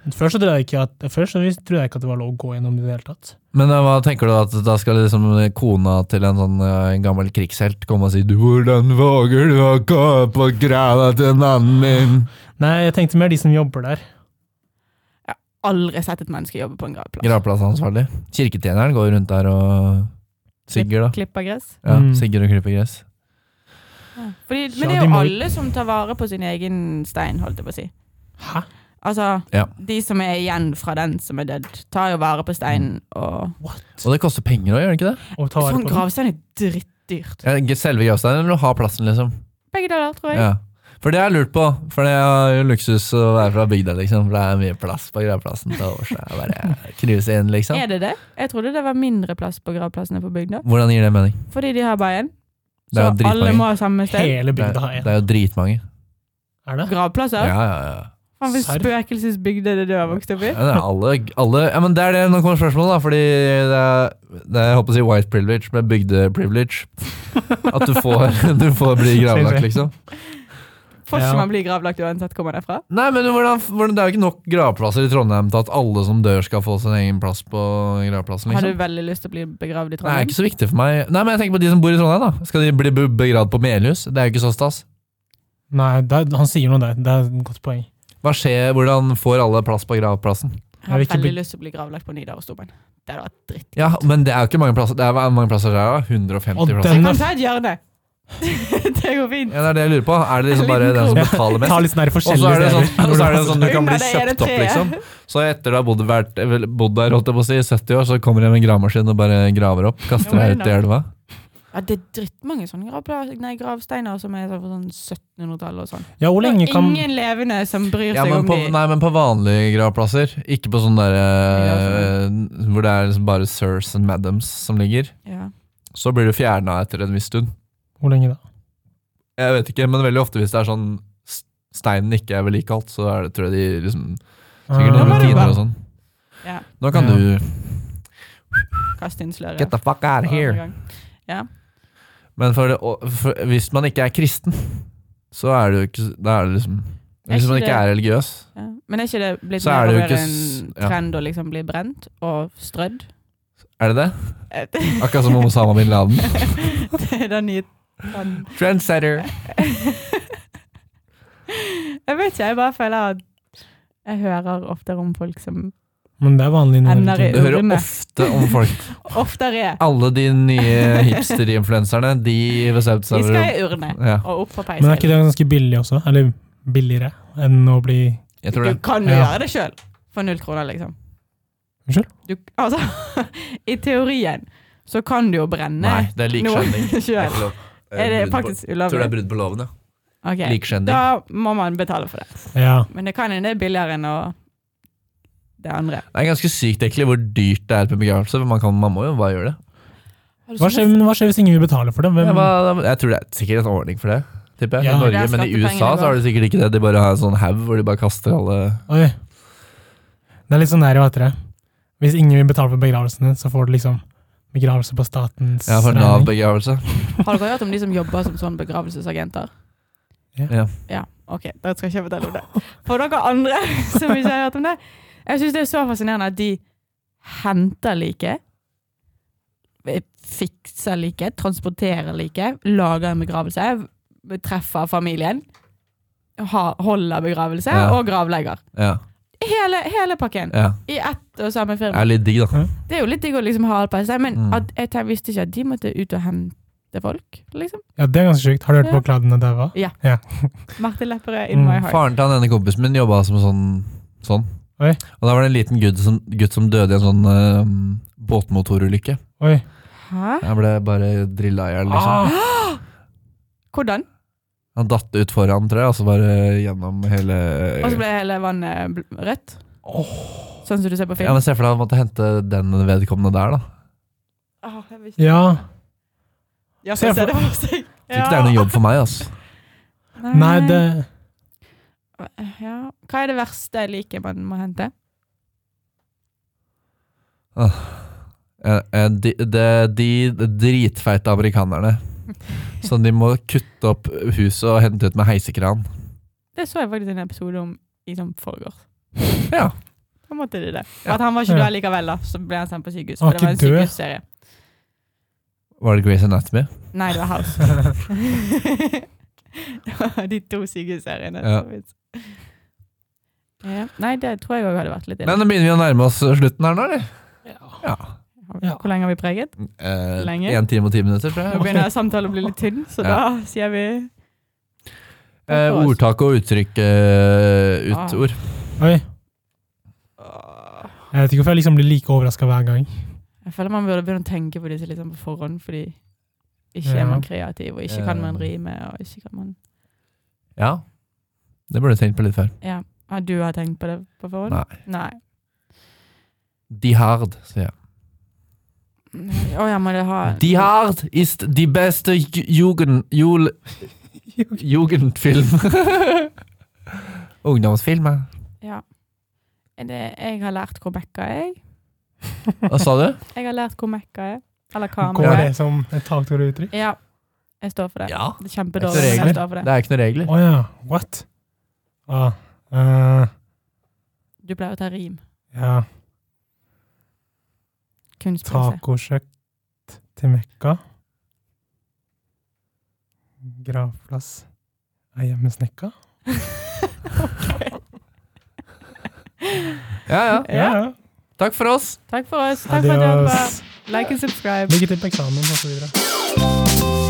Speaker 4: Men Før så trodde jeg ikke at, før så vis- trodde jeg ikke at det var lov å gå gjennom det i det hele tatt.
Speaker 2: Men eh, hva tenker du at da skal liksom kona til en sånn eh, en gammel krigshelt komme og si du, 'Hvordan våger du å gå på grava til mannen min?'
Speaker 4: Nei, jeg tenkte mer de som jobber der.
Speaker 3: Aldri sett et menneske jobbe på en gravplass.
Speaker 2: Gravplassansvarlig. Kirketjeneren går rundt der og sigger, da.
Speaker 3: Klipper gress.
Speaker 2: Ja,
Speaker 4: Mm.
Speaker 2: sigger og klipper gress.
Speaker 3: Fordi,
Speaker 4: Ja,
Speaker 3: men det er
Speaker 4: de
Speaker 3: jo
Speaker 4: må-
Speaker 3: alle som tar vare på sin egen stein, holdt jeg på å si.
Speaker 4: Hæ?
Speaker 3: Altså,
Speaker 2: Ja.
Speaker 3: de som er igjen fra den som er dødd, tar jo vare på steinen
Speaker 2: Mm.
Speaker 3: og
Speaker 2: Og det koster penger òg, gjør det ikke det?
Speaker 4: Å ta vare
Speaker 3: Sånn
Speaker 4: på dem.
Speaker 3: gravstein er drittdyrt.
Speaker 2: Ja, Selve gravsteinen eller å ha plassen, liksom?
Speaker 3: Begge deler, tror jeg.
Speaker 2: Ja. For det har jeg lurt på, for det er jo luksus å være fra bygda, liksom. For det er mye plass på gravplassen til overs. Det er Bare knuse inn, liksom.
Speaker 3: Er det det? Jeg trodde det var mindre plass på gravplassene på bygda.
Speaker 2: Hvordan gir det mening?
Speaker 3: Fordi de har bare én.
Speaker 2: Det er
Speaker 3: Så
Speaker 2: jo
Speaker 3: alle
Speaker 2: dritmange.
Speaker 3: må ha samme sted.
Speaker 4: Hele
Speaker 2: Det
Speaker 4: bygda
Speaker 2: er,
Speaker 4: har en.
Speaker 2: det er jo dritmange.
Speaker 4: Er det?
Speaker 2: Ja,
Speaker 3: Gravplasser?
Speaker 2: ja, ja.
Speaker 3: Faen, hvis
Speaker 4: Serr?
Speaker 3: spøkelsesbygd er det du har vokst opp i?
Speaker 2: Ja, det er alle, alle ja, men det er det nå kommer spørsmålet, da. Fordi det er, det er jeg håper å si white privilege med bygde-privilege. At du får, du får bli gravlagt, liksom.
Speaker 3: Får
Speaker 4: Ja.
Speaker 3: ikke man bli gravlagt uansett hvor man er fra?
Speaker 2: Nei, men hvordan, hvordan, Det er jo ikke nok gravplasser i Trondheim til at alle som dør, skal få sin egen plass på gravplassen.
Speaker 3: Har du
Speaker 2: liksom.
Speaker 3: veldig lyst til å bli begravd i
Speaker 2: Det er
Speaker 3: Trondheim?
Speaker 2: ikke så viktig for meg. Nei, men jeg tenker på de som bor i Trondheim. da Skal de bli be- begravd på Melhus? Det er jo ikke så stas.
Speaker 4: Nei, det er, han sier noe der. Det er et godt poeng.
Speaker 2: Hva skjer, Hvordan får alle plass på gravplassen?
Speaker 3: Jeg har
Speaker 4: Jeg vil ikke
Speaker 3: veldig
Speaker 4: bli-
Speaker 3: lyst til å bli gravlagt på Nidarosdomen. Det hadde vært dritt.
Speaker 2: Ja, Men det er jo ikke mange plasser. Det er hvor mange plasser der, da. 150
Speaker 4: Og
Speaker 2: plasser.
Speaker 4: den-
Speaker 3: Jeg kan
Speaker 4: Men-
Speaker 3: ta et hjørne! det går fint.
Speaker 2: Ja, det er det jeg lurer på. Er det liksom
Speaker 3: En
Speaker 2: bare
Speaker 3: liten
Speaker 2: den som betaler
Speaker 4: krok.
Speaker 2: mest?
Speaker 4: Ta litt sånn der
Speaker 2: Og så
Speaker 4: forskjellige
Speaker 2: er det sånn,
Speaker 4: steder.
Speaker 2: så er det sånn du kan bli
Speaker 3: Under det ene
Speaker 2: kjøpt opp,
Speaker 3: treet.
Speaker 2: liksom. Så etter du har bodd, vært, vel, bodd der holdt jeg på å si, i 70 år, så kommer det med en gravemaskin og bare graver opp. Kaster
Speaker 3: Ja,
Speaker 2: deg
Speaker 3: men
Speaker 2: ut i elva.
Speaker 3: Ja, det er drittmange sånne gravpla- nei, gravsteiner som er sånn fra sånn 1700-tallet og sånn.
Speaker 4: Ja, hvor lenge
Speaker 3: Det er
Speaker 4: kan
Speaker 3: Ingen levende som bryr
Speaker 2: Ja,
Speaker 3: seg
Speaker 2: men
Speaker 3: om
Speaker 2: på,
Speaker 3: de.
Speaker 2: nei, men på vanlige gravplasser. Ikke på sånne der, eh, hvor det er liksom bare sirs and madams som ligger.
Speaker 3: Ja.
Speaker 2: Så blir du fjerna etter en viss stund.
Speaker 4: Hvor lenge da?
Speaker 2: Jeg vet ikke, men veldig ofte hvis det er sånn s- steinen ikke er vedlikeholdt, så er det, tror jeg de liksom Sikkert
Speaker 4: Ah.
Speaker 2: noen
Speaker 3: var det
Speaker 2: rutiner
Speaker 3: bra.
Speaker 2: og sånn.
Speaker 3: Ja.
Speaker 2: Nå kan
Speaker 4: Ja.
Speaker 2: du
Speaker 3: Kast inn sløret.
Speaker 2: Get the fuck out of here. Men for det, og- for, hvis man ikke er kristen, så er det jo ikke Da er det liksom
Speaker 3: Er
Speaker 2: Hvis
Speaker 3: ikke
Speaker 2: man ikke
Speaker 3: det-
Speaker 2: er religiøs,
Speaker 3: Ja. Men er ikke det blitt
Speaker 2: Så er
Speaker 3: mer
Speaker 2: det
Speaker 3: og
Speaker 2: jo
Speaker 3: mer
Speaker 2: ikke
Speaker 3: en
Speaker 2: s- ja.
Speaker 3: trend å liksom bli brent og strødd?
Speaker 2: er det det?
Speaker 3: Eh,
Speaker 2: Akkurat som Osama bin Laden.
Speaker 3: det er den nye trenden.
Speaker 2: Trendsetter.
Speaker 3: Jeg vet ikke, jeg bare føler at jeg hører oftere om folk som
Speaker 4: Men det er vanlig i
Speaker 3: Ender i-
Speaker 4: Norge.
Speaker 2: Du hører
Speaker 3: Ordene.
Speaker 2: ofte om folk.
Speaker 3: oftere er
Speaker 2: Alle de nye hipster-influenserne, de bestemte
Speaker 3: De
Speaker 2: seg
Speaker 3: skal
Speaker 2: for
Speaker 3: i urne
Speaker 2: ja,
Speaker 3: og opp på
Speaker 4: Men er ikke
Speaker 3: peisen.
Speaker 4: det ganske billig også? Eller billigere enn å bli
Speaker 2: Jeg tror
Speaker 3: Du
Speaker 2: det.
Speaker 3: kan jo
Speaker 4: Ja.
Speaker 3: gjøre det sjøl, for null kroner, liksom.
Speaker 4: Unnskyld?
Speaker 3: Du, altså, I teorien så kan du jo brenne
Speaker 2: Nei, det er likskjending.
Speaker 3: noe
Speaker 2: Det er
Speaker 3: sjøl.
Speaker 2: ikke lov. Det
Speaker 3: Er det
Speaker 2: brudd på-
Speaker 3: faktisk
Speaker 2: Jeg tror det
Speaker 3: ulovlig?
Speaker 2: er brudd på loven, ja.
Speaker 3: Ok,
Speaker 2: Likskjending.
Speaker 3: Da må man betale for det.
Speaker 4: Ja.
Speaker 3: Men det kan hende det er billigere enn å det andre.
Speaker 2: Det er ganske sykt egentlig hvor dyrt det er på begravelse. men Man, kan, man må jo bare gjøre det.
Speaker 4: Hva skjer, men hva skjer hvis ingen vil betale for det?
Speaker 2: Ja,
Speaker 4: Hvem,
Speaker 2: hva- Jeg tror det er sikkert en ordning for det. Tipper jeg.
Speaker 4: Ja.
Speaker 2: I
Speaker 3: Det
Speaker 2: Norge,
Speaker 3: er
Speaker 2: men i
Speaker 3: skattepengene
Speaker 2: USA så har de sikkert ikke det. De bare har en sånn haug hvor de bare kaster alle
Speaker 4: Oi. Det er litt sånn der, hva heter det. Hvis ingen vil betale for begravelsene, så får du liksom begravelse på statens
Speaker 2: Ja, for Nav-begravelse.
Speaker 3: Har dere hørt om de som jobber som sånn begravelsesagenter?
Speaker 2: Ja.
Speaker 3: Ja, ok, da skal ikke jeg fortelle om det. For dere andre som ikke har hørt om det, jeg synes det er så fascinerende at de henter like, eh, fikser like, transporterer like, lager en begravelse, treffer familien, ha- holder begravelse
Speaker 2: Ja.
Speaker 3: og gravlegger.
Speaker 2: ja,
Speaker 3: Hele, hele pakken,
Speaker 2: ja.
Speaker 3: i ett og samme
Speaker 2: Det
Speaker 3: firma.
Speaker 2: er litt digg, da.
Speaker 3: Det er jo litt digg å liksom ha alt på seg, men
Speaker 2: Mm.
Speaker 3: at, jeg tenk- visste ikke at de måtte ut og hente folk, liksom.
Speaker 4: Ja, det er ganske sjukt. Har du hørt
Speaker 3: Ja.
Speaker 4: på Kladen og Daua?
Speaker 3: Marte Lepperød in my
Speaker 4: Mm,
Speaker 3: heart.
Speaker 2: Faren til han ene kompisen min jobba som sånn. sånn.
Speaker 4: Oi.
Speaker 2: Og da var det en liten gutt som, gutt som døde i en sånn eh, båtmotorulykke.
Speaker 4: Oi.
Speaker 3: Hæ?
Speaker 2: Jeg ble bare drilla i hjel, liksom.
Speaker 4: Ah,
Speaker 3: Hvordan?
Speaker 2: Han datt ut foran, tror jeg, og så bare gjennom hele
Speaker 3: Og så ble hele vannet bl- rødt? Sånn som du ser på
Speaker 2: Ja,
Speaker 3: film?
Speaker 2: men Se for deg at han måtte hente den vedkommende der, da.
Speaker 3: Åh, Ah, jeg vil ikke-
Speaker 4: ja.
Speaker 3: Ja, for
Speaker 4: Se
Speaker 3: å se
Speaker 4: for-
Speaker 3: det for seg.
Speaker 2: Tror ikke det er noen jobb for meg, altså.
Speaker 4: Nei, det
Speaker 3: ja. Hva er det verste liket man må hente?
Speaker 2: Eh, eh, De, de, de dritfeite amerikanerne. Som de må kutte opp huset og hente ut med heisekran.
Speaker 3: Det så jeg faktisk en episode om i sånn forgårs.
Speaker 2: Ja.
Speaker 3: Da måtte de det. For
Speaker 2: Ja.
Speaker 3: At han var ikke
Speaker 4: Ja.
Speaker 3: død likevel, da. Så ble han sendt på sykehus. For
Speaker 4: Han var
Speaker 3: det var en
Speaker 4: ikke død?
Speaker 3: sykehusserie.
Speaker 2: Var det Grey's Anatomy?
Speaker 3: Nei, det var House. Det var de to sykehusseriene.
Speaker 2: Ja.
Speaker 3: som fins. Ja. Nei, det tror jeg òg hadde vært litt
Speaker 2: Men nå begynner vi å nærme oss slutten her nå, eller? Ja.
Speaker 4: ja.
Speaker 3: Hvor lenge har vi preget?
Speaker 2: Eh,
Speaker 3: Lenge?
Speaker 2: En time og ti minutter, tror
Speaker 3: Nå
Speaker 2: jeg.
Speaker 3: begynner samtalen å bli litt tynn, så
Speaker 2: Ja.
Speaker 3: da sier vi
Speaker 2: Eh, ordtak og uttrykk eh,
Speaker 3: Ah.
Speaker 2: utord.
Speaker 4: Oi. Jeg vet ikke hvorfor jeg liksom blir like overraska hver gang.
Speaker 3: Jeg føler man burde begynne å tenke på disse litt sånn på forhånd, fordi ikke
Speaker 4: Ja.
Speaker 3: er man kreativ, og ikke kan man
Speaker 2: Eh.
Speaker 3: rime, og ikke kan man
Speaker 2: Ja. Det burde du tenkt på litt før.
Speaker 3: Ja. Ah, du har tenkt på det på forhånd?
Speaker 2: Nei.
Speaker 3: Nei.
Speaker 2: De hard, sier jeg.
Speaker 3: Å ja, må det ha
Speaker 2: De hard is de beste ju- jugend... Jul, jugendfilm. Ungdomsfilmer.
Speaker 3: Ja. Det, jeg har lært hvor mekka er. jeg.
Speaker 2: Hva sa du?
Speaker 3: Jeg har lært hvor mekka er. Eller
Speaker 4: Går
Speaker 3: kamera
Speaker 4: det
Speaker 3: er.
Speaker 4: som et taktoruttrykk?
Speaker 3: Ja. Jeg står for det.
Speaker 2: Ja.
Speaker 3: Det er
Speaker 2: Det
Speaker 3: kjempedårlig,
Speaker 2: er
Speaker 3: men
Speaker 2: regler.
Speaker 3: jeg står for
Speaker 2: Det
Speaker 3: det.
Speaker 2: er ikke noen regler.
Speaker 4: Å ja. What? Ah, eh,
Speaker 3: Du pleier å ta rim.
Speaker 4: ja.
Speaker 3: Kunstmessig.
Speaker 4: Tacokjøkt til Mekka. Gravplass er hjemmesnekka.
Speaker 2: Ja, ja.
Speaker 3: Ja.
Speaker 2: Takk for oss.
Speaker 3: Takk for oss. Takk for at du hørte på. Like and subscribe.
Speaker 4: Lykke til på eksamen og så videre.